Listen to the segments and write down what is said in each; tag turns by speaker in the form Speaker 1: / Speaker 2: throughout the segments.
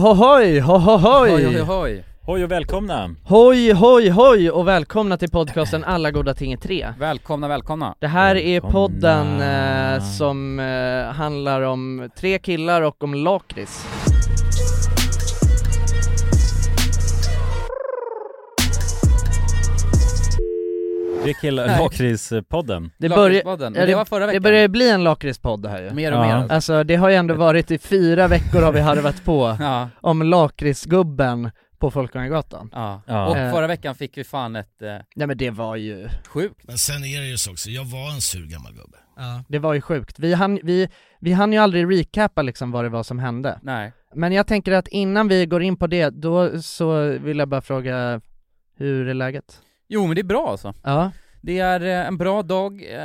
Speaker 1: Hohohoj,
Speaker 2: Hoj, hoj,
Speaker 1: hohohoj!
Speaker 2: hoj.
Speaker 3: Hoj och välkomna!
Speaker 1: Hoj, hoj, hoj och välkomna till podcasten Alla goda ting är tre
Speaker 2: Välkomna, välkomna.
Speaker 1: Det här är
Speaker 3: Välkomna.
Speaker 1: podden eh, som eh, handlar om tre killar och om lakrits
Speaker 3: Det är killar
Speaker 2: Nej.
Speaker 3: Lakritspodden.
Speaker 1: Det, börjar-
Speaker 2: Lakritspodden.
Speaker 1: ja,
Speaker 2: Men det var förra
Speaker 1: det
Speaker 2: veckan.
Speaker 1: börjar bli en lakritspodd det här ju
Speaker 2: Mer och mer.
Speaker 3: Ja.
Speaker 2: alltså.
Speaker 1: Alltså det har ju ändå varit i fyra veckor har vi harvat på
Speaker 2: Ja.
Speaker 1: om lakritsgubben på Folkungagatan
Speaker 2: Ja.
Speaker 3: Ja.
Speaker 2: Och
Speaker 1: Eh.
Speaker 2: förra veckan fick vi fan ett eh,
Speaker 1: Nej men det var ju,
Speaker 2: sjukt.
Speaker 4: Men sen är det ju så också, jag var en sur gammal gubbe.
Speaker 1: det var ju sjukt. Vi hann, vi, vi hann ju aldrig recapa liksom vad det var som hände.
Speaker 2: Nej.
Speaker 1: Men jag tänker att innan vi går in på det, då så vill jag bara fråga, hur är läget?
Speaker 2: Jo men det är bra alltså.
Speaker 1: Ja,
Speaker 2: Det är eh, en bra dag. Eh,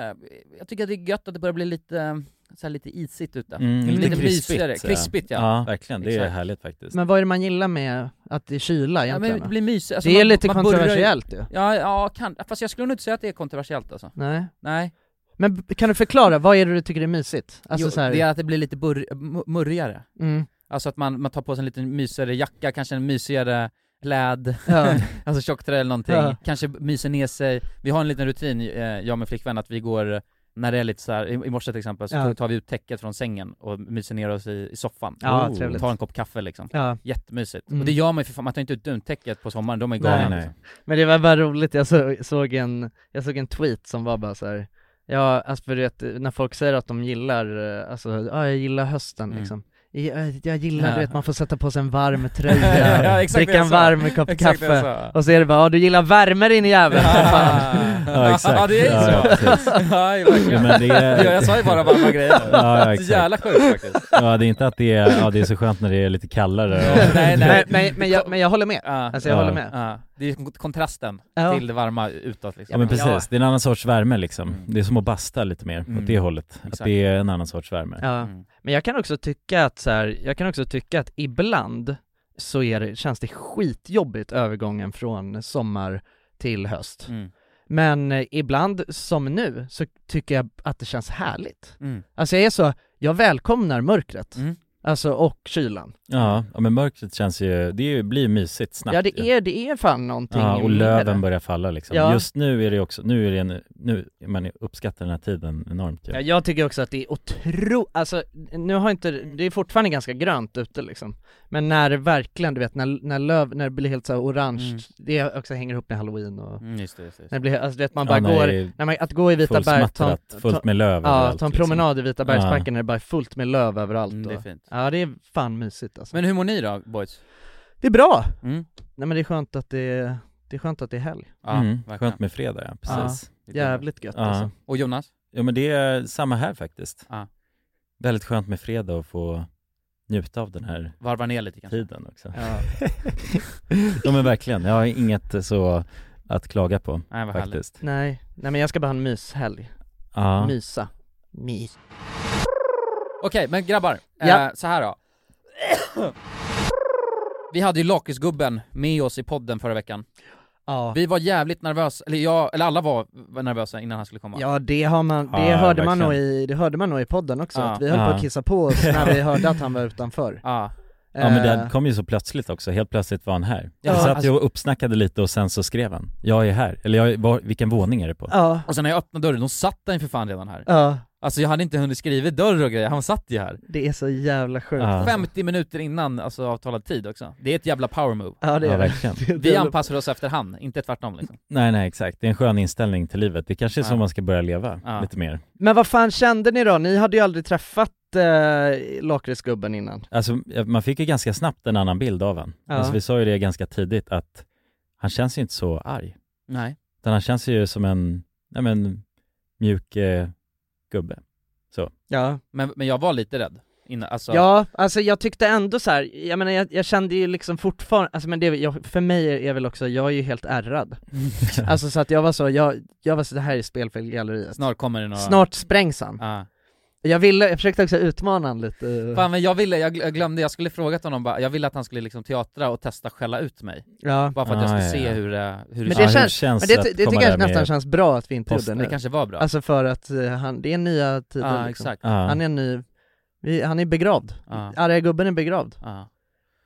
Speaker 2: jag tycker att det är gött att det börjar bli lite, eh, så här lite isigt ute.
Speaker 3: Mm,
Speaker 2: lite
Speaker 3: lite
Speaker 2: mysigare.
Speaker 1: eh.
Speaker 3: krispigt.
Speaker 2: Krispigt, ja.
Speaker 3: ja verkligen, det är
Speaker 2: Exakt.
Speaker 3: härligt faktiskt.
Speaker 1: men vad är det man gillar med att det är kyla
Speaker 2: Ja,
Speaker 1: egentligen?
Speaker 2: men det blir mysigt. Alltså,
Speaker 1: det är
Speaker 2: man-
Speaker 1: lite
Speaker 2: man börjar-
Speaker 1: kontroversiellt ju.
Speaker 2: Ja, ja kan, fast jag skulle nog inte säga att det är kontroversiellt alltså.
Speaker 1: Nej.
Speaker 2: Nej.
Speaker 1: Men b- kan du förklara, vad är det du tycker är mysigt? Alltså
Speaker 2: jo,
Speaker 1: så här,
Speaker 2: Det är att det blir lite burr, m- murrigare.
Speaker 1: mm,
Speaker 2: Alltså att man, man tar på sig en lite mysigare jacka, kanske en mysigare pläd.
Speaker 1: ja,
Speaker 2: Alltså tjockträ eller någonting,
Speaker 1: Ja.
Speaker 2: kanske myser ner sig. Vi har en liten rutin, eh, jag och min flickvän, att vi går eh, när det är lite så här, i i morse till exempel, så
Speaker 1: Ja.
Speaker 2: tar vi ut täcket från sängen och myser ner oss i, i soffan.
Speaker 1: ja
Speaker 3: Oh.
Speaker 1: trevligt.
Speaker 2: Tar en kopp kaffe liksom.
Speaker 1: Ja.
Speaker 2: Jättemysigt.
Speaker 1: Mm.
Speaker 2: Och det gör man ju för fan, man tar inte ut duntäcket på sommaren, de är
Speaker 1: Nej,
Speaker 2: galna.
Speaker 3: nej.
Speaker 2: liksom.
Speaker 1: Men det var bara roligt, jag så, såg, en, jag såg en tweet som var bara så här. Ja, alltså för du vet, när folk säger att de gillar, eh, alltså, ja jag gillar hösten
Speaker 2: Mm.
Speaker 1: liksom jag, jag gillar,
Speaker 2: Ja.
Speaker 1: du vet, man får sätta på sig en varm tröja,
Speaker 2: Ja, exakt det
Speaker 1: dricka
Speaker 2: jag
Speaker 1: en
Speaker 2: sa.
Speaker 1: varm kopp
Speaker 2: Exakt alltså. det jag
Speaker 1: kaffe
Speaker 2: sa.
Speaker 1: Och så är det bara, ja du gillar värme din jävel, för fan.
Speaker 3: Ja, exakt.
Speaker 2: Ja, det är ju
Speaker 3: Ja, ja,
Speaker 2: så.
Speaker 3: precis.
Speaker 2: Ja, ja, verkligen.
Speaker 3: Men det
Speaker 2: Ja,
Speaker 3: är,
Speaker 2: jag sa ju bara varma grejer.
Speaker 3: Ja, ja,
Speaker 2: Så
Speaker 3: exakt.
Speaker 2: jävla sjukt faktiskt.
Speaker 3: ja, det är inte att det är, ja, det är så skönt när det är lite kallare.
Speaker 2: Nej, nej.
Speaker 1: men, men, men, jag, men jag håller med,
Speaker 2: Ja,
Speaker 1: alltså jag
Speaker 3: Ja.
Speaker 1: håller med
Speaker 2: ja. Det är kontrasten
Speaker 1: Ja.
Speaker 2: till det varma utåt liksom.
Speaker 3: Ja men
Speaker 1: Ja.
Speaker 3: precis, det är en annan sorts värme liksom.
Speaker 2: Mm.
Speaker 3: Det är som att basta lite mer
Speaker 2: Mm.
Speaker 3: åt det hållet.
Speaker 2: Exakt.
Speaker 3: Att det är en annan sorts värme.
Speaker 1: ja.
Speaker 2: Mm.
Speaker 1: Men jag kan också tycka att så här, jag kan också tycka att ibland så är det, känns det skitjobbigt övergången från sommar till höst
Speaker 2: Mm.
Speaker 1: Men eh, ibland, som nu, så tycker jag att det känns härligt.
Speaker 2: Mm.
Speaker 1: Alltså jag är så, jag välkomnar mörkret.
Speaker 2: Mm.
Speaker 1: Alltså och kylan.
Speaker 3: Ja, ja men mörkret känns ju, det är ju- blir ju mysigt snabbt.
Speaker 1: ja
Speaker 3: ju.
Speaker 1: det är, det är fan någonting
Speaker 3: Ja, och
Speaker 1: med
Speaker 3: löven
Speaker 1: det.
Speaker 3: börjar falla liksom.
Speaker 1: Ja.
Speaker 3: Just nu är det också, nu är det en, nu, man uppskattar den här tiden enormt ju.
Speaker 1: Ja, Eh, jag tycker också att det är otro... alltså nu har inte, det är fortfarande ganska grönt ute liksom. Men när det verkligen, du vet, när, när löv, när det blir helt så här orange,
Speaker 2: Mm.
Speaker 1: det också hänger ihop med halloween och,
Speaker 2: Mm, just det, just det. just
Speaker 1: när det
Speaker 2: det.
Speaker 1: blir, alltså du vet man
Speaker 3: Ja,
Speaker 1: bara
Speaker 3: när det
Speaker 1: går,
Speaker 3: är
Speaker 1: när man, att gå i Vita berg, ta,
Speaker 3: Fullsmattrat, fullt med löv
Speaker 1: ja,
Speaker 3: överallt,
Speaker 1: ta en
Speaker 3: liksom.
Speaker 1: promenad i Vita bergsparken när det bara är fullt med löv överallt
Speaker 2: Mm,
Speaker 1: och,
Speaker 2: det är fint.
Speaker 1: Ja det är fan mysigt alltså.
Speaker 2: Men hur mår ni då boys?
Speaker 1: Det är bra!
Speaker 2: Mm.
Speaker 1: Nej men det är skönt att det är, det är skönt att det är helg.
Speaker 2: Ja,
Speaker 3: mm,
Speaker 2: verkligen.
Speaker 3: skönt med fredag ja, precis.
Speaker 2: Det är
Speaker 1: Jävligt gött
Speaker 3: Ja.
Speaker 1: alltså.
Speaker 2: kul. Och Jonas?
Speaker 3: Ja men det är samma här faktiskt.
Speaker 2: Ja.
Speaker 3: Väldigt skönt med fredag och få njuta av den här
Speaker 2: Varva ner lite kanske?
Speaker 3: tiden också. ja men verkligen, jag har inget eh, så att klaga på
Speaker 1: Typ.
Speaker 2: Nej vad härligt.
Speaker 3: faktiskt.
Speaker 1: Nej, nej men jag ska bara ha en myshelg.
Speaker 3: Ja.
Speaker 1: Mysa. Mys.
Speaker 2: Okej, men grabbar.
Speaker 1: Ja.
Speaker 2: Eh, så här då. Vi hade ju Lakritsgubben med oss i podden förra veckan.
Speaker 1: Ja.
Speaker 2: Vi var jävligt nervösa, eller jag, eller alla var var nervösa innan han skulle komma.
Speaker 1: Ja det har man, det
Speaker 3: Ja,
Speaker 1: hörde man nog
Speaker 3: verkligen.
Speaker 1: i, det hörde man nog i podden också,
Speaker 2: Ja.
Speaker 1: att vi höll på
Speaker 3: Ja.
Speaker 1: att kissa på oss när vi hörde att han var utanför.
Speaker 2: Ja.
Speaker 3: Ja men
Speaker 1: Eh,
Speaker 3: den kom ju så plötsligt också, helt plötsligt var han här.
Speaker 2: Ja,
Speaker 3: Ja, vi satt
Speaker 2: alltså-
Speaker 3: ju och uppsnackade lite och sen så skrev han, jag är här, eller jag, är- var, vilken våning är det på?
Speaker 1: Ja,
Speaker 2: Och sen när jag öppnade dörren, då satt han ju för fan redan här.
Speaker 1: ja,
Speaker 2: Alltså jag hade inte hunnit skriva dörr och grejer, han satt ju här.
Speaker 1: det är så jävla sjukt.
Speaker 3: Ja.
Speaker 2: 50 minuter innan alltså, avtalad tid också. Det är ett jävla power move.
Speaker 1: Ja det
Speaker 3: Ja,
Speaker 1: är det.
Speaker 3: verkligen.
Speaker 1: det.
Speaker 2: Vi anpassar oss efter han, inte tvärtom liksom.
Speaker 3: Nej nej exakt, det är en skön inställning till livet. Det kanske är så
Speaker 2: Ja.
Speaker 3: man ska börja leva
Speaker 2: Ja.
Speaker 3: lite mer.
Speaker 1: Men vad fan kände ni då? Ni hade ju aldrig träffat eh, lakritsgubben innan.
Speaker 3: Alltså man fick ju ganska snabbt en annan bild av han.
Speaker 1: Ja.
Speaker 3: Alltså vi sa ju det ganska tidigt att han känns ju inte så arg.
Speaker 2: Nej.
Speaker 3: Utan han känns ju som en, nej men, mjuk eh, gubbe.
Speaker 1: Ja.
Speaker 2: Men, men jag var lite rädd. Innan, alltså,
Speaker 1: Ja, alltså jag tyckte ändå så här. jag menar jag, jag kände ju liksom fortfarande, alltså men det, jag, för mig är, är väl också, jag är ju helt ärrad.
Speaker 3: Mm.
Speaker 1: Alltså så att jag var så, jag, jag var så, det här är spel för galleriet.
Speaker 2: Snart kommer det några...
Speaker 1: Snart sprängs han.
Speaker 2: Ja.
Speaker 1: Jag ville, jag försökte också utmana han lite. eh,
Speaker 2: Fan men jag ville, jag gl- jag glömde, jag skulle frågat honom bara, jag ville att han skulle liksom teatra och testa skälla ut mig.
Speaker 1: Ja.
Speaker 2: Bara för att
Speaker 3: Ah,
Speaker 2: jag skulle se
Speaker 3: ja, ja.
Speaker 2: hur det, hur
Speaker 1: Men det
Speaker 2: det känns.
Speaker 1: känns-
Speaker 3: känns
Speaker 1: Men det, ty- det
Speaker 3: komma
Speaker 1: tycker jag
Speaker 3: där med-
Speaker 1: nästan känns bra att vi inte
Speaker 3: posten.
Speaker 1: gjorde
Speaker 2: Det
Speaker 1: nu.
Speaker 2: kanske var bra.
Speaker 1: Alltså för att eh, han, det är nya tider
Speaker 2: ja,
Speaker 1: liksom.
Speaker 2: exakt.
Speaker 3: Ja.
Speaker 1: Han är en ny, vi, han är begravd.
Speaker 2: Ja.
Speaker 1: Arga gubben är begravd.
Speaker 2: Ja.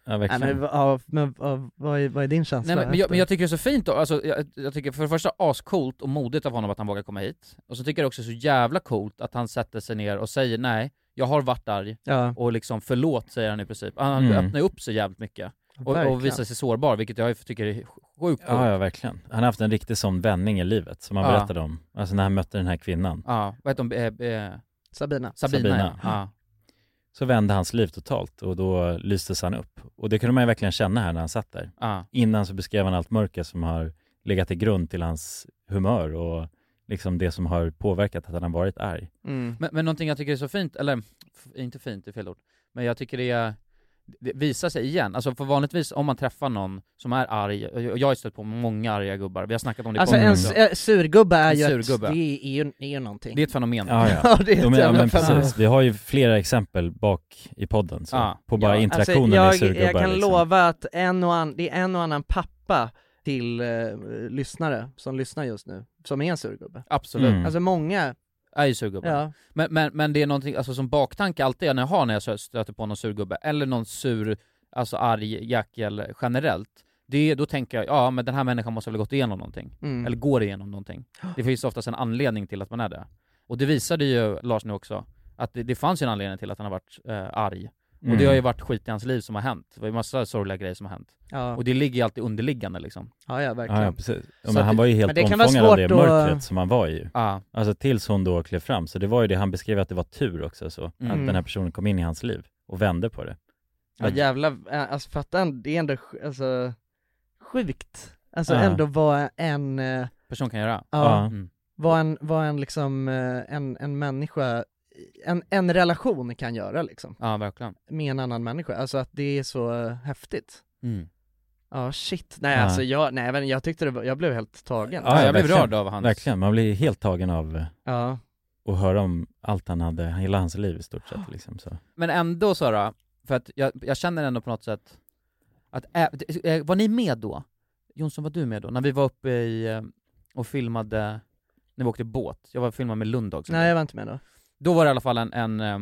Speaker 3: Ja,
Speaker 1: Nej, men,
Speaker 3: verkligen.
Speaker 1: ja, men ja, vad, är, vad är din känsla?
Speaker 2: Nej, men, men, jag,
Speaker 1: efter?
Speaker 2: men jag tycker det är så fint då, alltså, jag, jag tycker för det första ascoolt och modigt av honom att han vågar komma hit, och så tycker jag också det är så jävla coolt att han sätter sig ner och säger nej, jag har varit arg,
Speaker 1: ja,
Speaker 2: och liksom förlåt säger han i princip. Han
Speaker 3: Mm.
Speaker 2: öppnar ju upp sig jävligt mycket, och,
Speaker 1: verkligen.
Speaker 2: och visar sig sårbar, vilket jag ju tycker är sjukt coolt.
Speaker 3: Ja, ja, verkligen. Han har haft en riktig sån vändning i livet som han
Speaker 2: Ja.
Speaker 3: berättade om. Alltså när han mötte den här kvinnan.
Speaker 2: Ja, vad heter hon? Eh, eh,
Speaker 1: Sabina.
Speaker 2: Sabina,
Speaker 3: Sabina.
Speaker 2: Ja.
Speaker 3: Så vände hans liv totalt och då lystes han upp. Och det kunde man ju verkligen känna här när han satt där.
Speaker 2: Ja.
Speaker 3: Innan så beskrev han allt mörker som har legat till grund till hans humör och liksom det som har påverkat att han har varit arg.
Speaker 1: Mm.
Speaker 2: Men, men någonting jag tycker är så fint, eller f- inte fint, det är fel ord, men jag tycker det är det visar sig igen, alltså för vanligtvis om man träffar någon som är arg, och jag och jag har ju stött på många arga gubbar, vi har snackat om det i
Speaker 1: Alltså
Speaker 2: podden
Speaker 1: en
Speaker 2: också.
Speaker 1: s- eh, surgubbe är
Speaker 2: En
Speaker 1: ju,
Speaker 2: surgubbe.
Speaker 1: Ett, det är ju, är ju någonting.
Speaker 2: Det är ett fenomen.
Speaker 3: Ja, ja.
Speaker 1: Ah, ja, det är
Speaker 3: Jo,
Speaker 1: ett
Speaker 3: men, ja,
Speaker 1: jävla
Speaker 3: men
Speaker 1: fenomen.
Speaker 3: precis. Vi har ju flera exempel bak i podden, så
Speaker 2: Ja.
Speaker 3: på bara
Speaker 2: Ja,
Speaker 1: Alltså,
Speaker 3: interaktionen med
Speaker 1: jag,
Speaker 3: surgubbar.
Speaker 1: jag kan
Speaker 3: liksom.
Speaker 1: lova att en och an, det är en och annan pappa till eh, lyssnare som lyssnar just nu, som är en surgubbe.
Speaker 2: Absolut.
Speaker 3: Mm.
Speaker 1: Alltså många,
Speaker 2: Är ju surgubbar.
Speaker 1: ja.
Speaker 2: Men, men, men det är någonting, alltså som baktanke alltid jag när jag har när jag sö- stöter på någon surgubbe, eller någon sur, alltså arg jäkel generellt, det, är- då tänker jag, ja men den här människan måste väl ha gått igenom någonting.
Speaker 1: Mm.
Speaker 2: eller går igenom någonting. Det finns oftast en anledning till att man är det. Och det visade ju Lars nu också, att det, det fanns ju en anledning till att han har varit eh, arg.
Speaker 3: Mm.
Speaker 2: Och det har ju varit skit i hans liv som har hänt. Det var ju massa sorgliga grejer som har hänt.
Speaker 1: ja.
Speaker 2: Och det ligger ju alltid underliggande liksom.
Speaker 1: ja, ja verkligen.
Speaker 3: Ja, ja, precis. Ja,
Speaker 2: Så
Speaker 3: men
Speaker 2: att
Speaker 3: han
Speaker 2: det-
Speaker 3: var ju
Speaker 1: men
Speaker 3: helt
Speaker 1: det kan vara
Speaker 3: omfångad av det
Speaker 1: svårt att-
Speaker 3: mörkret som han var i.
Speaker 2: Ah,
Speaker 3: Alltså tills hon då klev fram, så det var ju det han beskrev att det var tur också så,
Speaker 2: Mm.
Speaker 3: att den här personen kom in i hans liv och vände på det.
Speaker 1: Ja jävlar, eh, alltså fatta, en- det är ändå sj- alltså, sjukt. Alltså
Speaker 3: Ja.
Speaker 1: ändå vara en, eh,
Speaker 2: person kan göra.
Speaker 1: ja,
Speaker 2: Mm.
Speaker 1: vara en, vara en liksom, eh, en, en människa, en, en relation kan göra liksom,
Speaker 2: Ja, verkligen.
Speaker 1: med en annan människa. Alltså att det är så eh, häftigt.
Speaker 2: Mm.
Speaker 1: Ja shit, nej
Speaker 3: Ja.
Speaker 1: alltså jag, nej men jag tyckte det var, jag blev helt tagen.
Speaker 3: Ja,
Speaker 2: Ja,
Speaker 3: ja,
Speaker 2: jag blev
Speaker 3: verkligen.
Speaker 2: rörd av hans...
Speaker 3: Verkligen, man blir helt tagen av eh,
Speaker 1: Ja.
Speaker 3: att höra om allt han hade, hela hans liv i stort sett liksom så.
Speaker 2: Men ändå Sara, för att jag, jag känner ändå på något sätt att, ä, eh, var ni med då? Jonsson, var du med då? När vi var uppe i, eh, och filmade, när vi åkte båt, jag var och filmade med Lunddag
Speaker 1: Nej jag var inte med då.
Speaker 2: Då var det i alla fall en, en eh,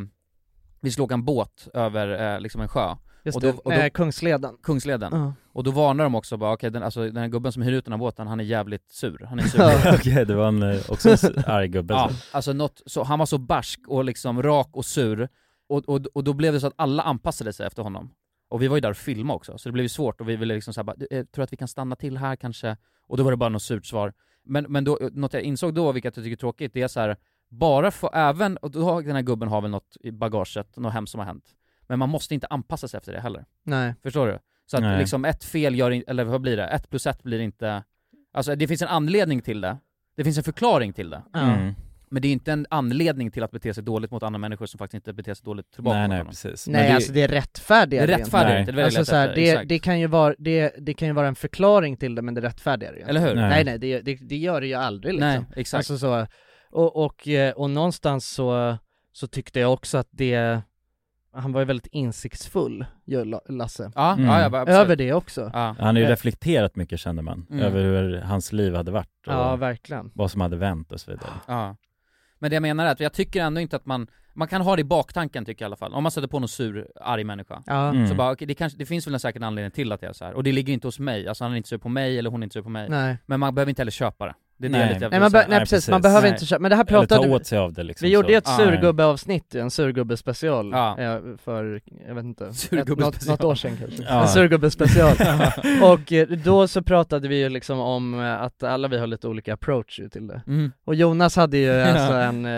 Speaker 2: vi skulle åka en båt över eh, liksom en sjö,
Speaker 1: Just
Speaker 2: Och
Speaker 1: det,
Speaker 2: då- och då-
Speaker 1: eh, Kungsleden.
Speaker 2: Kungsleden,
Speaker 1: Ja.
Speaker 2: och då varnar de också bara okej den, alltså, den här gubben som hyr ut den här båten, han är jävligt sur, han är sur
Speaker 1: Ja.
Speaker 3: Okej, det var en, eh, också en s- arg gubbe
Speaker 2: Ja,
Speaker 3: så.
Speaker 2: alltså något, så han var så barsk och liksom rak och sur, och, och, och då blev det så att alla anpassade sig efter honom. Och vi var ju där och filmade också, så det blev ju svårt och vi ville liksom såhär bara, "Du, eh, tror du att vi kan stanna till här kanske? Och då var det bara något surt svar. Men, men då, eh, något jag insåg då, vilket jag tycker är tråkigt, det är så här bara för, även, och då har den här gubben har väl något i bagaget, något hemskt som har hänt. Men man måste inte anpassa sig efter det heller.
Speaker 1: Nej.
Speaker 2: Förstår du? Så att
Speaker 3: Nej.
Speaker 2: liksom ett fel gör inte, eller vad blir det? Ett plus ett blir inte, alltså det finns en anledning till det. Det finns en förklaring till det.
Speaker 1: Ja.
Speaker 3: Mm.
Speaker 2: Men det är inte en anledning till att bete sig dåligt mot andra människor som faktiskt inte beter sig dåligt tillbaka
Speaker 3: Nej,
Speaker 2: mot
Speaker 3: nej
Speaker 2: honom.
Speaker 3: precis. Men
Speaker 1: Nej
Speaker 3: det-
Speaker 1: alltså det är
Speaker 2: Det
Speaker 1: rättfärdigar
Speaker 2: är
Speaker 1: det ju
Speaker 2: rättfärdigt
Speaker 3: Nej.
Speaker 2: inte, det
Speaker 1: inte.
Speaker 2: är
Speaker 1: Alltså så här, det,
Speaker 2: exakt.
Speaker 1: det, kan ju vara, det, det kan ju vara en förklaring till det men det rättfärdigar det ju
Speaker 2: Eller hur?
Speaker 3: Nej.
Speaker 1: Nej nej, det, det, det gör det ju aldrig liksom.
Speaker 2: Nej, exakt.
Speaker 1: Alltså så, och, och, eh, och någonstans så, så tyckte jag också att det, han var ju väldigt insiktsfull, ju La- Lasse.
Speaker 2: ja,
Speaker 3: Mm.
Speaker 2: ja, ja, absolut.
Speaker 1: Över det också.
Speaker 2: Ja.
Speaker 3: Han har ju
Speaker 1: Eh.
Speaker 3: reflekterat mycket kände man,
Speaker 2: Mm.
Speaker 3: över hur hans liv hade varit och
Speaker 1: Ja, verkligen.
Speaker 3: vad som hade vänt och så vidare.
Speaker 2: ja. Men det jag menar är att jag tycker ändå inte att man, man kan ha det i baktanken tycker jag i alla fall, om man sätter på någon sur, arg människa.
Speaker 1: Ja.
Speaker 3: Mm.
Speaker 2: Så bara, okej, det, kanske, det finns väl en säkert anledning till att jag är så här. och det ligger inte hos mig, alltså han är inte sur på mig eller hon är inte sur på mig.
Speaker 1: Nej.
Speaker 2: Men man behöver inte heller köpa det. Det är det
Speaker 3: Nej.
Speaker 2: jag lite jag
Speaker 1: Nej,
Speaker 2: vill
Speaker 1: man
Speaker 2: säga.
Speaker 1: be- nej
Speaker 3: Nej,
Speaker 1: precis, man
Speaker 3: precis.
Speaker 1: behöver
Speaker 2: Nej.
Speaker 1: inte köpa, men det här
Speaker 3: Eller ta
Speaker 1: pratade
Speaker 3: åt sig av det liksom
Speaker 1: vi gjorde
Speaker 3: så.
Speaker 1: ju ett
Speaker 2: Ah,
Speaker 1: surgubbeavsnitt ju, en surgubbespecial,
Speaker 2: Ja.
Speaker 1: eh, för, jag vet inte, ett,
Speaker 2: Surgubbespecial.
Speaker 1: något, något år sedan kanske.
Speaker 3: Ja.
Speaker 1: En surgubbespecial. och eh, då så pratade vi ju liksom om eh, att alla vi har lite olika approach ju till det.
Speaker 2: Mm.
Speaker 1: Och Jonas hade ju alltså
Speaker 2: Ja.
Speaker 1: en uh,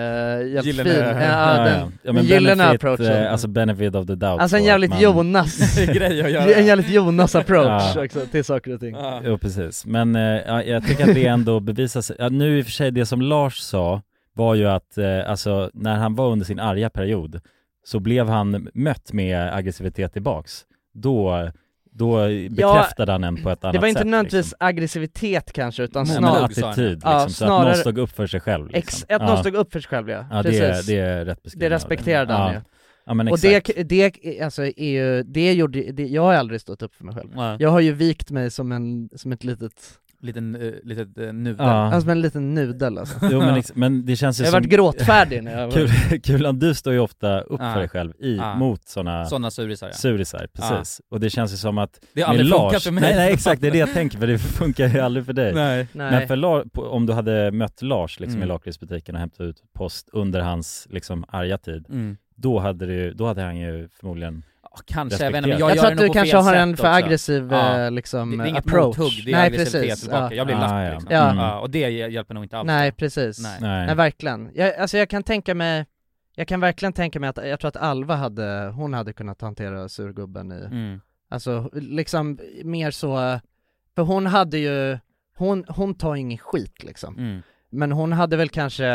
Speaker 1: jävligt
Speaker 2: Gyllene-
Speaker 1: fin, ja,
Speaker 3: Ja, ja.
Speaker 1: den,
Speaker 3: ja, men
Speaker 1: gyllene
Speaker 3: benefit,
Speaker 1: approachen.
Speaker 3: eh, Alltså benefit of the doubt.
Speaker 1: alltså en
Speaker 3: på att
Speaker 1: jävligt
Speaker 3: man-
Speaker 1: Jonas,
Speaker 2: Grej att göra.
Speaker 1: en jävligt Jonas approach
Speaker 3: Ja.
Speaker 1: också, till saker och ting.
Speaker 2: Ja.
Speaker 3: Jo precis, men eh, ja, jag tycker att det ändå bevisar sig. Ja, nu i och för sig, det som Lars sa var ju att eh, alltså, när han var under sin arga period så blev han mött med aggressivitet tillbaks. Då, då bekräftade han en på ett annat sätt.
Speaker 1: Det var inte nödvändigtvis
Speaker 3: liksom.
Speaker 1: aggressivitet kanske, utan
Speaker 3: Nej,
Speaker 2: Mod.
Speaker 1: snarare
Speaker 3: men
Speaker 2: snar-
Speaker 3: attityd liksom,
Speaker 1: Ja,
Speaker 3: så att någon
Speaker 1: snarare-
Speaker 3: stod upp för sig själv. Liksom.
Speaker 1: ex, att någon
Speaker 3: ja,
Speaker 1: stod upp för sig själv ja,
Speaker 3: ja, det,
Speaker 1: precis.
Speaker 3: det är rätt beskrivning
Speaker 1: Det respekterade han ju.
Speaker 3: ja. ja, men
Speaker 1: Och
Speaker 3: exakt.
Speaker 1: det, det, alltså, är ju, det gjorde, det, jag har aldrig stått upp för mig själv.
Speaker 2: Nej.
Speaker 1: Jag har ju vikt mig som, en, som ett litet
Speaker 2: liten, eh, litet eh, nudel.
Speaker 3: Ja.
Speaker 1: Alltså med en liten nudel alltså.
Speaker 3: Jo, men, ex- men det känns ju
Speaker 1: Jag har
Speaker 3: som...
Speaker 1: varit gråtfärdig när jag var...
Speaker 3: Kul, Kulan, du står ju ofta upp
Speaker 2: Ja.
Speaker 3: för dig själv i,
Speaker 2: Ja.
Speaker 3: mot sådana
Speaker 2: Sådana surisar ja.
Speaker 3: surisar, precis. Och det känns ju som att
Speaker 2: Det har
Speaker 3: med
Speaker 2: aldrig
Speaker 3: Lars...
Speaker 2: funkat för mig.
Speaker 3: Nej, nej exakt, det är det jag tänker för det funkar ju aldrig för dig.
Speaker 2: Nej.
Speaker 1: Nej.
Speaker 3: Men för La- på- om du hade mött Lars liksom,
Speaker 2: Mm.
Speaker 3: i lakritsbutiken och hämtat ut post under hans liksom, arga tid,
Speaker 2: Mm.
Speaker 3: då hade, det ju, då hade han ju förmodligen...
Speaker 2: Ja, Kanske, jag vet inte, men
Speaker 3: Respekterat.
Speaker 2: jag,
Speaker 1: Jag,
Speaker 2: gör
Speaker 1: tror
Speaker 2: det
Speaker 1: att
Speaker 2: nog
Speaker 1: du
Speaker 2: på
Speaker 1: kanske
Speaker 2: fel
Speaker 1: har
Speaker 2: sätt
Speaker 1: en för
Speaker 2: också.
Speaker 1: aggressiv
Speaker 2: Ja.
Speaker 1: eh, liksom,
Speaker 2: Det, det är inget
Speaker 1: approach.
Speaker 2: mothugg, det är
Speaker 1: Nej
Speaker 2: aggressivitet
Speaker 1: precis.
Speaker 2: tillbaka.
Speaker 1: Ja.
Speaker 2: Jag blir
Speaker 3: Ah,
Speaker 2: lack
Speaker 3: ja.
Speaker 2: liksom.
Speaker 1: Ja.
Speaker 2: Ja, och det hjälper nog inte alls.
Speaker 1: Nej precis. Nej.
Speaker 2: Nej.
Speaker 3: Nej.
Speaker 1: verkligen. Jag, alltså jag kan tänka mig, jag kan verkligen tänka mig att, jag tror att Alva hade, hon hade kunnat hantera surgubben i,
Speaker 2: Mm.
Speaker 1: alltså liksom mer så, för hon hade ju, hon, hon tar ingen skit liksom.
Speaker 2: Mm.
Speaker 1: Men hon hade väl kanske,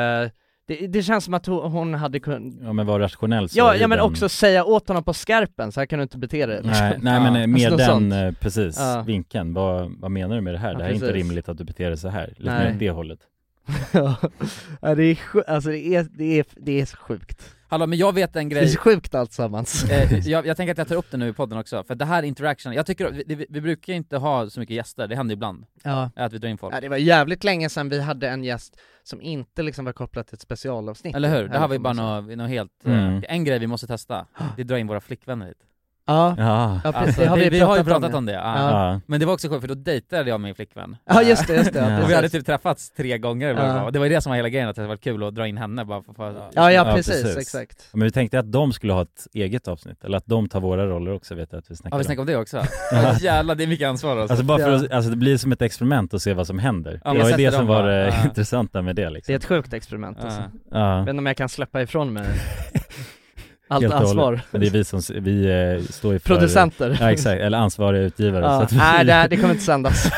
Speaker 1: det, det känns som att hon, hon hade kunnat
Speaker 3: Ja men var rationell så
Speaker 1: Ja,
Speaker 3: i
Speaker 1: ja men
Speaker 3: den-
Speaker 1: också säga åt honom på skarpen, så här kan du inte bete dig liksom.
Speaker 3: Nej, nej men
Speaker 2: Ja.
Speaker 3: eh, mer
Speaker 1: Alltså, något
Speaker 3: den,
Speaker 1: sånt.
Speaker 3: eh, precis,
Speaker 1: Ja.
Speaker 3: vinkeln. Vad, vad menar du med det här?
Speaker 1: Ja,
Speaker 3: det här är inte
Speaker 1: precis.
Speaker 3: rimligt att du beter dig så här. Lite
Speaker 1: Nej.
Speaker 3: mer åt det hållet.
Speaker 1: Ja, det är sjukt, alltså det är, det är, det är så sjukt.
Speaker 2: Hallå, men jag vet en
Speaker 1: Det är
Speaker 2: grej.
Speaker 1: så sjukt alltsammans.
Speaker 2: Eh, jag, jag tänker att jag tar upp det nu i podden också, för det här interaction, jag tycker, vi, vi, vi brukar ju inte ha så mycket gäster, det händer ibland, eh,
Speaker 1: Ja.
Speaker 2: att vi drar in folk.
Speaker 1: ja, det var jävligt länge sedan vi hade en gäst som inte liksom var kopplad till ett specialavsnitt.
Speaker 2: Eller hur? Det här var ju
Speaker 1: får
Speaker 2: bara
Speaker 1: man säga.
Speaker 2: något, något helt...
Speaker 3: Mm.
Speaker 2: eh, En grej vi måste testa, det är att dra in våra flickvänner hit.
Speaker 1: Ja,
Speaker 3: Ja.
Speaker 1: ja precis,
Speaker 2: Alltså,
Speaker 1: det har vi,
Speaker 2: har ju
Speaker 1: pratat
Speaker 2: pratat om det. ja.
Speaker 1: Ja.
Speaker 2: Men det var också sjukt, för då dejtade jag min flickvän.
Speaker 1: Ja just det, just det.
Speaker 3: Ja.
Speaker 1: Ja,
Speaker 2: Och vi hade
Speaker 1: precis.
Speaker 2: typ träffats tre gånger eller vad det
Speaker 1: Ja.
Speaker 2: var. Och det var ju det som var hela grejen, att det hade varit kul att dra in henne bara för, för
Speaker 1: ja, ja
Speaker 3: Ja,
Speaker 1: precis,
Speaker 3: precis.
Speaker 1: exakt.
Speaker 3: Men vi tänkte att de skulle ha ett eget avsnitt, eller att de tar våra roller också vet jag att vi
Speaker 2: Ja
Speaker 3: snackar
Speaker 2: vi
Speaker 3: om.
Speaker 2: snackade om det också. Ja, jävlar, det är mycket ansvar alltså.
Speaker 3: Alltså bara för
Speaker 1: Ja.
Speaker 3: att, alltså det blir som ett experiment att se vad som händer.
Speaker 2: Ja, man
Speaker 3: det var ju det
Speaker 2: sätter dem
Speaker 3: som var
Speaker 2: bara,
Speaker 3: det
Speaker 2: ja.
Speaker 3: intressanta med det liksom.
Speaker 1: Det är ett sjukt experiment alltså.
Speaker 2: Ja.
Speaker 3: Ja.
Speaker 1: Jag vet inte om jag kan släppa ifrån mig allt
Speaker 3: Helt och
Speaker 1: ansvar.
Speaker 3: hållet. Men det är vi som, s- vi eh, står ju för...
Speaker 1: Producenter.
Speaker 3: Ja exakt, eller ansvariga utgivare.
Speaker 1: Ja.
Speaker 3: Så att vi...
Speaker 1: Nej det, här, det kommer inte sändas.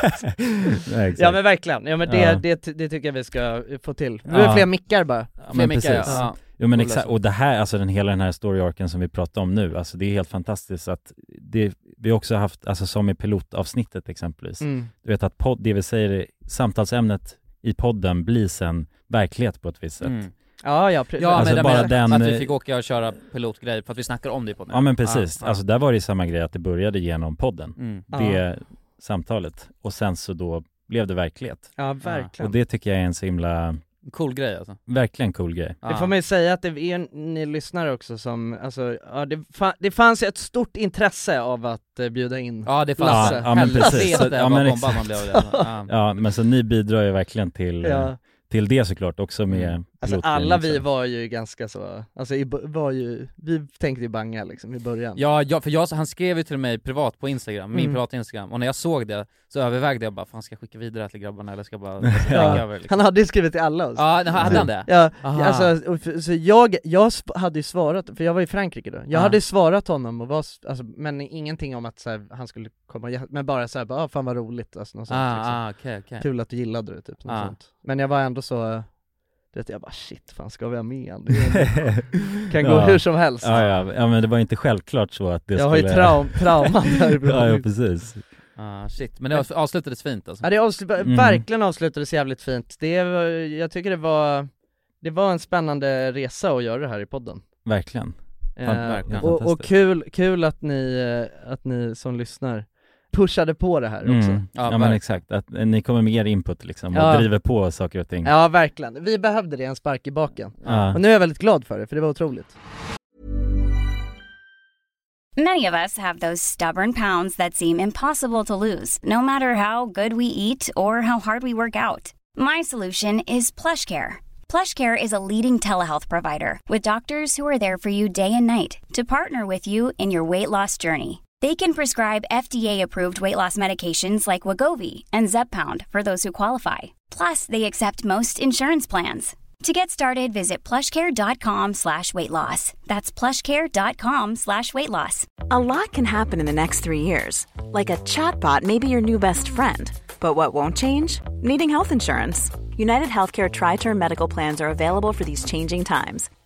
Speaker 3: Nej, exakt.
Speaker 1: Ja men verkligen, ja men det,
Speaker 3: Ja.
Speaker 1: det, det tycker jag vi ska få till. Nu
Speaker 3: Ja.
Speaker 1: är det fler mickar bara.
Speaker 3: Ja,
Speaker 2: Fler
Speaker 3: men
Speaker 2: mickar,
Speaker 3: precis.
Speaker 2: ja. Ja.
Speaker 3: Jo men
Speaker 2: Och
Speaker 3: exakt,
Speaker 2: lösa.
Speaker 3: och det här, alltså den hela den här story-arken som vi pratar om nu, alltså det är helt fantastiskt att det, vi har också haft, alltså som i pilotavsnittet exempelvis,
Speaker 1: Mm.
Speaker 3: du vet att podd, det vi säger, samtalsämnet i podden blir sen verklighet på ett visst sätt.
Speaker 2: Mm.
Speaker 1: Ja ja, pre-
Speaker 2: Ja men
Speaker 3: Alltså,
Speaker 2: det
Speaker 3: Typ. bara
Speaker 2: menar jag.
Speaker 3: den-
Speaker 2: att vi fick åka och köra pilotgrej för att vi snackar om det på
Speaker 3: Ja men precis, alltså där var det ju samma grej att det började genom podden,
Speaker 2: Mm.
Speaker 1: Ja.
Speaker 3: det samtalet, och sen så då blev det verklighet.
Speaker 1: ja verkligen.
Speaker 3: Och det tycker jag är en så himla,
Speaker 2: Cool grej alltså.
Speaker 3: verkligen cool grej.
Speaker 1: Det får man ju säga att det är en- ni lyssnare också som, alltså, ja, det, fa- det fanns ju ett stort intresse av att eh, bjuda in
Speaker 2: Ja det fanns
Speaker 1: Lasse.
Speaker 2: det.
Speaker 3: Ja, men precis. Så-
Speaker 2: Helvete
Speaker 3: ja,
Speaker 2: vad
Speaker 3: men
Speaker 2: bombad man blev av det. alltså. Ja.
Speaker 3: Ja men så ni bidrar ju verkligen till,
Speaker 1: Ja.
Speaker 3: till det såklart också med
Speaker 2: Mm.
Speaker 1: Alltså
Speaker 3: pilotgrejen liksom.
Speaker 1: alla
Speaker 3: också.
Speaker 1: vi var ju ganska så, alltså i, bo- var ju, vi tänkte ju banga liksom i början
Speaker 2: Ja, jag, för jag, han skrev ju till mig privat på Instagram, min
Speaker 1: Mm.
Speaker 2: privata Instagram, och när jag såg det så övervägde jag bara, fan ska jag skicka vidare till grabbarna eller ska jag bara
Speaker 3: Ja.
Speaker 2: lägga över liksom.
Speaker 1: Han hade ju skrivit till alla oss
Speaker 2: Ja, Ah. hade han det?
Speaker 1: Ja,
Speaker 2: Aha.
Speaker 1: alltså, och f- så jag, jag sp- hade ju svarat, för jag var i Frankrike då, jag
Speaker 2: Ah.
Speaker 1: hade ju svarat honom och var, s- alltså, men ingenting om att så här, han skulle komma och hjäl- men bara såhär bara, ah, fan vad roligt, alltså något sånt liksom.
Speaker 2: ah, ah, okej, okej.
Speaker 1: Kul att du gillade det typ, något
Speaker 2: Ah.
Speaker 1: sånt. Men jag var ändå så, du vet jag bara shit, fan ska vi ha med han? Det är- kan gå
Speaker 3: Ja.
Speaker 1: hur som helst
Speaker 3: Ja, ja, ja men det var inte självklart så att det
Speaker 1: Jag har ju
Speaker 3: skulle...
Speaker 1: traum, trauman därifrån
Speaker 3: ja, ja
Speaker 1: ja,
Speaker 3: precis.
Speaker 2: Ah, shit, men det avs- avslutades fint alltså.
Speaker 1: det avsl-
Speaker 3: Mm.
Speaker 1: verkligen avslutades jävligt fint, det var, jag tycker det var, det var en spännande resa att göra det här i podden
Speaker 3: Verkligen.
Speaker 2: Ja,
Speaker 1: Eh,
Speaker 2: verkligen.
Speaker 1: Och, och
Speaker 3: Fantastiskt.
Speaker 1: kul, kul att ni, eh, att ni som lyssnar pushade på det här också
Speaker 3: Mm. Ja, men
Speaker 2: verkligen.
Speaker 3: exakt, att eh, ni kommer med er input liksom och
Speaker 1: Ja.
Speaker 3: driver på saker och ting.
Speaker 1: Ja verkligen, vi behövde det, en spark i baken.
Speaker 3: Ja.
Speaker 1: Och nu är jag väldigt glad för det, för det var otroligt.
Speaker 5: Many of us have those stubborn pounds that seem impossible to lose, no matter how good we eat or how hard we work out. My solution is PlushCare. PlushCare is a leading telehealth provider with doctors who are there for you day and night to partner with you in your weight loss journey. They can prescribe FDA-approved weight loss medications like Wagovi and Zepbound for those who qualify. Plus, they accept most insurance plans. To get started, visit plushcare.com slash weight loss. That's plushcare.com slash weight loss.
Speaker 6: A lot can happen in the next three years. Like a chatbot may be your new best friend. But what won't change? Needing health insurance. United Healthcare Tri Term Medical Plans are available for these changing times.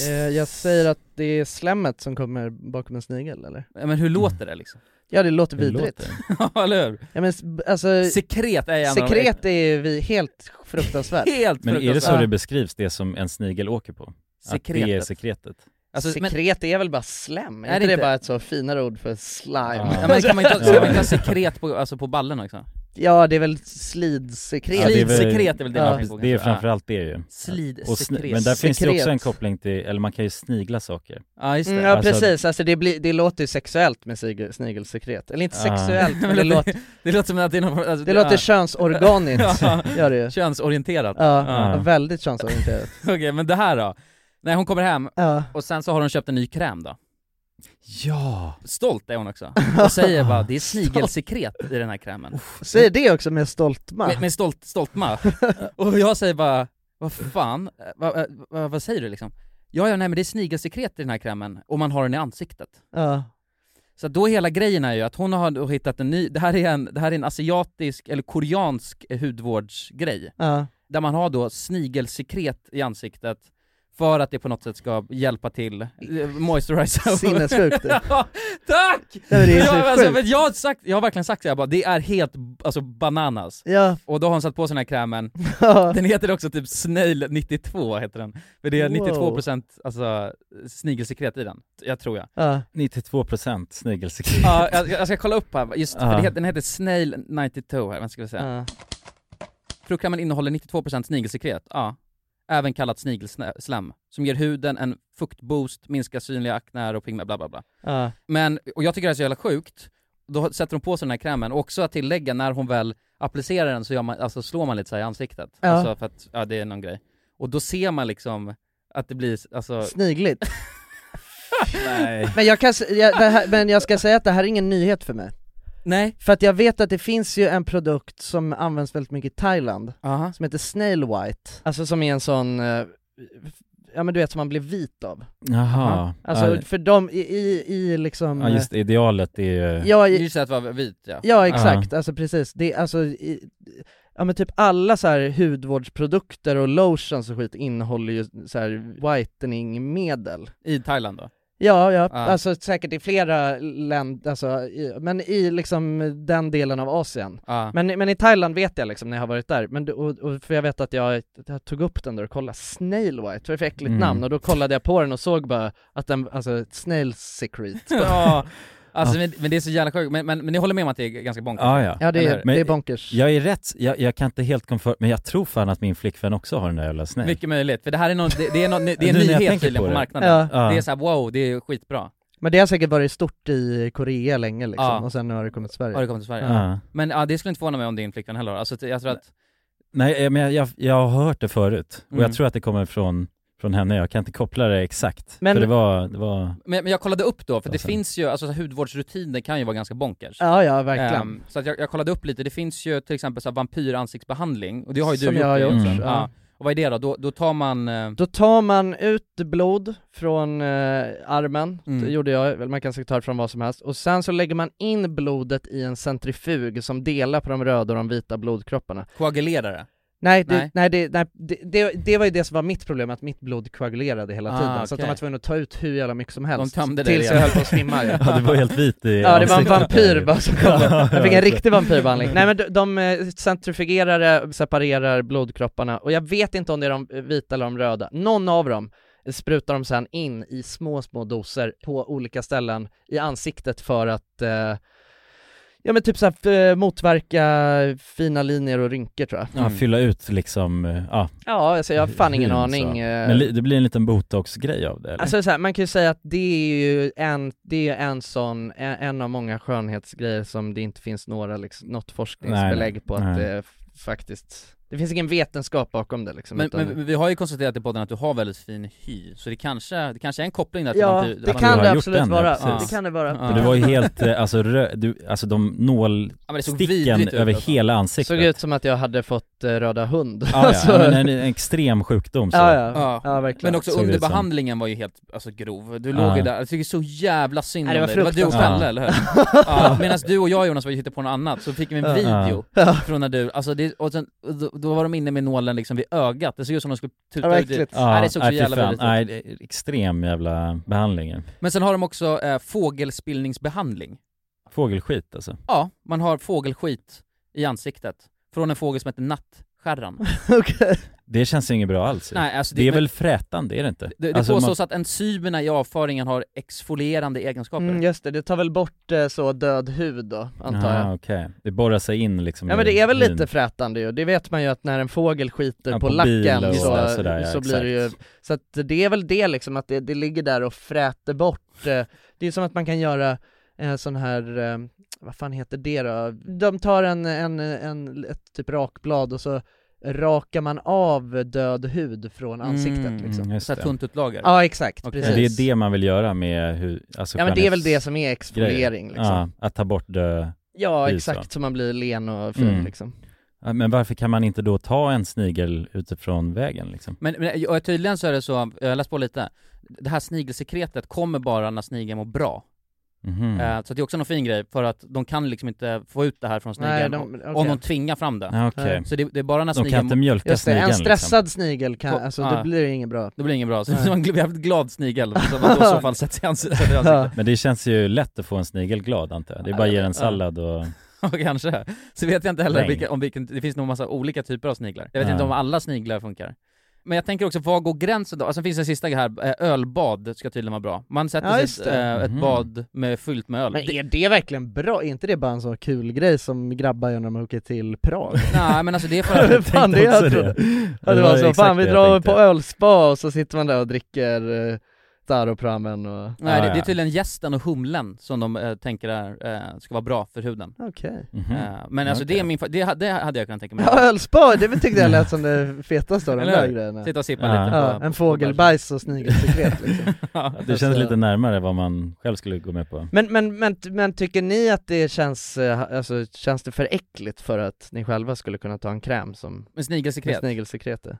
Speaker 1: Eh, jag säger att det är slemmet som kommer bakom en snigel eller?
Speaker 2: Ja,
Speaker 7: Mm.
Speaker 2: Men hur låter det liksom?
Speaker 1: Ja det låter
Speaker 3: Det
Speaker 1: vidrigt.
Speaker 3: låter.
Speaker 2: Ja, eller hur?
Speaker 1: Ja men s- alltså,
Speaker 2: Sekret är en av de-
Speaker 1: sekret är ju vi helt fruktansvärt.
Speaker 2: Helt
Speaker 3: Men är det så
Speaker 2: fruktansvärt.
Speaker 3: det beskrivs, det som en snigel åker på? Att det är
Speaker 2: Sekretet.
Speaker 3: sekretet?
Speaker 2: Alltså, men-
Speaker 1: sekret är väl bara slem? Är,
Speaker 2: Är det
Speaker 1: inte det
Speaker 2: inte?
Speaker 1: bara ett så finare ord för slime?
Speaker 3: Ja.
Speaker 2: Ja, men kan man inte, ska man inte
Speaker 3: Ja.
Speaker 2: ha sekret på, alltså på ballen också?
Speaker 1: Ja, det är väl slidsekret?
Speaker 3: Ja, det är väl-
Speaker 2: Slidsekret är väl det
Speaker 1: Ja,
Speaker 2: man
Speaker 1: precis.
Speaker 2: tänker på
Speaker 3: Det är
Speaker 2: kanske?
Speaker 3: framförallt det ju.
Speaker 2: Ja. Slidsekret.
Speaker 3: Och sni- men där finns det
Speaker 1: Sekret.
Speaker 3: också en koppling till, eller man kan ju snigla saker.
Speaker 2: Ja, just det.
Speaker 1: Mm, ja
Speaker 3: Alltså-
Speaker 1: precis, alltså det, blir, det låter ju sexuellt med sig- snigelsekret, eller inte
Speaker 3: Ah.
Speaker 1: sexuellt men det låter,
Speaker 2: det låter som att det är någon, alltså,
Speaker 1: det låter
Speaker 2: ja,
Speaker 1: könsorganiskt, gör det ju
Speaker 2: könsorienterat.
Speaker 1: Ja,
Speaker 3: Ah.
Speaker 1: väldigt könsorienterat
Speaker 2: Okej, men det här då? Nej, hon kommer hem
Speaker 1: Ja,
Speaker 2: och sen så har hon köpt en ny kräm då.
Speaker 3: Ja!
Speaker 2: Stolt är hon också. Och säger bara det är snigelsekret i den här krämen.
Speaker 1: säg det också med stoltma
Speaker 2: Med, med stolt, stoltma. Och jag säger bara, vad fan, Eh, vad, eh, vad, vad säger du liksom? Ja, ja, nej men det är snigelsekret i den här krämen och man har den i ansiktet.
Speaker 1: Ja,
Speaker 2: Så att då hela grejen är ju att hon har då hittat en ny, det här är en, det här är en asiatisk eller koreansk eh, hudvårdsgrej,
Speaker 1: ja,
Speaker 2: där man har då snigelsekret i ansiktet för att det på något sätt ska hjälpa till, eh, moisturisera
Speaker 1: sinnessjukt det.
Speaker 2: Ja, tack!
Speaker 1: Ja, men det är
Speaker 2: jag,
Speaker 1: så
Speaker 2: alltså,
Speaker 1: sjukt
Speaker 2: men jag, har sagt, jag har verkligen sagt så här, bara, det är helt alltså, bananas.
Speaker 1: Ja,
Speaker 2: Och då har hon satt på sig den här krämen,
Speaker 1: ja,
Speaker 2: den heter också typ Snail 92 heter den, för det är
Speaker 1: Wow.
Speaker 2: 92% alltså, snigelsekret i den, jag tror jag.
Speaker 1: ja,
Speaker 3: 92% snigelsekret.
Speaker 2: Ja, jag, jag ska kolla upp här, just för
Speaker 3: Ja.
Speaker 2: det heter, den heter Snail 92 här, vad ska vi säga?
Speaker 1: ja.
Speaker 2: Fruktkrämen innehåller 92% snigelsekret, ja. Även kallat snigelslam, som ger huden en fuktboost, minskar synliga aknär och pigment, bla bla bla.
Speaker 1: ja.
Speaker 2: Men, och jag tycker det är så jävla sjukt, då sätter hon på sig den här krämen, och också att tillägga när hon väl applicerar den så gör man, alltså slår man lite så här i ansiktet.
Speaker 1: Ja.
Speaker 2: Alltså för att, ja det är någon grej. Och då ser man liksom att det blir, alltså,
Speaker 1: Snigligt.
Speaker 3: Nej.
Speaker 1: Men jag, kan, s- jag, det här, men jag ska säga att det här är ingen nyhet för mig.
Speaker 2: nej,
Speaker 1: För att jag vet att det finns ju en produkt som används väldigt mycket i Thailand,
Speaker 2: aha.
Speaker 1: som heter Snail White, alltså som är en sån, eh, ja men du vet som man blir vit av.
Speaker 3: Jaha.
Speaker 1: Alltså
Speaker 3: ja,
Speaker 1: för dem, i, i, i liksom... eh,
Speaker 3: ja, just det, idealet är ju...
Speaker 1: ja, i,
Speaker 2: Just det att vara vit ja.
Speaker 1: ja exakt, alltså precis. Det, är alltså, i, ja men typ alla så här hudvårdsprodukter och lotions och skit innehåller ju så här whiteningmedel.
Speaker 2: I Thailand då.
Speaker 1: Ja, ja,
Speaker 2: Ja.
Speaker 1: alltså säkert i flera länder, alltså, i, men i liksom den delen av Asien.
Speaker 2: Ja.
Speaker 1: Men, men i Thailand vet jag liksom när jag har varit där, men, det- och, och, för jag vet att jag, jag tog upp den där och kollade, Snail White, vad är det för äckligt
Speaker 3: Mm.
Speaker 1: namn? Och då kollade jag på den och såg bara att den, alltså Snail Secret.
Speaker 2: ja, alltså men, men det är så jävla sjukt, men, men, men ni håller med om att det är ganska bonkers?
Speaker 3: Ja, ja.
Speaker 1: Ja det
Speaker 2: Eller
Speaker 1: är,
Speaker 2: hur?
Speaker 1: det är
Speaker 3: Men-
Speaker 1: bonkers.
Speaker 3: Jag är rätt, jag, jag kan inte helt komfort, men jag tror fan att min flickvän också har den där jävla snigel.
Speaker 2: Mycket möjligt, för det här är, någon, det, det är, någon, det är en
Speaker 3: Nu när jag
Speaker 2: nyhet
Speaker 3: tänker
Speaker 2: tydligen
Speaker 3: på
Speaker 2: på,
Speaker 3: det.
Speaker 2: marknaden.
Speaker 1: Ja.
Speaker 3: Ja.
Speaker 2: Det är såhär wow, det är skitbra.
Speaker 1: Men det har säkert varit stort i Korea länge liksom,
Speaker 2: Ja.
Speaker 1: och sen nu har det kommit till Sverige.
Speaker 2: Har det kommit till Sverige?
Speaker 3: Ja.
Speaker 2: Men ja, det skulle inte förvåna mig om din flickvän heller har. alltså, det- jag tror att,
Speaker 3: Nej, eh, men jag, jag, jag har hört det förut och
Speaker 2: Mm.
Speaker 3: jag tror att det kommer från, från henne. Jag kan inte koppla det exakt.
Speaker 1: Men-
Speaker 3: För det var, det var...
Speaker 2: men, men jag kollade upp då, för det
Speaker 3: Alltså.
Speaker 2: finns ju, alltså så här, hudvårdsrutiner kan ju vara ganska bonkers.
Speaker 1: Ja, ja verkligen.
Speaker 2: Ehm, så att jag, jag kollade upp lite, det finns ju till exempel så här vampyransiktsbehandling, och det har ju du
Speaker 1: Som jag har
Speaker 2: Jocke,
Speaker 1: gjort,
Speaker 2: också.
Speaker 1: ja.
Speaker 2: Ja. Och vad är det då? Då, då tar man... eh,
Speaker 1: Då tar man ut blod från eh, armen,
Speaker 2: Mm.
Speaker 1: det gjorde jag, eller man kan säkert ta det från vad som helst, och sen så lägger man in blodet i en centrifug som delar på de röda och de vita blodkropparna.
Speaker 2: koagulerar det?
Speaker 1: Nej, det, nej.
Speaker 2: Nej.
Speaker 1: det, nej det, det, det var ju det som var mitt problem, att mitt blod koagulerade hela
Speaker 2: Ah,
Speaker 1: tiden, så att de
Speaker 2: okej.
Speaker 1: var tvungna att ta ut hur jävla mycket som helst,
Speaker 2: De tömde det
Speaker 1: tills jag
Speaker 2: igen.
Speaker 1: höll på att svimma ju.
Speaker 3: Ja, du var helt vit i
Speaker 1: Ja det var en
Speaker 3: ansiktet.
Speaker 1: vampyr bara som kom
Speaker 3: Ja,
Speaker 1: Jag fick en
Speaker 3: ja.
Speaker 1: riktig vampyrbehandling. Nej men de, de eh, centrifugerar, det, separerar blodkropparna och jag vet inte om det är de vita eller de röda. Någon av dem sprutar de sen in i små, små doser på olika ställen i ansiktet för att eh, Ja men typ såhär eh, motverka fina linjer och rynkor tror jag.
Speaker 3: Ja,
Speaker 2: Mm.
Speaker 3: fylla ut liksom, eh, ja.
Speaker 1: Ja, alltså jag har fan ingen
Speaker 3: hyn, så.
Speaker 1: aning. eh.
Speaker 3: Men li- det blir en liten botox-grej av det eller?
Speaker 1: Alltså så här, man kan ju säga att det är ju en, det är en sån, en, en av många skönhetsgrejer som det inte finns några, liksom, något forskningsbelägg
Speaker 3: Nej,
Speaker 1: på att
Speaker 3: nej.
Speaker 1: det f- faktiskt, det finns ingen vetenskap bakom det liksom.
Speaker 2: Men,
Speaker 1: utan-
Speaker 2: men vi har ju konstaterat i podden att du har väldigt fin hy, så det kanske, det kanske är en koppling där till
Speaker 1: ja,
Speaker 2: att du,
Speaker 1: det
Speaker 2: att
Speaker 1: kan
Speaker 3: har
Speaker 1: det
Speaker 3: gjort
Speaker 1: absolut
Speaker 3: den, ja,
Speaker 1: vara.
Speaker 2: precis.
Speaker 1: Det kan det vara.
Speaker 2: Ja.
Speaker 3: För
Speaker 1: Det
Speaker 3: du
Speaker 1: kan-
Speaker 3: var ju helt, eh, alltså, rö- du, alltså de nålsticken
Speaker 2: ja, men det såg vidrigt ut
Speaker 3: över
Speaker 2: alltså.
Speaker 3: hela
Speaker 1: Det
Speaker 3: ansiktet
Speaker 1: såg ut som att jag hade fått eh, röda hund.
Speaker 3: Ja,
Speaker 1: Alltså-
Speaker 3: ja. Men en, en extrem sjukdom så.
Speaker 1: ja, ja.
Speaker 2: Ja.
Speaker 1: ja verkligen.
Speaker 2: Men också
Speaker 3: Såg det ut som.
Speaker 2: underbehandlingen var ju helt, alltså grov, du
Speaker 3: Ja.
Speaker 2: låg ju där, jag tycker så jävla synd
Speaker 1: Nej, det
Speaker 2: om
Speaker 1: var
Speaker 2: dig, det var du och
Speaker 1: fruktansvärt.
Speaker 2: Pelle
Speaker 3: Ja.
Speaker 2: eller hur? ja, Medan du och jag Jonas var ju hittade på något annat, så fick vi en
Speaker 3: Ja.
Speaker 2: video från när du, alltså det, och sen, och då, då var de inne med nålen liksom vid ögat, det såg ut som de skulle
Speaker 1: Ja, vad
Speaker 2: tuta ut det.
Speaker 1: äckligt.
Speaker 3: Ja,
Speaker 2: Nej, det såg så
Speaker 3: nej, fy
Speaker 2: jävla
Speaker 3: fan.
Speaker 2: vidrigt ut.
Speaker 3: Nej, det är extrem jävla behandling.
Speaker 2: Men sen har de också eh, fågelspillningsbehandling.
Speaker 3: Fågelskit alltså.
Speaker 2: Ja, man har fågelskit i ansiktet, från en fågel som heter nattskärran.
Speaker 1: Okej.
Speaker 3: Det känns ju inget bra alls. ju.
Speaker 2: Nej, alltså
Speaker 3: det är
Speaker 2: men-
Speaker 3: väl frätande, är det inte?
Speaker 2: Det, det
Speaker 3: Alltså, man-
Speaker 2: påstås att enzymerna i avföringen har exfolierande egenskaper.
Speaker 1: Mm, just det, det tar väl bort eh, så död hud då, antar jag.
Speaker 3: Ah, okej. Det borrar sig in liksom
Speaker 1: Ja men
Speaker 3: i
Speaker 1: det är väl
Speaker 3: hyn.
Speaker 1: lite frätande ju, det vet man ju att när en fågel skiter
Speaker 3: Ja,
Speaker 1: på,
Speaker 3: på
Speaker 1: lacken
Speaker 3: bilar och
Speaker 1: så,
Speaker 3: sådär, sådär, ja,
Speaker 1: så blir det ju,
Speaker 3: exakt.
Speaker 1: så att det är väl det liksom att det, det ligger där och fräter bort, eh, det är som att man kan göra en sån här, eh, vad fan heter det då? De tar en, en, en, ett typ rakblad och så rakar man av död hud från ansiktet
Speaker 2: Mm.
Speaker 1: liksom.
Speaker 3: Mm, just
Speaker 2: Så här
Speaker 3: det.
Speaker 2: tunt ut lager.
Speaker 1: Ja exakt,
Speaker 2: Okej.
Speaker 3: Men det
Speaker 1: precis.
Speaker 3: är det man vill göra med hur, alltså
Speaker 1: ja men det är väl det
Speaker 3: skönhets-
Speaker 1: som är exfoliering liksom. Ja,
Speaker 3: Ja, att ta bort det. precis,
Speaker 1: exakt, så man blir len och fin
Speaker 3: Mm.
Speaker 1: liksom.
Speaker 3: Ja, Men varför kan man inte då ta en snigel utifrån vägen liksom?
Speaker 2: Men, men och tydligen så är det så, jag har läst på lite, det här snigelsekretet kommer bara när snigeln mår bra.
Speaker 3: Mhm.
Speaker 2: Eh, Så det är också någon fin grej, för att de kan liksom inte få ut det här från
Speaker 1: Nej,
Speaker 2: snigeln
Speaker 1: de-
Speaker 2: om- om
Speaker 1: okej.
Speaker 2: de tvingar fram det.
Speaker 3: Ja, Okej.
Speaker 1: nej.
Speaker 2: Så det, det är bara när
Speaker 3: De kan
Speaker 2: snigeln
Speaker 3: inte
Speaker 2: mår...
Speaker 3: mjölka
Speaker 1: Just det,
Speaker 3: snigeln liksom.
Speaker 1: en stressad snigel kan,
Speaker 2: Ko-
Speaker 1: alltså
Speaker 2: ja.
Speaker 1: det blir ju inget bra.
Speaker 2: Då blir det inget bra. Så det
Speaker 1: Nej.
Speaker 2: var en gl- jävligt glad snigel, som man i så fall sätter i ansiktet. sätter i ansiktet.
Speaker 3: liksom. Men det känns ju lätt att få en snigel glad antar jag. Det är
Speaker 2: Ja,
Speaker 3: bara att
Speaker 2: jag
Speaker 3: ge
Speaker 2: vet.
Speaker 3: den sallad och...
Speaker 2: Ja, kanske. Så vet jag inte heller
Speaker 3: Regn.
Speaker 2: vilka, om vilken, det finns nog massa olika typer av sniglar. Jag vet
Speaker 3: Ja.
Speaker 2: inte om alla sniglar funkar. Men jag tänker också, var går gränsen då? Alltså det finns en sista här, eh, ölbad ska tydligen vara bra. Man sätter
Speaker 1: Ja,
Speaker 2: sig i
Speaker 1: just
Speaker 2: ett,
Speaker 1: det.
Speaker 2: eh,
Speaker 3: Mhm.
Speaker 2: ett bad med, fyllt med öl.
Speaker 1: Men
Speaker 2: Det-
Speaker 1: är det verkligen bra? Är inte det bara en sån kul grej som grabbar gör när de åker till Prag?
Speaker 2: Nej men alltså det är för att,
Speaker 1: fan det jag trodde. Ja, det var så,
Speaker 3: exakt
Speaker 1: fan vi
Speaker 3: det jag
Speaker 1: drar
Speaker 3: tänkte.
Speaker 1: på ölspa och så sitter man där och dricker eh, Staropramen och...
Speaker 2: nej, det, det
Speaker 3: Ja,
Speaker 2: är
Speaker 3: ja.
Speaker 2: tydligen gästen och humlen som de eh, tänker är, eh, ska vara bra för huden.
Speaker 1: Okej.
Speaker 3: Mhm.
Speaker 2: Eh, men alltså det är
Speaker 3: Okej.
Speaker 2: min, fa- det, ha- det hade jag kunnat tänka mig.
Speaker 1: Mm. Ja, ölspa, det tyckte jag lät som det fetaste av de
Speaker 2: Eller
Speaker 1: där
Speaker 2: hur?
Speaker 1: grejerna.
Speaker 2: Sitta och sippa
Speaker 3: Ja.
Speaker 2: lite
Speaker 1: Ja,
Speaker 2: på,
Speaker 1: en fågelbajs och snigelsekret liksom.
Speaker 2: Ja.
Speaker 3: Det känns lite närmare vad man själv skulle gå med på.
Speaker 1: Men, men, men, men tycker ni att det känns, eh, alltså känns det för äckligt för att ni själva skulle kunna ta en kräm som
Speaker 2: Men
Speaker 1: med
Speaker 2: snigelsekret.
Speaker 1: snigelsekretet?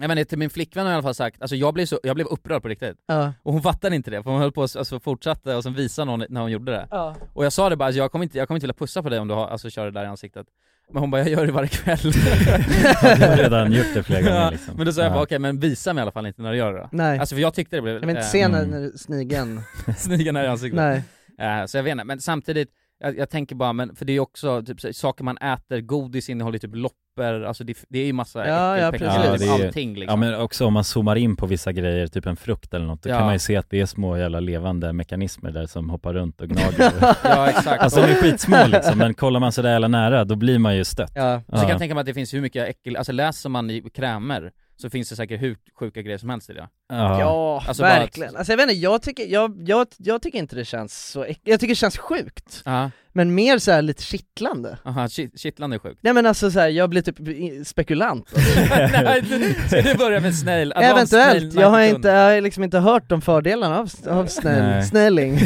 Speaker 2: Jag menar, till min flickvän har jag i alla fall sagt, alltså jag blev, så, jag blev upprörd på riktigt.
Speaker 1: Ja.
Speaker 2: Och hon fattade inte det, för hon höll på och s- alltså, fortsatte och sen visade någon när hon gjorde det. Och jag sa det bara, alltså, jag, kommer inte, jag kommer inte vilja pussa på dig om du har, alltså, kör det där i ansiktet. Men hon bara, jag gör det varje kväll.
Speaker 3: Du har redan gjort det flera gånger
Speaker 2: Ja,
Speaker 3: liksom.
Speaker 2: Men då sa jag
Speaker 3: Ja.
Speaker 2: bara, okej men visa mig i alla fall inte när du gör det då.
Speaker 1: Nej.
Speaker 2: Alltså för jag tyckte det blev
Speaker 1: Jag vill inte
Speaker 2: eh,
Speaker 1: se när,
Speaker 3: Mm.
Speaker 1: när snigeln,
Speaker 2: snigeln här i ansiktet.
Speaker 1: nej.
Speaker 2: Eh, så jag vet inte, men samtidigt, jag, jag tänker bara, men, för det är ju också typ, så- saker man äter, godis innehåller ju typ loppor, alltså det, det är ju massa
Speaker 1: Ja, ja,
Speaker 2: äckelpeckar,
Speaker 3: precis.
Speaker 2: typ
Speaker 3: Ja, det är ju-
Speaker 2: allting liksom.
Speaker 3: Ja men också om man zoomar in på vissa grejer, typ en frukt eller något, då
Speaker 2: Ja.
Speaker 3: kan man ju se att det är små jävla levande mekanismer där som hoppar runt och gnager.
Speaker 2: Ja, exakt.
Speaker 3: alltså de är skitsmå liksom, men kollar man sådär jävla nära då blir man ju stött.
Speaker 1: Ja.
Speaker 2: Så kan
Speaker 3: Ja.
Speaker 2: jag tänka mig att det finns hur mycket äckel, alltså läser man i krämer så finns det säkert hur sjuka grejer som helst i det.
Speaker 1: Ja,
Speaker 3: Ja.
Speaker 2: Alltså bara
Speaker 1: verkligen. Alltså jag vet inte, jag tycker, jag, jag, jag tycker inte det känns så äck... jag tycker det känns sjukt.
Speaker 2: Ja.
Speaker 1: men mer så här lite kittlande.
Speaker 2: Aha, kitt- kittlande är sjukt.
Speaker 1: Nej men alltså så här, jag blir typ i- spekulant.
Speaker 2: Nej, du- Ska du börja med snail? Advanced
Speaker 1: Eventuellt,
Speaker 2: snail
Speaker 1: jag har,
Speaker 2: 90
Speaker 1: inte, jag har liksom inte hört om fördelarna av, av snäll,
Speaker 3: Nej.
Speaker 1: snälling.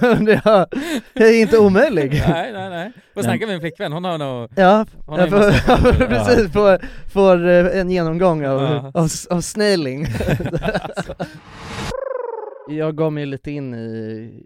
Speaker 1: Men det har- det är inte omöjlig.
Speaker 2: Nej, nej, nej. Får snacka med min flickvän, hon har nog...
Speaker 1: Ja,
Speaker 2: Hon
Speaker 1: jag
Speaker 2: har ju
Speaker 1: får, precis, får, får eh, en genomgång av,
Speaker 2: Ja.
Speaker 1: av, av snailing. jag gav mig lite in i,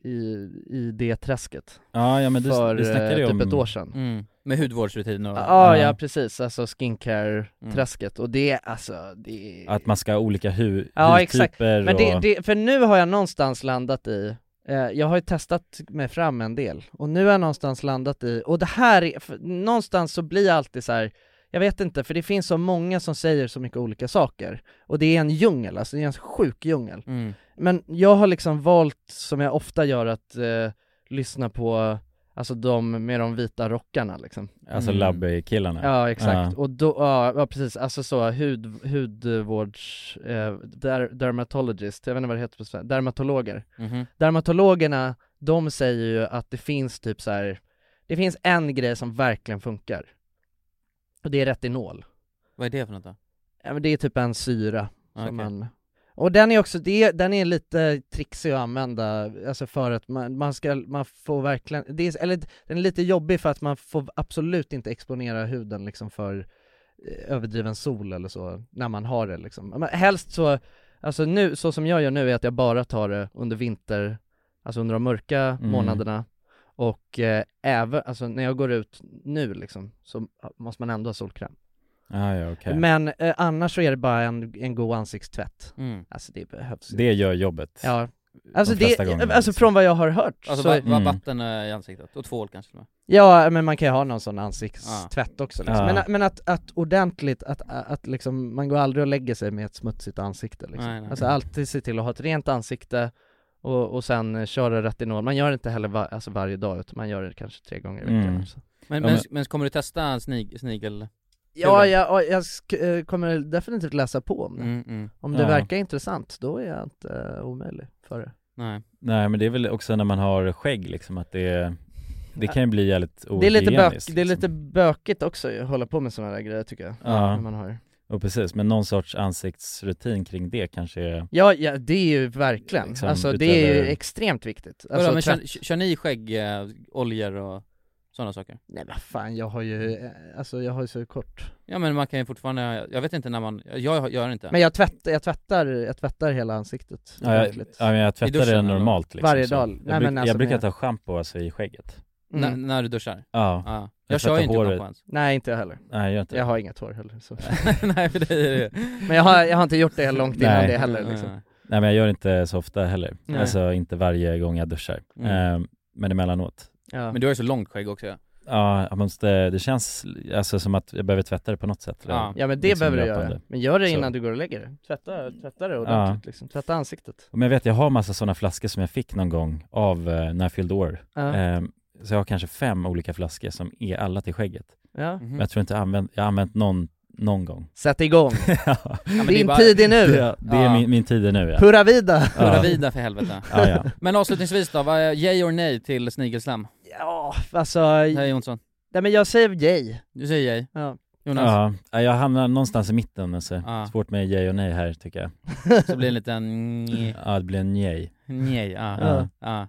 Speaker 1: i, i det träsket
Speaker 3: Ja, ja men du,
Speaker 1: för
Speaker 3: du snackade ju
Speaker 1: eh,
Speaker 3: om...
Speaker 1: typ ett år sedan.
Speaker 2: Mm. Med hudvårdsrutin och...
Speaker 1: Ja, ah,
Speaker 3: Ja. Mm.
Speaker 1: ja precis, alltså skincare-träsket och det, alltså det...
Speaker 3: Att man ska ha olika hu-
Speaker 1: Ja, exakt.
Speaker 3: hudtyper
Speaker 1: Men det,
Speaker 3: och...
Speaker 1: det, för nu har jag någonstans landat i, eh, jag har ju testat mig fram en del, och nu har jag någonstans landat i, och det här, är, för, någonstans så blir jag alltid så här. jag vet inte, för det finns så många som säger så mycket olika saker, och det är en djungel, alltså det är en sjuk djungel.
Speaker 2: Mm.
Speaker 1: Men jag har liksom valt, som jag ofta gör, att eh, lyssna på Alltså de med de vita rockarna liksom.
Speaker 3: Alltså
Speaker 2: Mm.
Speaker 3: labbkillarna.
Speaker 1: Ja exakt,
Speaker 3: Ja.
Speaker 1: och då, ja, ja precis, alltså så hud, hudvårds, eh, der, dermatologist, jag vet inte vad det heter på svenska, dermatologer.
Speaker 2: Mhm.
Speaker 1: Dermatologerna, de säger ju att det finns typ så här. det finns en grej som verkligen funkar. Och det är retinol.
Speaker 2: Vad är det för något då?
Speaker 1: Ja, men det är typ en syra som
Speaker 3: Ah,
Speaker 2: Okej.
Speaker 1: man och den är också, det, är- den är lite trixig att använda, alltså för att man, man ska, man får verkligen, det är, eller den är lite jobbig för att man får absolut inte exponera huden liksom för eh, överdriven sol eller så, när man har det liksom. Men helst så, alltså nu, så som jag gör nu är att jag bara tar det under vinter, alltså under de mörka
Speaker 3: Mm.
Speaker 1: månaderna och eh, även, alltså när jag går ut nu liksom, så måste man ändå ha solkräm.
Speaker 3: Ah, ja, okej.
Speaker 1: Men eh, annars så är det bara en, en god ansiktstvätt.
Speaker 2: Mm.
Speaker 1: Alltså det behövs ju.
Speaker 3: Det gör jobbet.
Speaker 1: Ja. Alltså,
Speaker 3: De
Speaker 1: det,
Speaker 3: flesta gångerna,
Speaker 1: alltså
Speaker 3: liksom.
Speaker 1: från vad jag har hört
Speaker 2: Alltså
Speaker 1: så,
Speaker 2: va, va,
Speaker 3: Mm.
Speaker 2: vatten eh, i ansiktet, och tvål kanske till och med.
Speaker 1: ja men man kan ju ha någon sån ansiktstvätt också liksom.
Speaker 3: Ja.
Speaker 1: men, men att, att ordentligt, att, att liksom, man går aldrig och lägger sig med ett smutsigt ansikte liksom.
Speaker 2: Nej, nej.
Speaker 1: Alltså alltid se till att ha ett rent ansikte och, och sen eh, köra retinol, man gör det inte heller va- alltså varje dag utan man gör det kanske tre gånger i veckan
Speaker 3: Mm.
Speaker 1: alltså.
Speaker 2: Men,
Speaker 3: Ja,
Speaker 2: men,
Speaker 3: men-
Speaker 2: men kommer du testa snig, snigel...
Speaker 1: Ja, jag, ja, jag sk- eh, kommer definitivt läsa på om det.
Speaker 2: Mm, mm.
Speaker 1: Om det
Speaker 3: Ja.
Speaker 1: verkar intressant, då är jag inte eh, omöjlig för det.
Speaker 2: Nej.
Speaker 3: Nej men det är väl också när man har skägg liksom att det, det kan ju bli jävligt
Speaker 1: Det är, lite bök,
Speaker 3: ohygieniskt.
Speaker 1: det är lite
Speaker 3: liksom.
Speaker 1: bökigt också att hålla på med sådana där grejer tycker jag.
Speaker 3: Ja.
Speaker 1: När man har.
Speaker 3: Och precis, men någon sorts ansiktsrutin kring det kanske är...
Speaker 1: Ja, ja, det är ju verkligen.
Speaker 3: Liksom,
Speaker 1: alltså det är ju
Speaker 3: utöver-
Speaker 1: extremt viktigt.
Speaker 2: Vadå,
Speaker 1: Alltså,
Speaker 2: men
Speaker 1: tvätt...
Speaker 2: kör, kör ni skägg, eh, oljor och sådana saker?
Speaker 1: Nej vad fan, jag har ju, eh, alltså jag har ju så kort.
Speaker 2: Ja men man kan ju fortfarande, jag vet inte när man, jag gör inte
Speaker 1: Men jag tvättar, jag tvättar, jag tvättar hela ansiktet.
Speaker 3: Ja, jag,
Speaker 1: ordentligt.
Speaker 3: ja, men jag
Speaker 2: I
Speaker 3: tvättar
Speaker 2: duschen
Speaker 3: det
Speaker 2: eller?
Speaker 3: normalt liksom,
Speaker 1: Varje
Speaker 3: så.
Speaker 1: dag.
Speaker 3: Jag,
Speaker 1: Nej,
Speaker 3: bruk,
Speaker 1: men alltså,
Speaker 3: jag brukar
Speaker 1: men-
Speaker 3: ta schampo alltså i skägget.
Speaker 1: mm.
Speaker 2: N- när du duschar?
Speaker 3: Ja,
Speaker 2: Ja. Jag,
Speaker 3: Jag
Speaker 2: kör ju
Speaker 3: tvättar
Speaker 2: inte
Speaker 3: håret.
Speaker 2: schampo ens
Speaker 1: Nej inte jag heller.
Speaker 3: nej jag gör inte det.
Speaker 1: Jag har inget hår heller. Så.
Speaker 2: Nej för det är
Speaker 1: Men jag har, jag har inte gjort det långt innan
Speaker 3: Nej.
Speaker 1: det heller liksom.
Speaker 3: Nej men jag gör inte så ofta heller.
Speaker 1: Nej.
Speaker 3: Alltså inte varje gång jag duschar.
Speaker 2: Mm.
Speaker 3: Ehm, men emellanåt.
Speaker 1: Ja.
Speaker 2: Men du har ju så långt skägg också ja.
Speaker 3: Ja, jag måste, det känns alltså som att jag behöver tvätta det på något sätt. eller?
Speaker 2: Ja.
Speaker 1: Ja men det
Speaker 3: liksom
Speaker 1: behöver du
Speaker 3: löpande.
Speaker 1: göra. Men gör det
Speaker 3: Så.
Speaker 1: innan du går och lägger dig. Tvätta, tvätta det ordentligt liksom. Tvätta ansiktet.
Speaker 3: Men jag vet, jag har massa sådana flaskor som jag fick någon gång av eh, när jag fyllde år.
Speaker 1: Ja.
Speaker 3: Ehm, så jag har kanske fem olika flaskor som är alla till skägget.
Speaker 1: Ja.
Speaker 2: Mhm.
Speaker 3: Men jag tror inte jag har använt, jag har använt någon, någon gång.
Speaker 1: Sätt igång.
Speaker 3: ja,
Speaker 2: Ja, men det är
Speaker 1: Din
Speaker 2: bara-
Speaker 1: tid är nu.
Speaker 3: det, det är
Speaker 2: Ja.
Speaker 3: min, min tid är nu ja.
Speaker 1: Hurra vida!
Speaker 2: Hurra
Speaker 3: Ja.
Speaker 2: vida för helvete.
Speaker 3: Ja, ja.
Speaker 2: Men avslutningsvis då, vad är yay or nej till snigelslam?
Speaker 1: Ja, alltså,
Speaker 2: Nej Jonsson,
Speaker 1: nej men jag säger yay.
Speaker 2: du säger yay.
Speaker 1: Ja.
Speaker 2: Jonas,
Speaker 3: Ja. ja, jag hamnar någonstans i mitten alltså.
Speaker 2: Ja.
Speaker 3: Svårt med yay och nej här tycker jag.
Speaker 2: så blir det en liten nj-
Speaker 3: Ja, det blir en yay.
Speaker 2: nej, ja.
Speaker 3: Ja.
Speaker 2: Ja, ja, ah.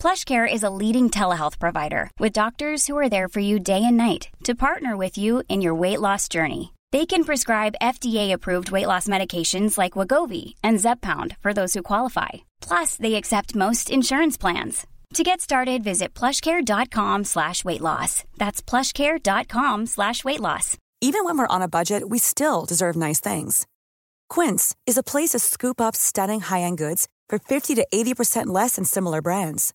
Speaker 5: PlushCare is a leading telehealth provider with doctors who are there for you day and night to partner with you in your weight loss journey. They can prescribe FDA-approved weight loss medications like Wagovi and Zepbound for those who qualify. Plus, they accept most insurance plans. To get started, visit plushcare.com slash weight loss. That's plushcare.com slash weight loss.
Speaker 8: Even when we're on a budget, we still deserve nice things. Quince is a place to scoop up stunning high end goods for 50 to 80% less than similar brands.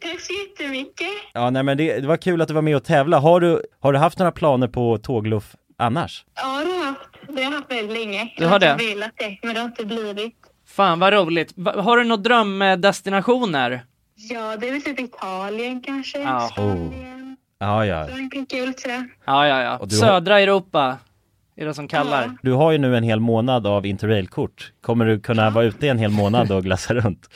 Speaker 9: Tack så jättemycket.
Speaker 3: Ja, nej men det, det var kul att du var med och tävla. Har du, har du haft några planer på tågluff annars?
Speaker 9: Ja, det har jag haft. Det har jag haft väldigt länge.
Speaker 10: Du har det?
Speaker 9: Jag har velat det, men det har inte blivit.
Speaker 10: Fan vad roligt. Va- Har du några drömdestinationer?
Speaker 9: Ja, det är väl typ Italien kanske.
Speaker 10: Ja.
Speaker 9: Spanien.
Speaker 3: Ja, ja.
Speaker 9: Frankrike är väl sådär.
Speaker 10: Ja, ja, ja.
Speaker 3: Och du har-
Speaker 10: Södra Europa är det som kallar.
Speaker 3: Du har ju nu en hel månad av interrailkort. Kommer du kunna vara ute i en hel månad och glassa runt?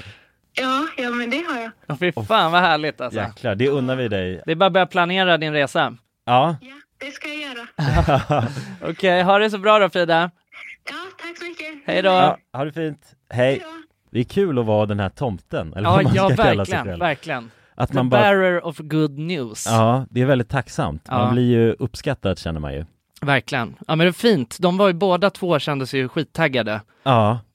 Speaker 9: Ja, ja, men det har jag.
Speaker 10: Ja. Fy fan vad härligt alltså.
Speaker 3: Jäklar, det unnar vi dig.
Speaker 10: Det är bara att börja planera din resa.
Speaker 3: Ja,
Speaker 9: Ja, det ska jag göra.
Speaker 10: Okej, ha det så bra då Frida.
Speaker 9: Ja, tack så mycket.
Speaker 10: Hej då.
Speaker 3: ja
Speaker 10: Ja,
Speaker 3: ha det fint. Hej. Det är kul att vara den här tomten, eller vad
Speaker 10: ja,
Speaker 3: man ska kalla sig
Speaker 10: verkligen,
Speaker 3: själv.
Speaker 10: verkligen.
Speaker 3: Att
Speaker 10: The
Speaker 3: man bara,
Speaker 10: bearer of good news.
Speaker 3: ja, det är väldigt tacksamt. Man
Speaker 10: Ja.
Speaker 3: blir ju uppskattad känner man ju.
Speaker 10: Verkligen. Ja men det är fint. De var ju båda två kändes ju skittaggade
Speaker 3: Ja,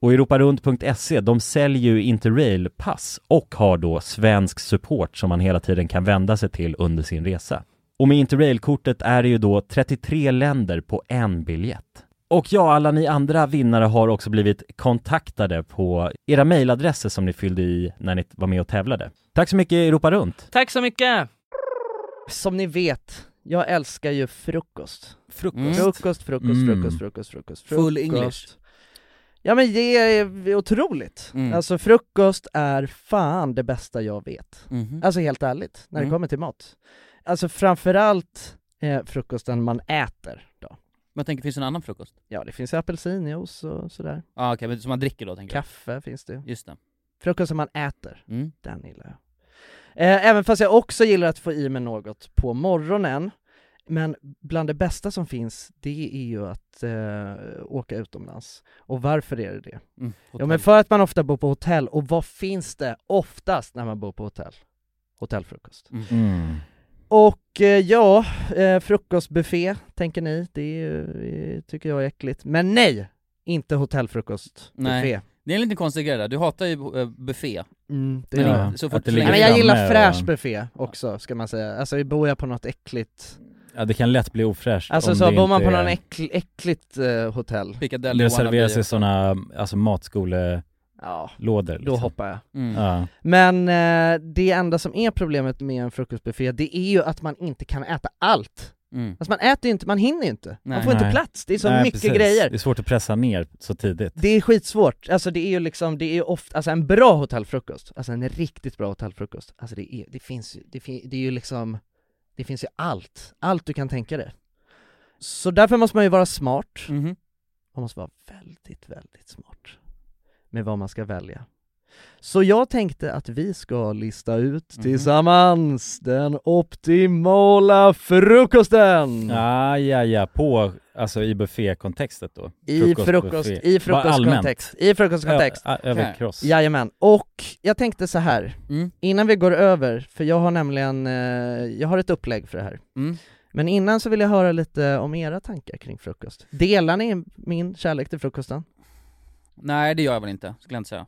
Speaker 3: Och europarunt.se, E, de säljer ju Interrail-pass och har då svensk support som man hela tiden kan vända sig till under sin resa. Och med Interrail-kortet är det ju då 33 länder på en biljett. Och ja, alla ni andra vinnare har också blivit kontaktade på era mejladresser som ni fyllde i när ni var med och tävlade. Tack så mycket Europa Runt!
Speaker 10: Tack så mycket! Som ni vet, jag älskar ju frukost.
Speaker 2: Frukost.
Speaker 10: Frukost, frukost,
Speaker 3: Mm.
Speaker 10: frukost, frukost, frukost, frukost.
Speaker 2: Full English.
Speaker 10: Ja men det är otroligt.
Speaker 2: Mm.
Speaker 10: Alltså frukost är fan det bästa jag vet.
Speaker 2: Mhm.
Speaker 10: Alltså helt ärligt, när det
Speaker 2: Mm.
Speaker 10: kommer till mat. Alltså framförallt eh, frukosten man äter då.
Speaker 2: Men jag tänker, finns det en annan frukost?
Speaker 10: Ja, det finns ju apelsinjuice och sådär.
Speaker 2: Ja okej, men som man dricker då tänker jag.
Speaker 10: Kaffe finns det ju.
Speaker 2: Just det.
Speaker 10: Frukost som man äter,
Speaker 2: Mm.
Speaker 10: den gillar jag. Eh, även fast jag också gillar att få i mig något på morgonen.
Speaker 1: Men bland det bästa som finns, det är ju att eh, åka utomlands. Och varför är det det?
Speaker 2: Mm,
Speaker 1: Ja
Speaker 2: hotell.
Speaker 1: men för att man ofta bor på hotell, och vad finns det oftast när man bor på hotell? Hotellfrukost.
Speaker 3: Mm.
Speaker 1: Och eh, ja, eh, frukostbuffé tänker ni, det är, ju- eh, tycker jag är äckligt. Men nej! Inte hotellfrukostbuffé.
Speaker 2: Nej. Det är en liten konstig grej där, du hatar ju eh, buffé.
Speaker 1: Mm, det
Speaker 2: Men
Speaker 1: är
Speaker 3: Ja,
Speaker 2: inte- så
Speaker 3: att
Speaker 2: fort
Speaker 3: det
Speaker 2: så
Speaker 1: Nej,
Speaker 3: ligger
Speaker 2: länge-
Speaker 1: men jag gillar
Speaker 3: framme
Speaker 1: fräsch
Speaker 3: och-
Speaker 1: buffé också, ska man säga. Alltså bor jag på något äckligt,
Speaker 3: Ja det kan lätt bli ofräscht
Speaker 1: alltså
Speaker 3: om
Speaker 1: så
Speaker 3: det
Speaker 1: bor man
Speaker 3: inte
Speaker 1: på
Speaker 3: är-
Speaker 1: något äckl, äckligt eh, hotell,
Speaker 2: Piccadilly
Speaker 3: Det
Speaker 2: wannabe.
Speaker 3: serveras i sådana, alltså matskolelådor
Speaker 1: ja, då
Speaker 3: liksom.
Speaker 1: hoppar jag.
Speaker 2: Mm.
Speaker 3: Ja.
Speaker 1: Men eh, det enda som är problemet med en frukostbuffé, det är ju att man inte kan äta allt.
Speaker 2: Mm.
Speaker 1: Alltså man äter ju inte, man hinner ju inte. man
Speaker 2: Nej.
Speaker 1: får inte
Speaker 3: Nej.
Speaker 1: plats, det är så
Speaker 3: Nej,
Speaker 1: mycket
Speaker 3: precis.
Speaker 1: grejer.
Speaker 3: Det är svårt att pressa ner så tidigt.
Speaker 1: Det är skitsvårt, alltså det är ju liksom, det är ju ofta, alltså en bra hotellfrukost, alltså en riktigt bra hotellfrukost, alltså det, är, det finns ju, det, fin, det är ju liksom, det finns ju allt, allt du kan tänka dig. Så därför måste man ju vara smart,
Speaker 3: Mm.
Speaker 2: Mhm.
Speaker 1: man måste vara väldigt, väldigt smart med vad man ska välja. Så jag tänkte att vi ska lista ut
Speaker 2: Mhm.
Speaker 1: tillsammans den optimala frukosten!
Speaker 3: Ja, Ah, ja, ja, på, alltså i buffékontextet då.
Speaker 1: I
Speaker 3: frukostbuffé.
Speaker 1: frukost, i
Speaker 3: Bara allmänt.
Speaker 1: frukostkontext, i frukostkontext.
Speaker 3: Ö- ö- Överkross.
Speaker 1: Jajamän, och jag tänkte så här
Speaker 2: Mm.
Speaker 1: innan vi går över, för jag har nämligen, eh, jag har ett upplägg för det här.
Speaker 2: Mm.
Speaker 1: Men innan så vill jag höra lite om era tankar kring frukost. Delar ni min kärlek till frukosten?
Speaker 2: Nej det gör jag väl inte, skulle jag inte säga.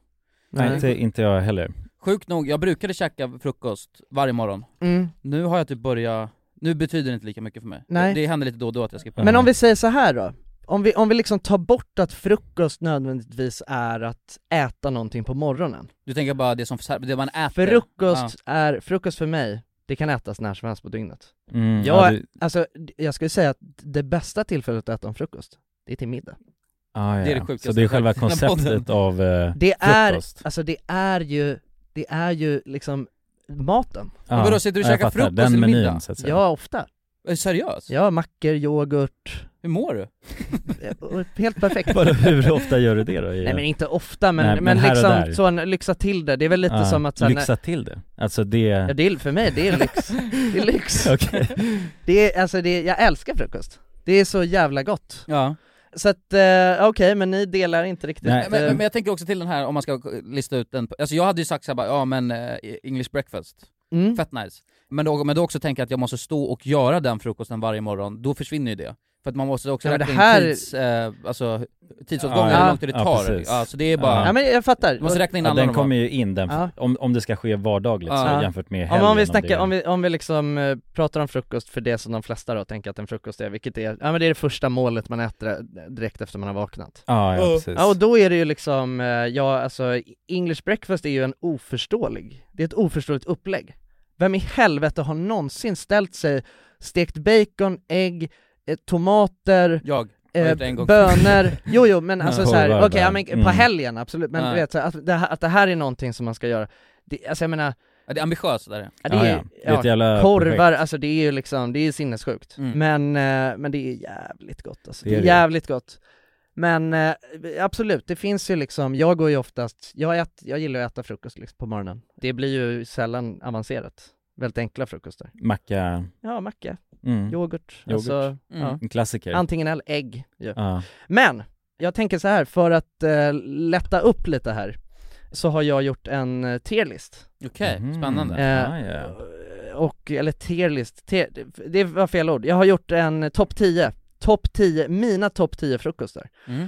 Speaker 1: Mm.
Speaker 3: Nej, inte, inte jag heller.
Speaker 2: Sjukt nog, jag brukade käka frukost varje morgon.
Speaker 1: Mm.
Speaker 2: Nu har jag typ börjat, nu betyder det inte lika mycket för mig.
Speaker 1: Nej.
Speaker 2: Det, det händer lite då och då att jag skippar.
Speaker 1: Men om vi säger så här då, om vi, om vi liksom tar bort att frukost nödvändigtvis är att äta någonting på morgonen.
Speaker 2: Du tänker bara det som, det man äter?
Speaker 1: Frukost är, frukost för mig, det kan ätas när som helst på dygnet.
Speaker 3: Mm,
Speaker 1: Jag,
Speaker 3: ja, du,
Speaker 1: alltså, jag skulle säga att det bästa tillfället att äta en frukost, det är till middag.
Speaker 3: ah, ja.
Speaker 2: det är det sjukaste
Speaker 3: Så det är
Speaker 2: jag
Speaker 3: själva
Speaker 2: hört i den här
Speaker 3: konceptet av eh,
Speaker 1: Det är,
Speaker 3: frukost.
Speaker 1: alltså det är ju, det är ju liksom maten.
Speaker 3: Ja,
Speaker 2: vadå, sitter du och
Speaker 3: jag
Speaker 2: käkar
Speaker 3: fattar.
Speaker 2: frukost
Speaker 3: Den
Speaker 2: eller
Speaker 3: menyn,
Speaker 2: middag?
Speaker 3: Så att säga.
Speaker 1: Ja, ofta.
Speaker 2: Ja. Är du seriös?
Speaker 1: Ja, mackor, yoghurt,
Speaker 2: Hur mår du?
Speaker 1: eh, helt perfekt.
Speaker 3: Vadå, hur ofta gör du det då?
Speaker 1: Nej men inte ofta, men,
Speaker 3: Nej,
Speaker 1: men,
Speaker 3: men här och där.
Speaker 1: liksom så en lyxa till det, det är väl lite
Speaker 3: Ah,
Speaker 1: som att så här, när-
Speaker 3: Lyxa till det? Alltså det...
Speaker 1: Ja det är, för mig, det är lyx. Det är lyx.
Speaker 3: Okej.
Speaker 1: Det är, alltså det är, jag älskar frukost. Det är så jävla gott.
Speaker 2: Ja.
Speaker 1: Så att, eh, okej, men ni delar inte riktigt.
Speaker 3: Nej.
Speaker 1: eh,
Speaker 2: Men, men jag tänker också till den här, om man ska lista ut den, alltså jag hade ju sagt såhär bara, ja men eh, English breakfast,
Speaker 1: mm.
Speaker 2: fett nice. Men då, men då också tänka att jag måste stå och göra den frukosten varje morgon, då försvinner ju det. För att man måste också
Speaker 1: Ja, men
Speaker 2: räkna
Speaker 1: det här-
Speaker 2: in tids, eh, alltså, tidsåtgången,
Speaker 3: Ja,
Speaker 2: hur lång tid det
Speaker 3: ja,
Speaker 2: tar. Ja,
Speaker 3: precis.
Speaker 2: så det är bara,
Speaker 1: Ja men jag fattar.
Speaker 2: du måste räkna in
Speaker 3: Ja,
Speaker 2: alla
Speaker 3: den
Speaker 2: de här.
Speaker 3: kommer ju in, den,
Speaker 1: Ja.
Speaker 3: om, om det ska ske vardagligt
Speaker 2: Ja.
Speaker 3: så, jämfört med
Speaker 1: Om,
Speaker 3: helgen.
Speaker 1: om vi
Speaker 3: det-
Speaker 1: snackar, om vi, om vi liksom eh, pratar om frukost för det som de flesta då tänker att en frukost är, vilket är, ja men det är det första målet man äter eh, direkt efter man har vaknat.
Speaker 3: Ja, ja precis.
Speaker 1: Ja och då är det ju liksom, eh, ja alltså English breakfast är ju en oförståelig, det är ett oförståeligt upplägg. Vem i helvete har någonsin ställt sig stekt bacon, ägg, eh, tomater,
Speaker 2: Jag, har
Speaker 1: eh,
Speaker 2: gjort det en gång.
Speaker 1: bönor, jo jo men alltså
Speaker 3: Ja.
Speaker 1: såhär,
Speaker 3: Korvar
Speaker 1: okej ja,
Speaker 3: bara.
Speaker 1: men på
Speaker 3: Mm.
Speaker 1: helgen absolut, men
Speaker 2: Ja.
Speaker 1: du vet så här, att, det, här- att det här är någonting som man ska göra, det, alltså jag menar,
Speaker 2: Ja, det är ambitiöst där.
Speaker 1: ja, det
Speaker 3: ja,
Speaker 1: är,
Speaker 3: ja. Det är ett
Speaker 1: ja,
Speaker 3: jävla projekt.
Speaker 1: korvar, alltså det är ju liksom, det är ju sinnessjukt.
Speaker 2: Mm.
Speaker 1: Men, eh, men det är jävligt gott alltså.
Speaker 3: Det
Speaker 1: Det
Speaker 3: är
Speaker 1: är,
Speaker 3: det.
Speaker 1: jävligt gott. Men eh, absolut, det finns ju liksom, jag går ju oftast, jag, ät, jag gillar att äta frukost liksom, på morgonen. Det blir ju sällan avancerat. Väldigt enkla frukostar.
Speaker 3: Macka,
Speaker 1: Ja, macka, yoghurt,
Speaker 3: mm. Yoghurt.
Speaker 1: alltså
Speaker 2: Mm.
Speaker 3: en klassiker.
Speaker 1: ja. antingen eller ägg. Ja.
Speaker 3: ja.
Speaker 1: Men, jag tänker så här, för att eh, lätta upp lite här, så har jag gjort en eh, tierlist.
Speaker 2: Okej,
Speaker 3: Mhm.
Speaker 2: spännande.
Speaker 1: Eh,
Speaker 3: Ah, ja.
Speaker 1: Och, eller tierlist, tier, det var fel ord. Jag har gjort en topp 10, topp 10, mina topp 10 frukostar.
Speaker 2: Mm.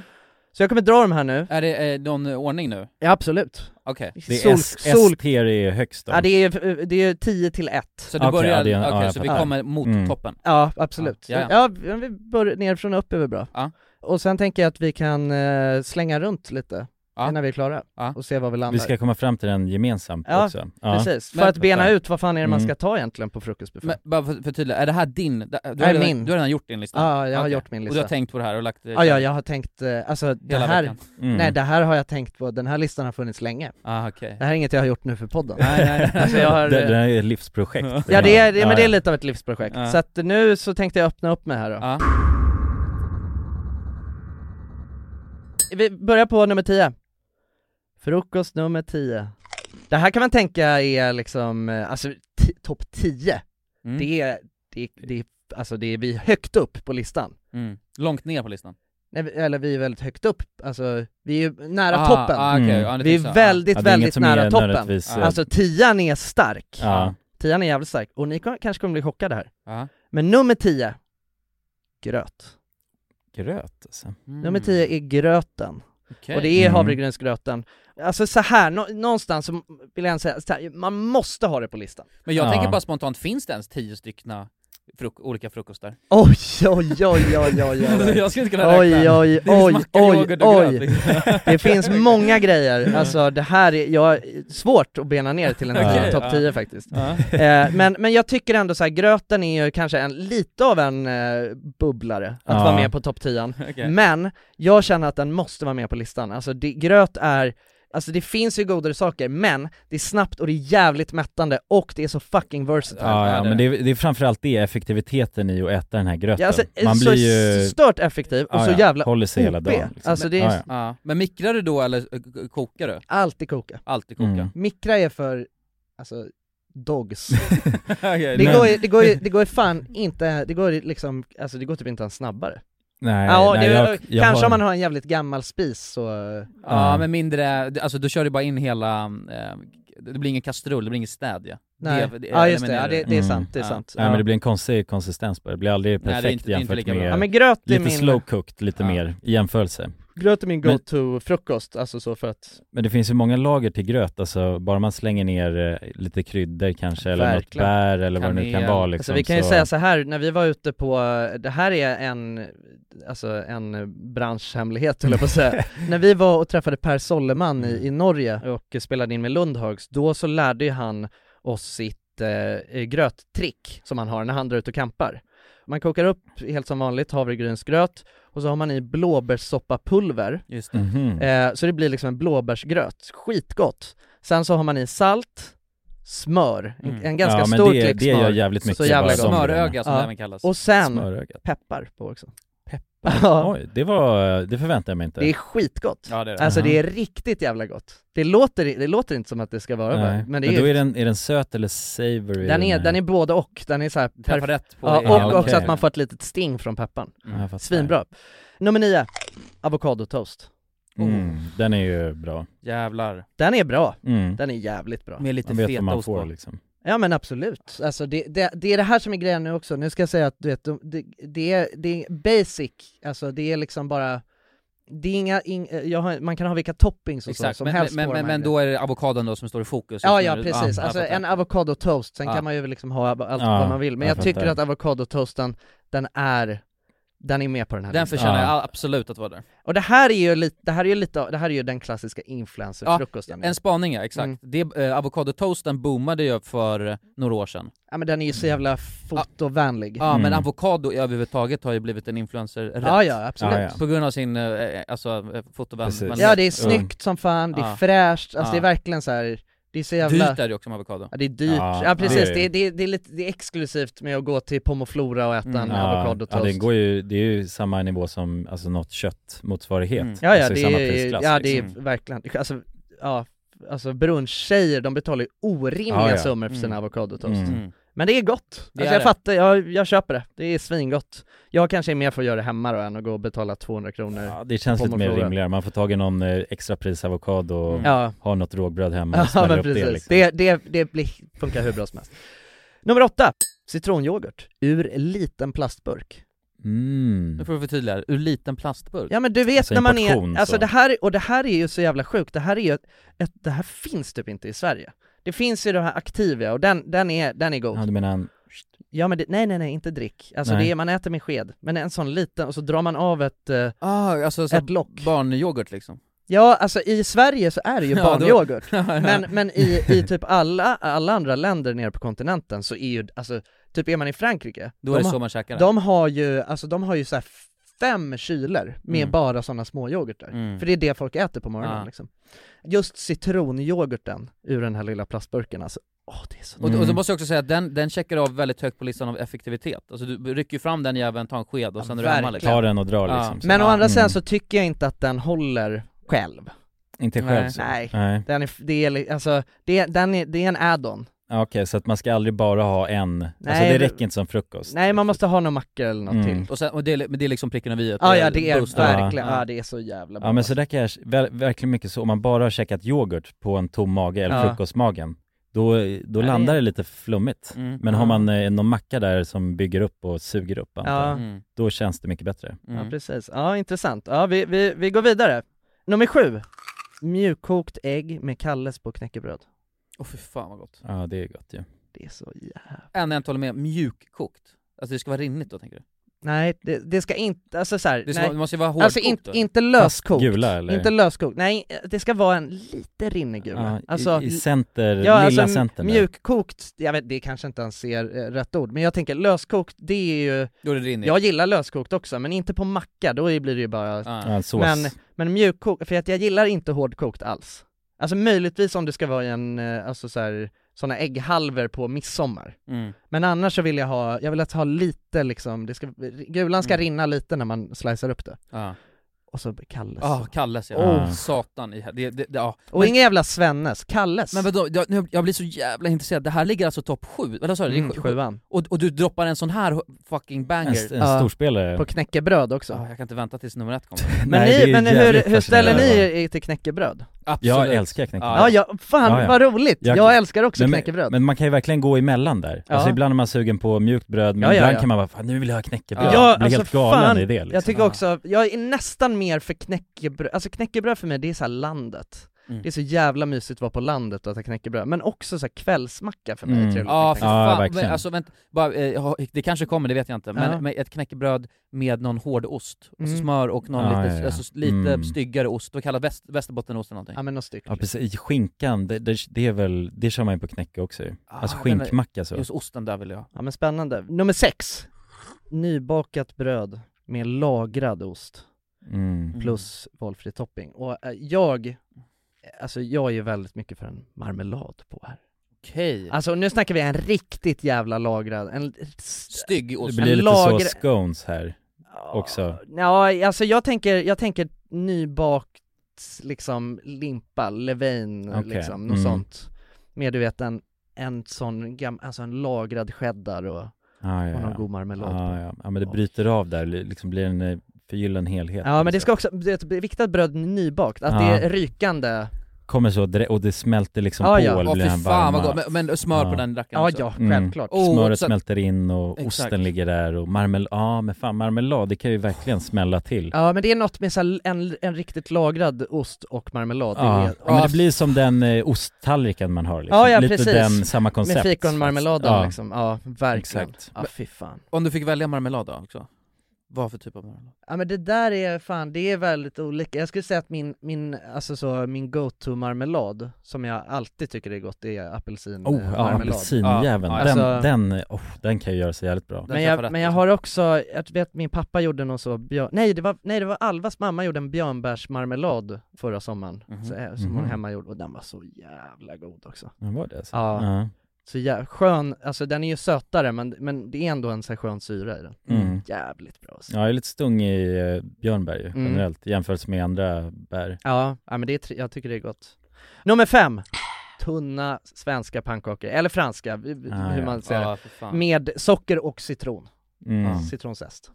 Speaker 1: Så jag kommer dra dem här nu.
Speaker 2: Är det eh, någon ordning nu?
Speaker 1: Ja, absolut.
Speaker 2: Okej.
Speaker 3: Det är S,
Speaker 1: sol,
Speaker 3: ST är högst då?
Speaker 1: ja, det är, det är 10 till 1.
Speaker 2: Så du
Speaker 3: Okej,
Speaker 2: börjar,
Speaker 3: ja,
Speaker 2: okej,
Speaker 3: det är en- ja, jag
Speaker 2: så vi
Speaker 3: fattar.
Speaker 2: kommer mot
Speaker 3: Mm.
Speaker 2: toppen.
Speaker 1: Ja, absolut.
Speaker 2: Ja,
Speaker 1: Ja,
Speaker 2: ja.
Speaker 1: vi- vi börjar nerifrån och upp är väl bra.
Speaker 2: Ja.
Speaker 1: Och sen tänker jag att vi kan eh, slänga runt lite
Speaker 2: Ja.
Speaker 1: innan vi är klara
Speaker 2: Ja.
Speaker 1: och se var vi landar.
Speaker 3: Vi ska komma fram till den gemensamt
Speaker 1: Ja,
Speaker 3: också. Ja,
Speaker 1: Precis,
Speaker 2: Men-
Speaker 1: för att bena ut vad fan är det man
Speaker 3: Mm.
Speaker 1: ska ta egentligen på frukostbuffé.
Speaker 2: Men bara för för tydliga, är det här din? Du har,
Speaker 1: Liksom. Nej,
Speaker 2: redan,
Speaker 1: min.
Speaker 2: du har redan gjort din lista?
Speaker 1: ja, jag har
Speaker 2: Okej.
Speaker 1: gjort min
Speaker 2: Och du
Speaker 1: lista.
Speaker 2: har tänkt på det här och lagt det
Speaker 1: ja, ja, jag har tänkt, eh, alltså det
Speaker 2: hela
Speaker 1: här,
Speaker 2: veckan?
Speaker 3: Mm.
Speaker 1: Nej det här har jag tänkt på, den här listan har funnits länge.
Speaker 2: Ah, okej.
Speaker 1: Det här är inget jag har gjort nu för podden.
Speaker 2: Nej, nej, nej.
Speaker 1: Alltså jag har,
Speaker 3: det, det här är ett livsprojekt.
Speaker 1: ja det är, det, men det är
Speaker 3: ja.
Speaker 1: lite av ett livsprojekt.
Speaker 2: Ja.
Speaker 1: Så att nu så tänkte jag öppna upp mig här då.
Speaker 2: Ja.
Speaker 1: Vi börjar på nummer 10. Frukost nummer 10. Det här kan man tänka är liksom, eh, alltså t- topp 10.
Speaker 2: Mm.
Speaker 1: Det, är, det, är- det är alltså det är vi är högt upp på listan.
Speaker 2: Mm. Långt ner på listan.
Speaker 1: Nej, vi- eller vi är väldigt högt upp, alltså vi är ju nära
Speaker 2: Ah,
Speaker 1: toppen.
Speaker 2: ah, okej. Mm. Ja, det
Speaker 1: vi är
Speaker 2: finns så.
Speaker 1: väldigt,
Speaker 3: Ja, det är inget
Speaker 1: väldigt
Speaker 3: som är
Speaker 1: nära toppen.
Speaker 3: nödvändigtvis, eh,
Speaker 1: Alltså tian är stark.
Speaker 3: Ja.
Speaker 1: Tian är jävligt stark, och ni kom- kanske kommer bli chockade här.
Speaker 2: Ja. Ah.
Speaker 1: Men nummer 10, gröt.
Speaker 3: Gröt alltså.
Speaker 1: Nummer 10 är gröten.
Speaker 2: Mm. Okej.
Speaker 1: Och det är
Speaker 3: Mm.
Speaker 1: havregrynsgröten. Alltså så här, nå- någonstans så vill jag säga, så här, man måste ha det på listan.
Speaker 2: Men jag
Speaker 3: Ja.
Speaker 2: tänker bara spontant, finns det ens tio styckna fruk olika frukostar?
Speaker 1: Oj, oj, oj, oj, oj, oj.
Speaker 2: Alltså,
Speaker 1: oj.
Speaker 2: jag skulle inte kunna
Speaker 1: Oj,
Speaker 2: räkna.
Speaker 1: oj,
Speaker 2: Det är
Speaker 1: oj,
Speaker 2: smackar,
Speaker 1: oj,
Speaker 2: yoghurt och gröt,
Speaker 1: oj.
Speaker 2: liksom.
Speaker 1: Det finns många grejer, alltså det här är, jag, svårt att bena ner till en
Speaker 3: Okej,
Speaker 1: topp
Speaker 2: ja.
Speaker 1: 10 faktiskt.
Speaker 2: Ja.
Speaker 1: Eh, men, men jag tycker ändå så här, gröten är ju kanske en, lite av en eh, bubblare att
Speaker 3: Ja.
Speaker 1: vara med på topp 10
Speaker 2: Okej.
Speaker 1: Men jag känner att den måste vara med på listan, alltså det, gröt är Alltså det finns ju godare saker, men det är snabbt och det är jävligt mättande och det är så fucking versatile
Speaker 3: Ja,
Speaker 2: Ja,
Speaker 3: ja
Speaker 2: det-
Speaker 3: men det är, det är framförallt det, effektiviteten i att äta den här gröten.
Speaker 1: Ja, alltså,
Speaker 3: Man
Speaker 1: så
Speaker 3: blir ju...
Speaker 1: stört effektiv och
Speaker 3: ja,
Speaker 1: så
Speaker 3: ja,
Speaker 1: jävla
Speaker 3: håller sig hela
Speaker 1: OP.
Speaker 3: dagen. liksom.
Speaker 1: Alltså det är
Speaker 3: Ja,
Speaker 2: Ja. Men mikrar du då eller eh, k- kokar du?
Speaker 1: alltid koka
Speaker 2: Alltid koka.
Speaker 3: Mm.
Speaker 1: Mikra är för, alltså, dogs
Speaker 2: Okej,
Speaker 1: Det
Speaker 2: men-
Speaker 1: går, ju, det, går ju, det går ju fan inte, det går ju liksom, alltså det går typ inte ens snabbare.
Speaker 3: Nej,
Speaker 1: ja,
Speaker 3: nej,
Speaker 1: det,
Speaker 3: jag, jag
Speaker 1: kanske
Speaker 3: har...
Speaker 1: om man har en jävligt gammal spis så...
Speaker 2: Ja
Speaker 3: Ja.
Speaker 2: men mindre, det- alltså du kör ju bara in hela, eh, det blir ingen kastrull, det blir ingen städja.
Speaker 1: Nej.
Speaker 2: Det- det
Speaker 1: ja just det, ja,
Speaker 2: eliminerar
Speaker 1: det,
Speaker 2: du.
Speaker 1: det är
Speaker 3: Mm.
Speaker 1: sant, det är
Speaker 2: Ja.
Speaker 1: sant.
Speaker 3: Nej men det blir en konstig konsistens på det, det blir aldrig
Speaker 2: Nej, det är
Speaker 3: perfekt
Speaker 2: inte- det är inte
Speaker 3: jämfört
Speaker 2: lika bra.
Speaker 3: med...
Speaker 1: ja men gröt är
Speaker 3: Lite
Speaker 1: min,
Speaker 3: slow cooked lite
Speaker 2: Ja.
Speaker 3: mer i jämförelse.
Speaker 1: gröt är min
Speaker 3: Men-
Speaker 1: go-to-frukost, alltså så för att...
Speaker 3: Men det finns ju många lager till gröt, alltså bara man slänger ner eh, lite kryddor kanske eller
Speaker 1: Verkligen.
Speaker 3: något bär eller vad det nu kan
Speaker 2: Kanel.
Speaker 3: vara
Speaker 1: alltså
Speaker 3: liksom,
Speaker 1: vi kan ju säga så här, när vi var ute på, det här är en, alltså en branschhemlighet höll jag på att säga. när vi var och träffade Per Solleman
Speaker 3: Mm.
Speaker 1: i, i Norge och spelade in med Lundhags, då så lärde ju han oss sitt eh, gröttrick som han har när han drar ut och kampar. Man kokar upp helt som vanligt havregrynsgröt och så har man i blåbärssoppapulver
Speaker 2: Just det.
Speaker 3: Mhm.
Speaker 1: Eh, så det blir liksom en blåbärsgröt, skitgott. Sen så har man i salt, smör, en,
Speaker 2: Mm.
Speaker 1: en ganska
Speaker 3: ja, men
Speaker 1: stor
Speaker 3: det,
Speaker 1: klick
Speaker 3: det gör
Speaker 1: smör.
Speaker 3: jävligt
Speaker 1: Så
Speaker 3: mycket.
Speaker 1: jävla
Speaker 3: bara
Speaker 1: gott.
Speaker 3: de
Speaker 2: Smöröga som
Speaker 1: Ja.
Speaker 2: det även kallas.
Speaker 1: Och sen
Speaker 3: grejerna. Smöröga.
Speaker 1: peppar på också.
Speaker 3: Peppar?
Speaker 1: Ja,
Speaker 3: Oj, det var, det förväntade jag mig inte.
Speaker 1: det är skitgott.
Speaker 2: Ja det är det.
Speaker 1: Alltså
Speaker 3: Aha.
Speaker 1: det är riktigt jävla gott. Det låter, det låter inte som att det ska vara
Speaker 3: Nej.
Speaker 1: bara, men
Speaker 3: Men
Speaker 1: det är,
Speaker 3: då
Speaker 1: ju
Speaker 3: är den, är den söt eller savory?
Speaker 1: den, är,
Speaker 3: här?
Speaker 1: den är både och, den är så här
Speaker 2: Träffar
Speaker 1: perfekt.
Speaker 2: rätt på
Speaker 1: Ja,
Speaker 2: det
Speaker 1: och
Speaker 2: hela.
Speaker 1: också
Speaker 3: okej.
Speaker 1: att man får ett litet sting från pepparn.
Speaker 3: Ja, jag fattar.
Speaker 1: Svinbra. Nummer nio, avokadotoast.
Speaker 3: Mm, den är ju bra.
Speaker 2: Jävlar.
Speaker 1: Den är bra,
Speaker 3: Mm.
Speaker 1: den är jävligt bra.
Speaker 2: Med lite
Speaker 3: Man vet vad man
Speaker 2: fetaost
Speaker 3: får
Speaker 2: på.
Speaker 3: liksom.
Speaker 1: Ja men absolut, alltså det, det, det är det här som är grejen nu också, nu ska jag säga att du vet, de- det, det, är, det är basic, alltså det är liksom bara, det är inga, ing, eh, jag har, man kan ha vilka toppings och så
Speaker 2: Exakt,
Speaker 1: som
Speaker 2: men,
Speaker 1: helst
Speaker 2: men,
Speaker 1: på de
Speaker 2: men,
Speaker 1: här
Speaker 2: men
Speaker 1: grejerna.
Speaker 2: då är det avokadon då som står i fokus.
Speaker 1: Ja
Speaker 2: just
Speaker 1: ja
Speaker 2: nu.
Speaker 1: precis,
Speaker 2: jag
Speaker 1: alltså
Speaker 2: fattar.
Speaker 1: en avokadotoast, sen
Speaker 2: Ja.
Speaker 1: kan man ju liksom ha av- allt
Speaker 3: Ja,
Speaker 1: vad man vill, men
Speaker 3: jag
Speaker 1: jag, tycker
Speaker 3: fattar.
Speaker 1: att avokadotoasten, den är, den är med på den här
Speaker 2: Den
Speaker 1: listan.
Speaker 2: förtjänar
Speaker 3: Ja.
Speaker 2: absolut att vara där.
Speaker 1: Och det här är ju lite, det här är ju lite, av- det här är ju den klassiska influencerfrukosten. Ja,
Speaker 2: En spaning ja, exakt.
Speaker 1: Mm.
Speaker 2: Det, eh, avokadotoasten boomade ju för eh, några år sedan.
Speaker 1: men den är ju så jävla fotovänlig.
Speaker 2: Ja men
Speaker 3: Mm.
Speaker 2: avokado i överhuvudtaget har ju blivit en influencer
Speaker 1: ja, ja absolut.
Speaker 3: Ja, ja.
Speaker 2: På grund av sin, eh, alltså eh, fotovän.
Speaker 3: Precis.
Speaker 2: men-
Speaker 1: Ja det är
Speaker 3: Mm.
Speaker 1: snyggt som fan, det är
Speaker 2: Ja.
Speaker 1: fräscht, alltså
Speaker 2: Ja.
Speaker 1: det är verkligen så här. det är så jävla...
Speaker 2: Dyrt är det också med avokado.
Speaker 1: Ja, det är dyrt, ja,
Speaker 3: Ja,
Speaker 1: precis,
Speaker 3: det är-
Speaker 1: det är, det, är, det, är lite, det är exklusivt med att gå till Pomoflora och äta
Speaker 2: Mm.
Speaker 1: en
Speaker 2: Ja,
Speaker 3: ja,
Speaker 1: avokadotoast
Speaker 3: det, går ju, det är ju samma nivå som alltså, något köttmotsvarighet.
Speaker 2: Mm.
Speaker 1: Ja ja,
Speaker 3: alltså, i
Speaker 1: det
Speaker 3: samma
Speaker 1: är,
Speaker 3: prisklass,
Speaker 1: ja, det är
Speaker 2: liksom.
Speaker 1: verkligen, alltså, ja, alltså brunchtjejer de betalar ju orimliga
Speaker 3: Ja, ja.
Speaker 1: summor för sina
Speaker 2: Mm.
Speaker 1: avokadotoast
Speaker 3: Mm.
Speaker 1: Men det är gott,
Speaker 2: Det
Speaker 1: alltså,
Speaker 2: är
Speaker 1: jag
Speaker 2: det.
Speaker 1: fattar, jag, jag köper det, det är svingott Jag kanske är mer för att göra det hemma då än att gå och betala 200 kronor Ja,
Speaker 3: Ja, det känns lite mer
Speaker 1: Pommes frites.
Speaker 3: rimligare, man får tag i någon eh, extrapris avokado och
Speaker 2: Mm.
Speaker 1: ja.
Speaker 3: har något rågbröd hemma och
Speaker 1: Ja
Speaker 3: smäller
Speaker 1: men
Speaker 3: upp det
Speaker 1: precis,
Speaker 3: liksom.
Speaker 1: det, det, det blir, funkar hur bra som helst. Nummer åtta, citronyoghurt ur liten plastburk.
Speaker 3: Mm.
Speaker 2: Nu får du förtydliga, ur liten plastburk.
Speaker 1: Ja men du vet
Speaker 3: Alltså,
Speaker 1: när
Speaker 3: en
Speaker 1: man
Speaker 3: portion,
Speaker 1: är, alltså
Speaker 3: så.
Speaker 1: det här, och det här är ju så jävla sjukt, det här är ju ett, ett, det här finns typ inte i Sverige. Det finns ju de här Activia och den, den är, den är god.
Speaker 3: Ja, du menar en...
Speaker 1: Ja men det, nej nej nej, inte drick. Alltså
Speaker 3: Nej.
Speaker 1: det är, man äter med sked, men en sån liten, och så drar man av ett, eh,
Speaker 2: Ah, alltså så här
Speaker 1: ett lock.
Speaker 2: barnyoghurt liksom.
Speaker 1: Ja alltså i Sverige så är det ju
Speaker 2: Ja, då-
Speaker 1: barnyoghurt. Men, men i, i typ alla, alla andra länder nere på kontinenten så är ju, alltså, typ är man i Frankrike,
Speaker 2: Då är det
Speaker 1: de,
Speaker 2: så man käkar det.
Speaker 1: de har ju, alltså de har ju så här fem kyler med
Speaker 2: Mm.
Speaker 1: bara sådana små yoghurtar.
Speaker 2: Mm.
Speaker 1: För det är det folk äter på morgonen
Speaker 2: Ja.
Speaker 1: liksom. Just citronyoghurten ur den här lilla plastburken alltså, åh det är så
Speaker 2: Och, och då
Speaker 3: Mm.
Speaker 2: måste jag också säga att den, den checkar av väldigt högt på listan av effektivitet. Alltså du rycker ju fram den jäveln, tar en sked och
Speaker 1: Ja,
Speaker 2: sen är du hemma
Speaker 1: verkligen.
Speaker 2: liksom.
Speaker 3: Ta den och dra
Speaker 2: Ja.
Speaker 3: liksom. Så.
Speaker 1: Men å
Speaker 2: Ja.
Speaker 1: andra sidan
Speaker 3: Mm.
Speaker 1: så tycker jag inte att den håller själv.
Speaker 3: Inte
Speaker 2: Nej.
Speaker 3: själv så.
Speaker 1: Nej.
Speaker 3: Nej.
Speaker 1: Den är, det är, li- alltså, det, är- den är, det är en add-on.
Speaker 3: Ja, Okej, så att man ska aldrig bara ha en, alltså
Speaker 1: Nej,
Speaker 3: det
Speaker 1: det-
Speaker 3: räcker inte som frukost.
Speaker 1: Nej, man måste ha någon macka eller något
Speaker 3: Mm.
Speaker 1: till.
Speaker 2: Och, sen, och det, är- men det är liksom pricken över i.
Speaker 1: Ja, ja det är
Speaker 2: Boost.
Speaker 1: verkligen,
Speaker 2: Ja.
Speaker 1: ja det är så jävla bra.
Speaker 3: Ja men så där kan jag, ver- verkligen mycket så, om man bara har käkat yoghurt på en tom mage eller
Speaker 1: Ja.
Speaker 3: frukostmagen, då, då
Speaker 1: det-
Speaker 3: landar det lite flummigt.
Speaker 2: Mm.
Speaker 3: Men har man eh, någon macka där som bygger upp och suger upp, antar
Speaker 1: Ja.
Speaker 3: jag,
Speaker 2: Mm.
Speaker 3: då känns det mycket bättre.
Speaker 2: Mm.
Speaker 1: Ja precis, ja intressant. Ja vi, vi, vi går vidare. Nummer sju. Mjukkokt ägg med Kalles på knäckebröd.
Speaker 2: Åh fy fan vad gott.
Speaker 3: Ja, det är gott ju.
Speaker 1: Det är så jävla...
Speaker 2: En jag inte håller med, mjukkokt. Alltså det ska vara rinnigt då tänker du?
Speaker 1: Nej, det, det ska inte, alltså såhär,
Speaker 2: Det, ska,
Speaker 1: nej.
Speaker 2: det måste ju vara hårdkokt
Speaker 1: Alltså inte,
Speaker 2: då.
Speaker 1: inte löskokt.
Speaker 3: Gula eller?
Speaker 1: Inte löskokt, nej det ska vara en lite rinnig gula.
Speaker 3: ja,
Speaker 1: alltså,
Speaker 3: i, I center,
Speaker 1: ja,
Speaker 3: lilla
Speaker 1: alltså
Speaker 3: centern där.
Speaker 1: mjukkokt, jag vet, det kanske inte ens är eh, rätt ord, men jag tänker löskokt, det är ju,
Speaker 2: Då är det rinnigt.
Speaker 1: jag gillar löskokt också, men inte på macka, då blir det ju bara
Speaker 2: Ah.
Speaker 3: Ja, en sås.
Speaker 1: Men, men mjukkokt, för att jag gillar inte hårdkokt alls. Alltså möjligtvis om det ska vara i en, eh, alltså så här, såna ägghalvor på midsommar.
Speaker 2: Mm.
Speaker 1: Men annars så vill jag ha, jag vill att ha lite liksom, det ska, gulan ska
Speaker 2: Mm.
Speaker 1: rinna lite när man slicear upp det.
Speaker 2: Ja.
Speaker 1: Och så Kalles.
Speaker 2: Ah, Kalles ja.
Speaker 3: Oh.
Speaker 2: Satan i det, det, det, ja.
Speaker 1: och
Speaker 2: men-
Speaker 1: inga jävla Svennes, Kalles.
Speaker 2: Men vadå, jag, nu, jag blir så jävla intresserad. Det här ligger alltså topp 7? Eller sa du?
Speaker 1: mm,
Speaker 2: det är sju?
Speaker 1: sjuan.
Speaker 2: Och, och du droppar en sån här fucking
Speaker 3: en, st-
Speaker 2: banger?
Speaker 3: en
Speaker 1: Ja.
Speaker 3: storspelare.
Speaker 1: På knäckebröd också.
Speaker 2: Ah, jag kan inte vänta tills nummer ett kommer.
Speaker 1: men
Speaker 3: Nej, det är
Speaker 1: ni,
Speaker 3: ju
Speaker 1: men
Speaker 3: jävligt
Speaker 1: hur, hur ställer ni
Speaker 3: fascinerande.
Speaker 1: er i- till knäckebröd?
Speaker 2: Absolut.
Speaker 3: Jag älskar knäckebröd.
Speaker 1: Ja,
Speaker 2: Ja,
Speaker 1: ja fan
Speaker 3: Ja, ja.
Speaker 1: vad roligt! Jag,
Speaker 3: Jag-
Speaker 1: älskar också
Speaker 3: Nej,
Speaker 1: knäckebröd.
Speaker 3: Men man kan ju verkligen gå emellan där.
Speaker 1: Ja.
Speaker 3: Alltså ibland är man sugen på mjukt bröd, men
Speaker 1: Ja, ja, ja.
Speaker 3: ibland
Speaker 1: alltså,
Speaker 3: kan man bara fan, nu vill jag ha knäckebröd.
Speaker 2: Ja,
Speaker 3: Ja, blir helt galen
Speaker 1: fan,
Speaker 3: i det liksom.
Speaker 1: Jag tycker
Speaker 2: Ja.
Speaker 1: också, jag är nästan mer för knäckebröd, alltså knäckebröd för mig det är så här landet.
Speaker 2: Mm.
Speaker 1: Det är så jävla mysigt att vara på landet och äta knäckebröd, men också så här kvällsmacka för mig är
Speaker 3: Mm.
Speaker 1: trevligt.
Speaker 2: Ja, för
Speaker 1: helt enkelt.
Speaker 3: Ja,
Speaker 2: fan.
Speaker 3: verkligen.
Speaker 2: men, alltså vänta, bara, eh, jag har- det kanske kommer, det vet jag inte. Men,
Speaker 1: Ja.
Speaker 2: men ett knäckebröd med någon hård ost, alltså
Speaker 1: Mm.
Speaker 2: smör och någon
Speaker 3: Ja,
Speaker 2: lite,
Speaker 3: ja, ja.
Speaker 2: Alltså, lite
Speaker 3: Mm.
Speaker 2: styggare ost, vad kallas väst, västerbottenost eller någonting?
Speaker 1: ja men något stycke.
Speaker 3: Ja precis, I skinkan, det, det, det är väl, det kör man ju på knäcke också ju. Alltså
Speaker 2: Ah, den där-
Speaker 3: skinkmacka så.
Speaker 2: Just osten där vill jag.
Speaker 1: Ja men spännande. Nummer sex. Nybakat bröd med lagrad ost
Speaker 3: Mm.
Speaker 1: plus valfri topping. Och eh, jag, alltså jag är ju väldigt mycket för en marmelad på här.
Speaker 2: Okej.
Speaker 1: Alltså nu snackar vi en riktigt jävla lagrad, en
Speaker 2: Stygg
Speaker 3: Det
Speaker 2: ost.
Speaker 3: blir lite
Speaker 1: lager-
Speaker 3: så scones här. också.
Speaker 1: Ja, alltså jag tänker, jag tänker nybakt liksom limpa, levain
Speaker 3: Okej,
Speaker 1: liksom, något
Speaker 3: mm.
Speaker 1: sånt. Med du vet en, en sån gam, alltså en lagrad cheddar och,
Speaker 3: Ah, ja,
Speaker 1: och någon
Speaker 3: ja.
Speaker 1: god marmelad på.
Speaker 3: Ah, ja. ja men det bryter av där, li- liksom blir en eh, förgyllen helhet.
Speaker 1: Ja men det
Speaker 3: liksom.
Speaker 1: ska också, det är viktigt att bröd är nybakt, att det
Speaker 3: Ja.
Speaker 1: är rykande
Speaker 3: Kommer så direkt, och det smälter liksom
Speaker 1: Ja,
Speaker 3: på
Speaker 1: ja.
Speaker 3: eller
Speaker 2: Åh
Speaker 3: blir
Speaker 2: fy
Speaker 3: den
Speaker 2: fan vad
Speaker 3: varma.
Speaker 2: gott, men, men smör på
Speaker 3: Ja.
Speaker 2: den rackaren
Speaker 1: Ja
Speaker 2: också.
Speaker 1: ja,
Speaker 3: Mm.
Speaker 1: självklart.
Speaker 2: Oh,
Speaker 3: Smöret
Speaker 2: så att-
Speaker 3: smälter in och
Speaker 2: Exakt.
Speaker 3: osten ligger där och marmelad, ja men fan marmelad, det kan ju verkligen smälla till.
Speaker 1: Ja men det är något med så här, en, en riktigt lagrad ost och marmelad, det
Speaker 3: Ja,
Speaker 1: är,
Speaker 3: ja, men det blir som den eh, osttallriken man har liksom.
Speaker 1: Ja, ja,
Speaker 3: Lite
Speaker 1: precis.
Speaker 3: den, samma koncept.
Speaker 1: med fikonmarmeladen
Speaker 3: Ja.
Speaker 1: liksom, ja verkligen.
Speaker 3: Exakt.
Speaker 1: Ja fy fan.
Speaker 2: Om du fick välja marmelad då också? Vad för typ av marmelad?
Speaker 1: Ja men det där är fan, det är väldigt olika. Jag skulle säga att min, min, alltså så, min go-to-marmelad, som jag alltid tycker är gott, det är eh, apelsinmarmelad.
Speaker 3: Oh, ja, apelsinjäveln.
Speaker 2: Ja,
Speaker 3: den,
Speaker 1: alltså-
Speaker 3: den, oh, den kan ju göra sig jävligt bra.
Speaker 2: Den
Speaker 1: men,
Speaker 2: träffar
Speaker 1: jag,
Speaker 2: rätt,
Speaker 1: men jag
Speaker 2: liksom.
Speaker 1: har också, jag vet min pappa gjorde någon så, björ, nej, det var, nej det var Alvas mamma gjorde en björnbärsmarmelad förra sommaren,
Speaker 2: Mhm.
Speaker 1: så, eh, som hon
Speaker 3: Mhm.
Speaker 1: hemmagjorde, och den var så jävla god också.
Speaker 3: Den var det alltså?
Speaker 1: Ja. Så jä, skön, alltså den är ju sötare men, men det är ändå en så här skön syra i den.
Speaker 3: Mm.
Speaker 1: Jävligt bra alltså.
Speaker 3: Ja, jag är lite stung i eh, björnbär ju,
Speaker 1: Mm.
Speaker 3: generellt, jämfört med andra bär.
Speaker 1: Ja, ja men det är, tri- jag tycker det är gott. Nummer fem. Tunna svenska pannkakor, eller franska, v- v-
Speaker 3: Ah,
Speaker 1: hur
Speaker 3: ja.
Speaker 1: man säger
Speaker 2: Ja, för
Speaker 1: det.
Speaker 2: fan.
Speaker 1: Med socker och citron.
Speaker 3: Mm. Ja.
Speaker 1: Citronzest.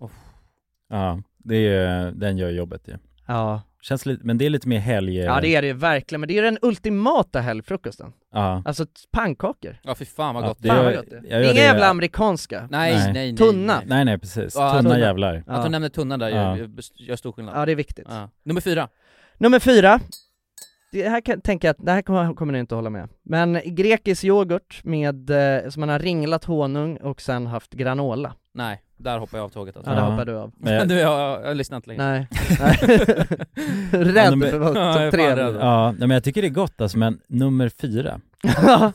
Speaker 3: det är, den gör jobbet ju.
Speaker 1: Ja.
Speaker 3: Känns lite, men det är lite mer helg... eh,
Speaker 1: ja, det är det verkligen, men det är den ultimata helgfrukosten.
Speaker 3: Ja.
Speaker 1: Alltså t- pannkakor.
Speaker 2: Ja fy fan vad
Speaker 3: Ja,
Speaker 2: gott.
Speaker 3: det
Speaker 1: Fan
Speaker 3: gör-
Speaker 1: vad gott det
Speaker 3: jag
Speaker 1: är.
Speaker 3: gör
Speaker 1: Inga
Speaker 3: det-
Speaker 1: jävla amerikanska.
Speaker 2: Nej, nej,
Speaker 3: Nej.
Speaker 2: nej.
Speaker 1: Tunna.
Speaker 2: Nej.
Speaker 3: Nej, nej precis.
Speaker 2: Ja,
Speaker 3: Tunna
Speaker 1: alltså-
Speaker 2: tunna.
Speaker 3: jävlar.
Speaker 2: Att du nämnde tunnan där gör,
Speaker 3: Ja.
Speaker 2: gör stor skillnad.
Speaker 1: Ja, det är viktigt.
Speaker 2: Ja. Nummer fyra.
Speaker 1: Nummer fyra. Det här kan, tänker jag att det här kommer, kommer ni inte hålla med. Men grekisk yoghurt med, eh, som man har ringlat honung och sen haft granola.
Speaker 2: Nej, där hoppar jag av tåget alltså.
Speaker 1: Ja, det
Speaker 3: Ja.
Speaker 1: hoppar du av.
Speaker 3: Men jag,
Speaker 2: du, jag, jag, jag lyssnar inte längre.
Speaker 1: Nej. Nej. rädd
Speaker 3: men-
Speaker 1: för vad
Speaker 2: Ja, jag
Speaker 1: topp
Speaker 2: är
Speaker 1: tre
Speaker 2: fan
Speaker 1: nu.
Speaker 2: rädd.
Speaker 3: ja, nej, men jag tycker det är gott alltså, men nummer fyra.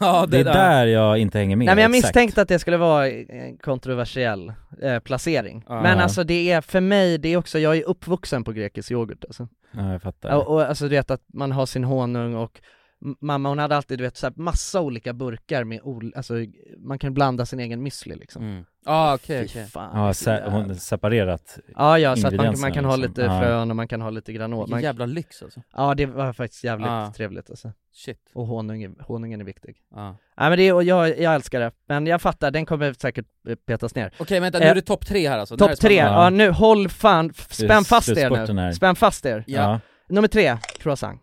Speaker 2: Ja,
Speaker 3: Det är där jag inte hänger med.
Speaker 1: Nej men jag
Speaker 3: exakt.
Speaker 1: misstänkte att det skulle vara en kontroversiell eh, placering.
Speaker 2: Ja.
Speaker 1: Men alltså det är, för mig, det är också, jag är uppvuxen på grekisk yoghurt alltså.
Speaker 3: Ja, jag fattar.
Speaker 1: Och, och alltså du vet att man har sin honung och m- Mamma hon hade alltid du vet så här, massa olika burkar med ol- alltså man kan blanda sin egen müsli liksom.
Speaker 2: Mm. ah, okej,
Speaker 1: Fy
Speaker 2: okej.
Speaker 1: fan.
Speaker 3: Ja, se- hon separerat
Speaker 1: Ja, ja, så att man, man kan
Speaker 3: ingredienserna
Speaker 1: ha
Speaker 3: liksom.
Speaker 1: lite
Speaker 3: Ja.
Speaker 1: frön och man kan ha lite granat. Man,
Speaker 2: Vilken jävla lyx alltså.
Speaker 1: ja, det var faktiskt jävligt
Speaker 2: Ja.
Speaker 1: trevligt alltså.
Speaker 2: Shit.
Speaker 1: Och honungen, honungen är viktig.
Speaker 2: Ja.
Speaker 1: Nej men det, är- och jag, jag älskar det. Men jag fattar, den kommer säkert eh, petas ner.
Speaker 2: Okej vänta, nu
Speaker 3: Eh,
Speaker 2: är det topp tre här alltså. Det här är
Speaker 1: Topp tre,
Speaker 2: spännande.
Speaker 1: ja. nu håll fan, f-
Speaker 3: Det är
Speaker 1: spänn fast er
Speaker 3: slutspurten
Speaker 1: nu.
Speaker 3: här.
Speaker 1: Spänn fast er.
Speaker 2: Ja.
Speaker 3: Ja,
Speaker 1: Nummer tre, croissant.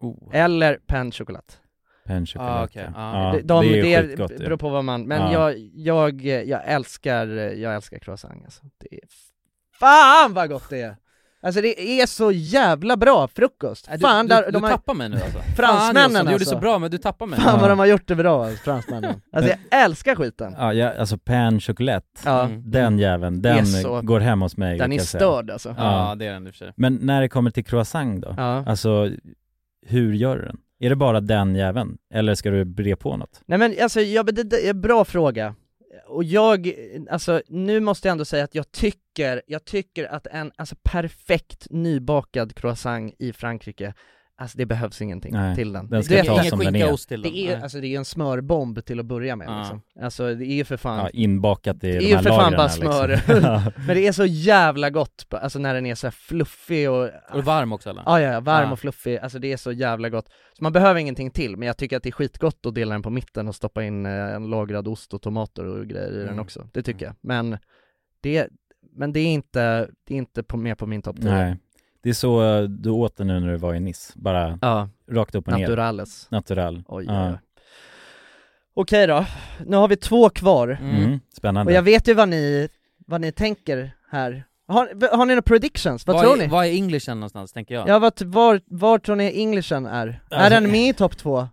Speaker 2: Oh.
Speaker 1: Eller pain choklad.
Speaker 3: pain chocolate.
Speaker 2: Ah, okej. Ah.
Speaker 3: Ja,
Speaker 1: de, de,
Speaker 3: det är
Speaker 1: det
Speaker 3: ju
Speaker 1: är
Speaker 3: skitgott ju.
Speaker 1: beror på vad man, men
Speaker 3: Ja.
Speaker 1: jag, jag, eh, jag älskar, eh, jag älskar croissant alltså. Det är, fan vad gott det är! Alltså det är så jävla bra frukost!
Speaker 2: Nej, du,
Speaker 1: fan,
Speaker 2: du,
Speaker 1: där,
Speaker 2: du,
Speaker 1: de här,
Speaker 2: tappar mig nu alltså.
Speaker 1: Fransmännen,
Speaker 2: Fan, Jonsson, Du gjorde
Speaker 1: alltså.
Speaker 2: så bra men du tappar mig.
Speaker 1: fan vad
Speaker 3: Ja.
Speaker 1: de har gjort det bra, alltså, fransmännen. Alltså jag älskar skiten!
Speaker 3: Ja, ja, alltså pain chocolate.
Speaker 1: Ja,
Speaker 2: Mm.
Speaker 3: Den jäveln,
Speaker 1: Det är
Speaker 3: den
Speaker 1: så-
Speaker 3: går hem hos mig.
Speaker 1: den
Speaker 3: kan
Speaker 1: är
Speaker 3: jag säga.
Speaker 1: störd alltså.
Speaker 3: Ja.
Speaker 2: Ja det är den i och för sig.
Speaker 3: Men när det kommer till croissant då?
Speaker 1: Ja.
Speaker 3: Alltså, hur gör du den? Är det bara den jäveln? Eller ska du bre på något?
Speaker 1: Nej men alltså, jag, det, det är en bra fråga. Och jag, alltså nu måste jag ändå säga att jag tycker, jag tycker att en, alltså perfekt nybakad croissant i Frankrike, alltså det behövs ingenting
Speaker 3: Nej,
Speaker 1: till den.
Speaker 3: den
Speaker 1: det,
Speaker 3: ska
Speaker 1: är-
Speaker 3: ta
Speaker 2: Ingen
Speaker 3: som den
Speaker 2: skinka
Speaker 3: är.
Speaker 2: och ost till den.
Speaker 1: det är,
Speaker 2: Nej.
Speaker 1: alltså det är en smörbomb till att börja med
Speaker 2: Ja.
Speaker 1: liksom. Alltså det är ju för fan,
Speaker 3: Ja, inbakat i
Speaker 1: är
Speaker 3: de
Speaker 1: ju
Speaker 3: här
Speaker 1: för fan
Speaker 3: lagren
Speaker 1: bara
Speaker 3: liksom.
Speaker 1: smör.
Speaker 3: Ja.
Speaker 1: men det är så jävla gott, alltså när den är så här fluffig och
Speaker 2: Och varm också eller?
Speaker 1: Ja, ja, ja, varm
Speaker 2: Ja.
Speaker 1: och fluffig, alltså det är så jävla gott. Så man behöver ingenting till, men jag tycker att det är skitgott att dela den på mitten och stoppa in eh, en lagrad ost och tomater och grejer i den
Speaker 2: Mm.
Speaker 1: också. Det tycker jag. Men det, men det är inte, det är inte på, med på min topp 10.
Speaker 3: Nej. Det är så eh, du åt den nu när du var i Nice. Bara
Speaker 1: Ja,
Speaker 3: rakt upp och ner.
Speaker 1: naturales.
Speaker 3: Natural.
Speaker 1: Oj,
Speaker 3: Ja.
Speaker 1: oj, oj. Okej då, nu har vi två kvar.
Speaker 2: Mm.
Speaker 3: Mm. Spännande.
Speaker 1: Och jag vet ju vad ni, vad ni tänker här. Har, har ni några predictions? Vad
Speaker 2: Vad
Speaker 1: tror
Speaker 2: är,
Speaker 1: ni?
Speaker 2: Vad är englishen någonstans tänker jag? Ja.
Speaker 1: Ja, vad, var, var tror ni englishen är? Är
Speaker 3: Alltså-
Speaker 1: den med i topp två?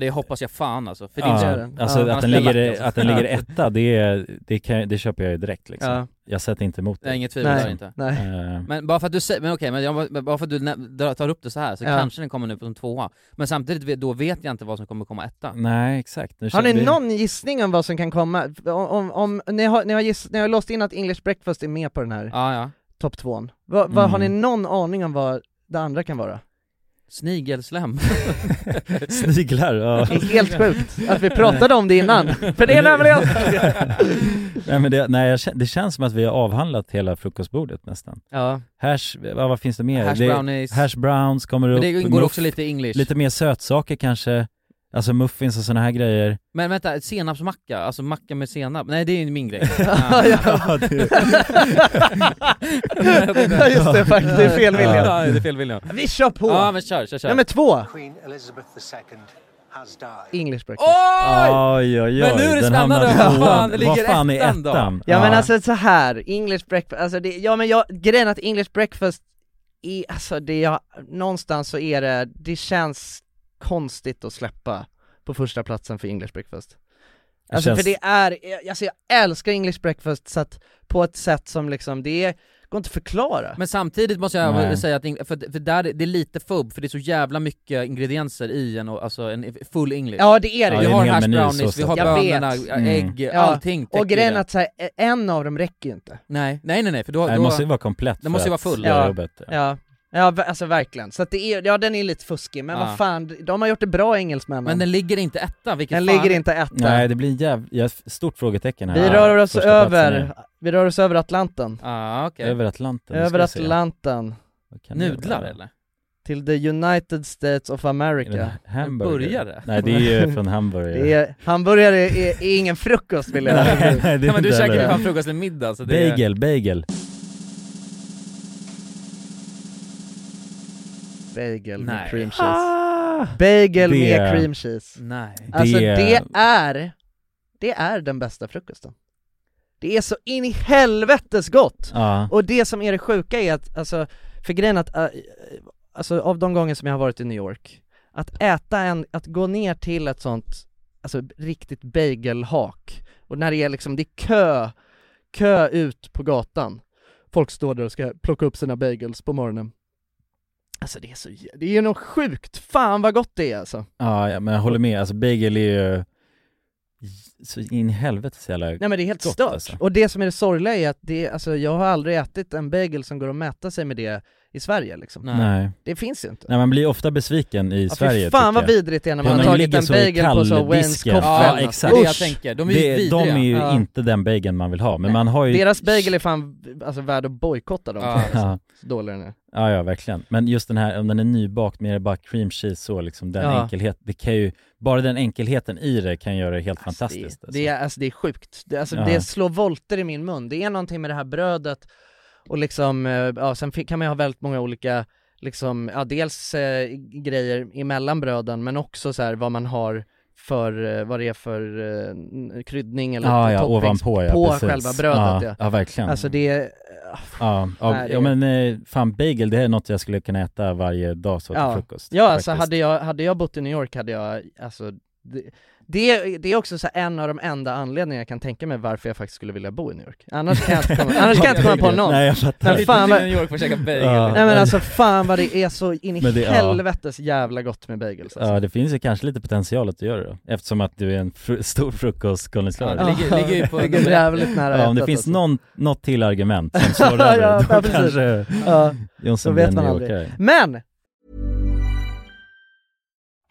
Speaker 2: det hoppas jag fan alltså. För din
Speaker 3: Ja,
Speaker 1: det
Speaker 2: skull.
Speaker 1: är den.
Speaker 3: Alltså
Speaker 1: Ja.
Speaker 3: att, den
Speaker 2: Annars blir jag lack,
Speaker 3: ligger,
Speaker 2: alltså.
Speaker 3: att den ligger etta, det, är, det, kan, det köper jag ju direkt liksom.
Speaker 1: Ja.
Speaker 3: Jag sätter inte emot
Speaker 2: Det är
Speaker 3: det.
Speaker 2: inget tvivel där inte.
Speaker 1: Nej.
Speaker 3: Eh,
Speaker 2: Men bara för att du säger, men okej, men jag, men bara för att du nä- dra- tar upp det så här så
Speaker 1: Ja.
Speaker 2: kanske den kommer nu på en tvåa. Men samtidigt, vet- då vet jag inte vad som kommer komma etta.
Speaker 3: nej, exakt. Nu
Speaker 1: Har
Speaker 3: känner
Speaker 1: ni
Speaker 3: vi-
Speaker 1: någon gissning om vad som kan komma? Om, om, om ni, har, ni, har giss, ni har låst in att English breakfast är med på den här
Speaker 2: Ja, ja.
Speaker 1: topp tvåan. Va, va, Har ni
Speaker 3: Mm.
Speaker 1: någon aning om vad det andra kan vara?
Speaker 2: Snigelslem.
Speaker 3: Sniglar, ja.
Speaker 1: Det är helt sjukt att vi pratade om det innan, för det är nämligen...
Speaker 3: nej, men det, nej, jag, kän- det känns som att vi har avhandlat hela frukostbordet nästan.
Speaker 1: ja,
Speaker 3: Hash, vad, vad finns det mer?
Speaker 2: Hash
Speaker 3: det,
Speaker 2: brownies.
Speaker 3: hash browns kommer upp.
Speaker 2: Men det ingår
Speaker 3: muff-
Speaker 2: också lite English.
Speaker 3: lite mer sötsaker kanske. Alltså muffins och sådana här grejer.
Speaker 2: Men vänta, senapsmacka, alltså macka med senap. Nej det är ju min grej.
Speaker 3: Ja, det-
Speaker 1: Ja, just det, faktiskt, det är fel William.
Speaker 2: Ja, det är fel William.
Speaker 1: Vi kör på!
Speaker 2: Ja men kör, kör, kör.
Speaker 1: Nummer två,
Speaker 11: Queen Elizabeth II has died.
Speaker 1: English breakfast.
Speaker 2: Oj!
Speaker 3: Oj, oj, oj.
Speaker 2: Men nu är det
Speaker 3: Den
Speaker 2: spännande.
Speaker 3: hamnar
Speaker 2: Vad
Speaker 3: tvåan.
Speaker 2: fan ligger
Speaker 3: Vad fan är
Speaker 2: ettan då?
Speaker 3: ettan?
Speaker 1: Ja men alltså så här, English breakfast, alltså det, ja men jag, grejen att English breakfast är, alltså det jag, någonstans så är det, det känns konstigt att släppa på första platsen för English breakfast.
Speaker 3: Det
Speaker 1: Alltså
Speaker 3: känns-
Speaker 1: för det är, jag- alltså jag älskar English breakfast så att, på ett sätt som liksom, det är, går inte att förklara.
Speaker 2: Men samtidigt måste jag
Speaker 3: Nej.
Speaker 2: säga att, ing- för, för där, det är lite fubb, för det är så jävla mycket ingredienser i en, och- alltså en full English.
Speaker 1: Ja det är det
Speaker 3: Ja,
Speaker 2: vi
Speaker 1: ju.
Speaker 3: det är en
Speaker 2: har
Speaker 3: hel
Speaker 2: hash
Speaker 3: meny, så
Speaker 2: brownies, vi
Speaker 3: sett.
Speaker 2: har
Speaker 1: Jag vet.
Speaker 2: bönorna,
Speaker 3: Mm.
Speaker 2: ägg,
Speaker 1: Ja,
Speaker 2: allting
Speaker 1: Och
Speaker 2: täcker
Speaker 1: grejen
Speaker 2: det.
Speaker 1: att så här, e, en av dem räcker ju inte.
Speaker 2: Nej, nej nej, nej för då...
Speaker 3: Nej, det
Speaker 2: då
Speaker 3: måste ju vara komplett
Speaker 2: Den måste ju
Speaker 3: för att
Speaker 2: vara full.
Speaker 3: göra
Speaker 1: Ja.
Speaker 3: jobbet.
Speaker 1: Ja, ja v- alltså verkligen. Så att det är, ja den är lite fuskig, men
Speaker 2: Ja.
Speaker 1: vad fan, de har gjort det bra engelsmännen.
Speaker 2: men den ligger inte etta, vilket
Speaker 1: Den
Speaker 2: fan...
Speaker 1: ligger inte etta.
Speaker 3: Nej, det blir en jäv... jag har ett stort frågetecken här.
Speaker 1: Vi rör oss
Speaker 3: Första platsen
Speaker 1: över,
Speaker 3: är-
Speaker 1: vi rör oss över Atlanten.
Speaker 2: Ah, okej.
Speaker 3: Över Atlanten. nu ska
Speaker 1: över
Speaker 3: vi se.
Speaker 1: Atlanten
Speaker 3: Vad kan det
Speaker 2: Nudlar
Speaker 3: vara?
Speaker 2: eller?
Speaker 1: till the United States of
Speaker 3: Är det
Speaker 1: America.
Speaker 3: en hamburgare?
Speaker 2: burgare?
Speaker 3: Nej, det är ju från hamburgare.
Speaker 1: Det är, hamburgare är, är ingen frukost vill jag
Speaker 3: Nej, det är
Speaker 2: Nej men du
Speaker 3: inte
Speaker 2: käkar ju
Speaker 3: heller.
Speaker 2: fan frukost eller middag så det är...
Speaker 3: Bagel, bagel.
Speaker 1: Bagel med
Speaker 2: Nej. Ah.
Speaker 1: cream cheese. Bagel
Speaker 3: Det-
Speaker 1: med cream cheese.
Speaker 2: Nej.
Speaker 1: Alltså
Speaker 3: Det-
Speaker 1: det är, det är den bästa frukosten. Det är så in i helvetes gott!
Speaker 3: Ja.
Speaker 1: Och det som är det sjuka är att, alltså, för grejen att, äh, alltså av de gånger som jag har varit i New York, att äta en, att gå ner till ett sånt, alltså riktigt bagelhak, och när det är liksom, det är kö, kö ut på gatan, folk står där och ska plocka upp sina bagels på morgonen. Alltså det är så, jä- det är något sjukt, fan vad gott det är alltså.
Speaker 3: Ja, ja, men jag håller med. Alltså bagel är ju så in i helvete så jävla...
Speaker 1: Nej men det är helt
Speaker 3: Gott,
Speaker 1: stört.
Speaker 3: alltså.
Speaker 1: Och det som är det sorgliga är att det, alltså jag har aldrig ätit en bagel som går att mäta sig med det i Sverige liksom.
Speaker 3: Nej.
Speaker 1: Det finns ju inte.
Speaker 3: Nej man blir ofta besviken i
Speaker 1: Ja,
Speaker 3: Sverige
Speaker 1: fy fan
Speaker 3: tycker
Speaker 1: vad
Speaker 3: jag.
Speaker 1: vidrigt det är när
Speaker 3: Ja,
Speaker 1: man
Speaker 3: de
Speaker 1: har tagit
Speaker 3: ligger
Speaker 1: en
Speaker 3: så i
Speaker 1: bagel på så Wayne's
Speaker 3: kalldisken.
Speaker 1: Coffee
Speaker 3: Ja exakt.
Speaker 2: Det är det jag tänker. De är ju
Speaker 3: det, de
Speaker 2: vidriga.
Speaker 3: är ju
Speaker 1: Ja.
Speaker 3: inte den bageln man vill ha, men man har ju
Speaker 1: Deras bagel är fan alltså, värd att bojkotta dem
Speaker 3: Ja.
Speaker 1: för, alltså. Så dålig den är.
Speaker 3: Ja, ja verkligen. Men just den här, om den är nybakt med bara cream cheese så liksom, den
Speaker 1: Ja.
Speaker 3: enkelhet, det kan ju, bara den enkelheten i det kan göra det helt fantastiskt. alltså.
Speaker 1: Det är, alltså, det är sjukt. Det, alltså,
Speaker 3: Ja.
Speaker 1: det slår volter i min mun. Det är någonting med det här brödet och liksom, eh, ja sen fi- kan man ju ha väldigt många olika, liksom, ja dels eh, grejer emellan bröden men också så här vad man har för, eh, vad det är för eh, n- kryddning eller
Speaker 3: Ah, ja, ja,
Speaker 1: toppings
Speaker 3: ovanpå ja,
Speaker 1: på
Speaker 3: precis.
Speaker 1: själva brödet
Speaker 3: ja.
Speaker 1: ja.
Speaker 3: Ja, verkligen.
Speaker 1: Alltså det är,
Speaker 3: ja, ja,
Speaker 1: Nej, det-
Speaker 3: ja, men eh, fan bagel, det är något jag skulle kunna äta varje dag så till
Speaker 1: ja.
Speaker 3: frukost.
Speaker 1: Ja, alltså
Speaker 3: faktiskt.
Speaker 1: hade jag, hade jag bott i New York hade jag, alltså det, det, det är också så här en av de enda anledningarna jag kan tänka mig varför jag faktiskt skulle vilja bo i New York. Annars kan jag inte komma, annars kan jag inte komma på någon.
Speaker 3: Nej, jag fattar.
Speaker 1: Men fan vad,
Speaker 2: New York för att käka bagel.
Speaker 3: Ja.
Speaker 1: nej men alltså fan vad det är så in i
Speaker 3: Men det- ja.
Speaker 1: helvetes jävla gott med bagels alltså.
Speaker 3: Ja, det finns ju kanske lite potential att du gör det då, eftersom att du är en fr- stor frukostkondensör.
Speaker 1: Ja, det ligger- ligger ju på- Ligger
Speaker 3: nummer ett.
Speaker 1: jävligt nära
Speaker 3: Ja, om det
Speaker 1: hjärtat
Speaker 3: finns
Speaker 1: alltså.
Speaker 3: någon, något till argument som slår över,
Speaker 1: Ja,
Speaker 3: då
Speaker 1: ja, precis.
Speaker 3: kanske
Speaker 1: Ja,
Speaker 3: Jonsson
Speaker 1: då
Speaker 3: blir
Speaker 1: vet
Speaker 3: en
Speaker 1: man
Speaker 3: nyåkare.
Speaker 1: aldrig. Men!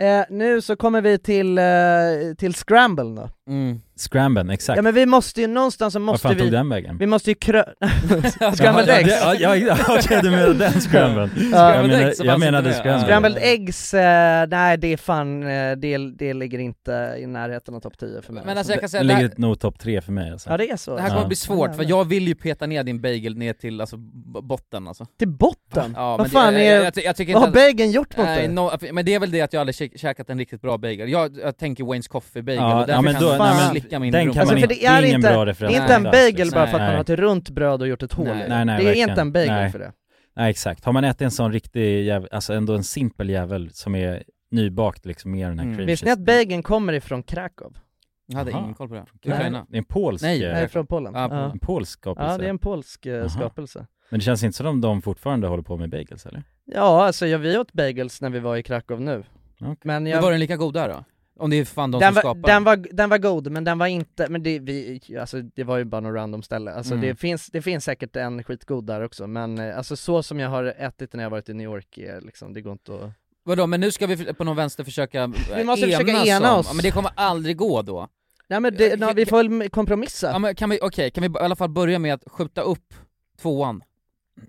Speaker 1: Eh, nu så kommer vi till, eh, till Scramble då.
Speaker 2: Mm.
Speaker 3: Scramben, exakt.
Speaker 1: Ja men vi måste ju, någonstans så
Speaker 3: Vad
Speaker 1: måste
Speaker 3: fan
Speaker 1: vi...
Speaker 3: tog den vägen?
Speaker 1: Vi måste ju krö...
Speaker 3: Ja,
Speaker 1: Scrambled
Speaker 3: ja,
Speaker 1: eggs!
Speaker 3: det- ja, ja, ja, okej, du menar den scramble.
Speaker 1: Ja.
Speaker 3: Jag menar- jag menade scramble.
Speaker 1: Scrambled eggs, eh, nej det är fan, eh, det, det ligger inte i närheten av topp 10 för mig.
Speaker 2: Men alltså jag kan säga,
Speaker 3: Den
Speaker 2: det
Speaker 3: ligger
Speaker 2: här-
Speaker 3: nog topp tre för mig alltså.
Speaker 1: Ja, det är så.
Speaker 2: Det här kommer
Speaker 3: Ja.
Speaker 2: bli svårt, för jag vill ju peta ner din bagel ner till alltså, b- botten alltså.
Speaker 1: Till botten?
Speaker 2: Ja, men
Speaker 1: Vad fan
Speaker 2: det,
Speaker 1: är,
Speaker 2: jag, jag, ty- jag tycker
Speaker 1: vad
Speaker 2: inte
Speaker 1: har
Speaker 2: att-
Speaker 1: bageln gjort mot
Speaker 2: Nej,
Speaker 1: dig?
Speaker 2: no, men det är väl det att jag aldrig käk- käkat en riktigt bra bagel. Jag, jag tänker Wayne's Coffee bagel
Speaker 3: Ja,
Speaker 2: och därför
Speaker 3: ja, men
Speaker 2: kan
Speaker 3: då-
Speaker 2: jag
Speaker 3: nej, men
Speaker 2: slicka min
Speaker 3: den kan
Speaker 2: rumpa.
Speaker 3: man Alltså,
Speaker 1: För det är,
Speaker 3: Ingen
Speaker 1: inte,
Speaker 3: bra
Speaker 1: det
Speaker 3: referens
Speaker 1: är inte en
Speaker 3: alls,
Speaker 1: bagel
Speaker 3: liksom.
Speaker 1: bara för att man
Speaker 3: Nej.
Speaker 1: har typ- ett runt bröd och gjort ett hål i
Speaker 3: Nej,
Speaker 1: det.
Speaker 3: nej,
Speaker 1: Det är
Speaker 3: verkligen.
Speaker 1: inte en bagel
Speaker 3: Nej.
Speaker 1: för det.
Speaker 3: Nej exakt, har man ätit en sån riktig jävel, alltså ändå en simpel jävel som är nybakt liksom med den här
Speaker 2: Mm.
Speaker 3: cream
Speaker 1: Visste ni
Speaker 3: cheese.
Speaker 1: att bageln kommer ifrån Krakow?
Speaker 2: Jag hade
Speaker 3: Aha.
Speaker 2: ingen koll på det.
Speaker 3: Nej.
Speaker 2: Ukraina.
Speaker 3: Det är en polsk...
Speaker 2: Nej,
Speaker 3: eh,
Speaker 1: Nej, från Polen.
Speaker 2: Ja,
Speaker 1: Ja.
Speaker 3: En polsk skapelse?
Speaker 1: Ja, det är en polsk eh,
Speaker 3: Aha.
Speaker 1: skapelse.
Speaker 3: Men det känns inte som om de fortfarande håller på med bagels eller?
Speaker 1: Ja, alltså jag, vi åt bagels när vi var i Krakow nu.
Speaker 3: Okej.
Speaker 1: Men
Speaker 2: Men var den lika god där då? Om det är fan de
Speaker 1: den
Speaker 2: som
Speaker 1: var,
Speaker 2: skapar
Speaker 1: den, var, den var god, men den var inte, men det, vi, alltså, det var ju bara något random ställe. Alltså,
Speaker 2: Mm.
Speaker 1: det, finns, det finns säkert en skitgod där också, men eh, alltså, så som jag har ätit när jag varit i New York, är, liksom, det går inte att...
Speaker 2: Vadå, men nu ska vi för- på någon vänster försöka eh,
Speaker 1: Vi måste försöka ena
Speaker 2: om-
Speaker 1: oss.
Speaker 2: Ja, men det kommer aldrig gå då.
Speaker 1: Nej men det, nej, vi får väl kompromissa.
Speaker 2: Ja, men kan vi, okej, kan vi i alla fall börja med att skjuta upp tvåan,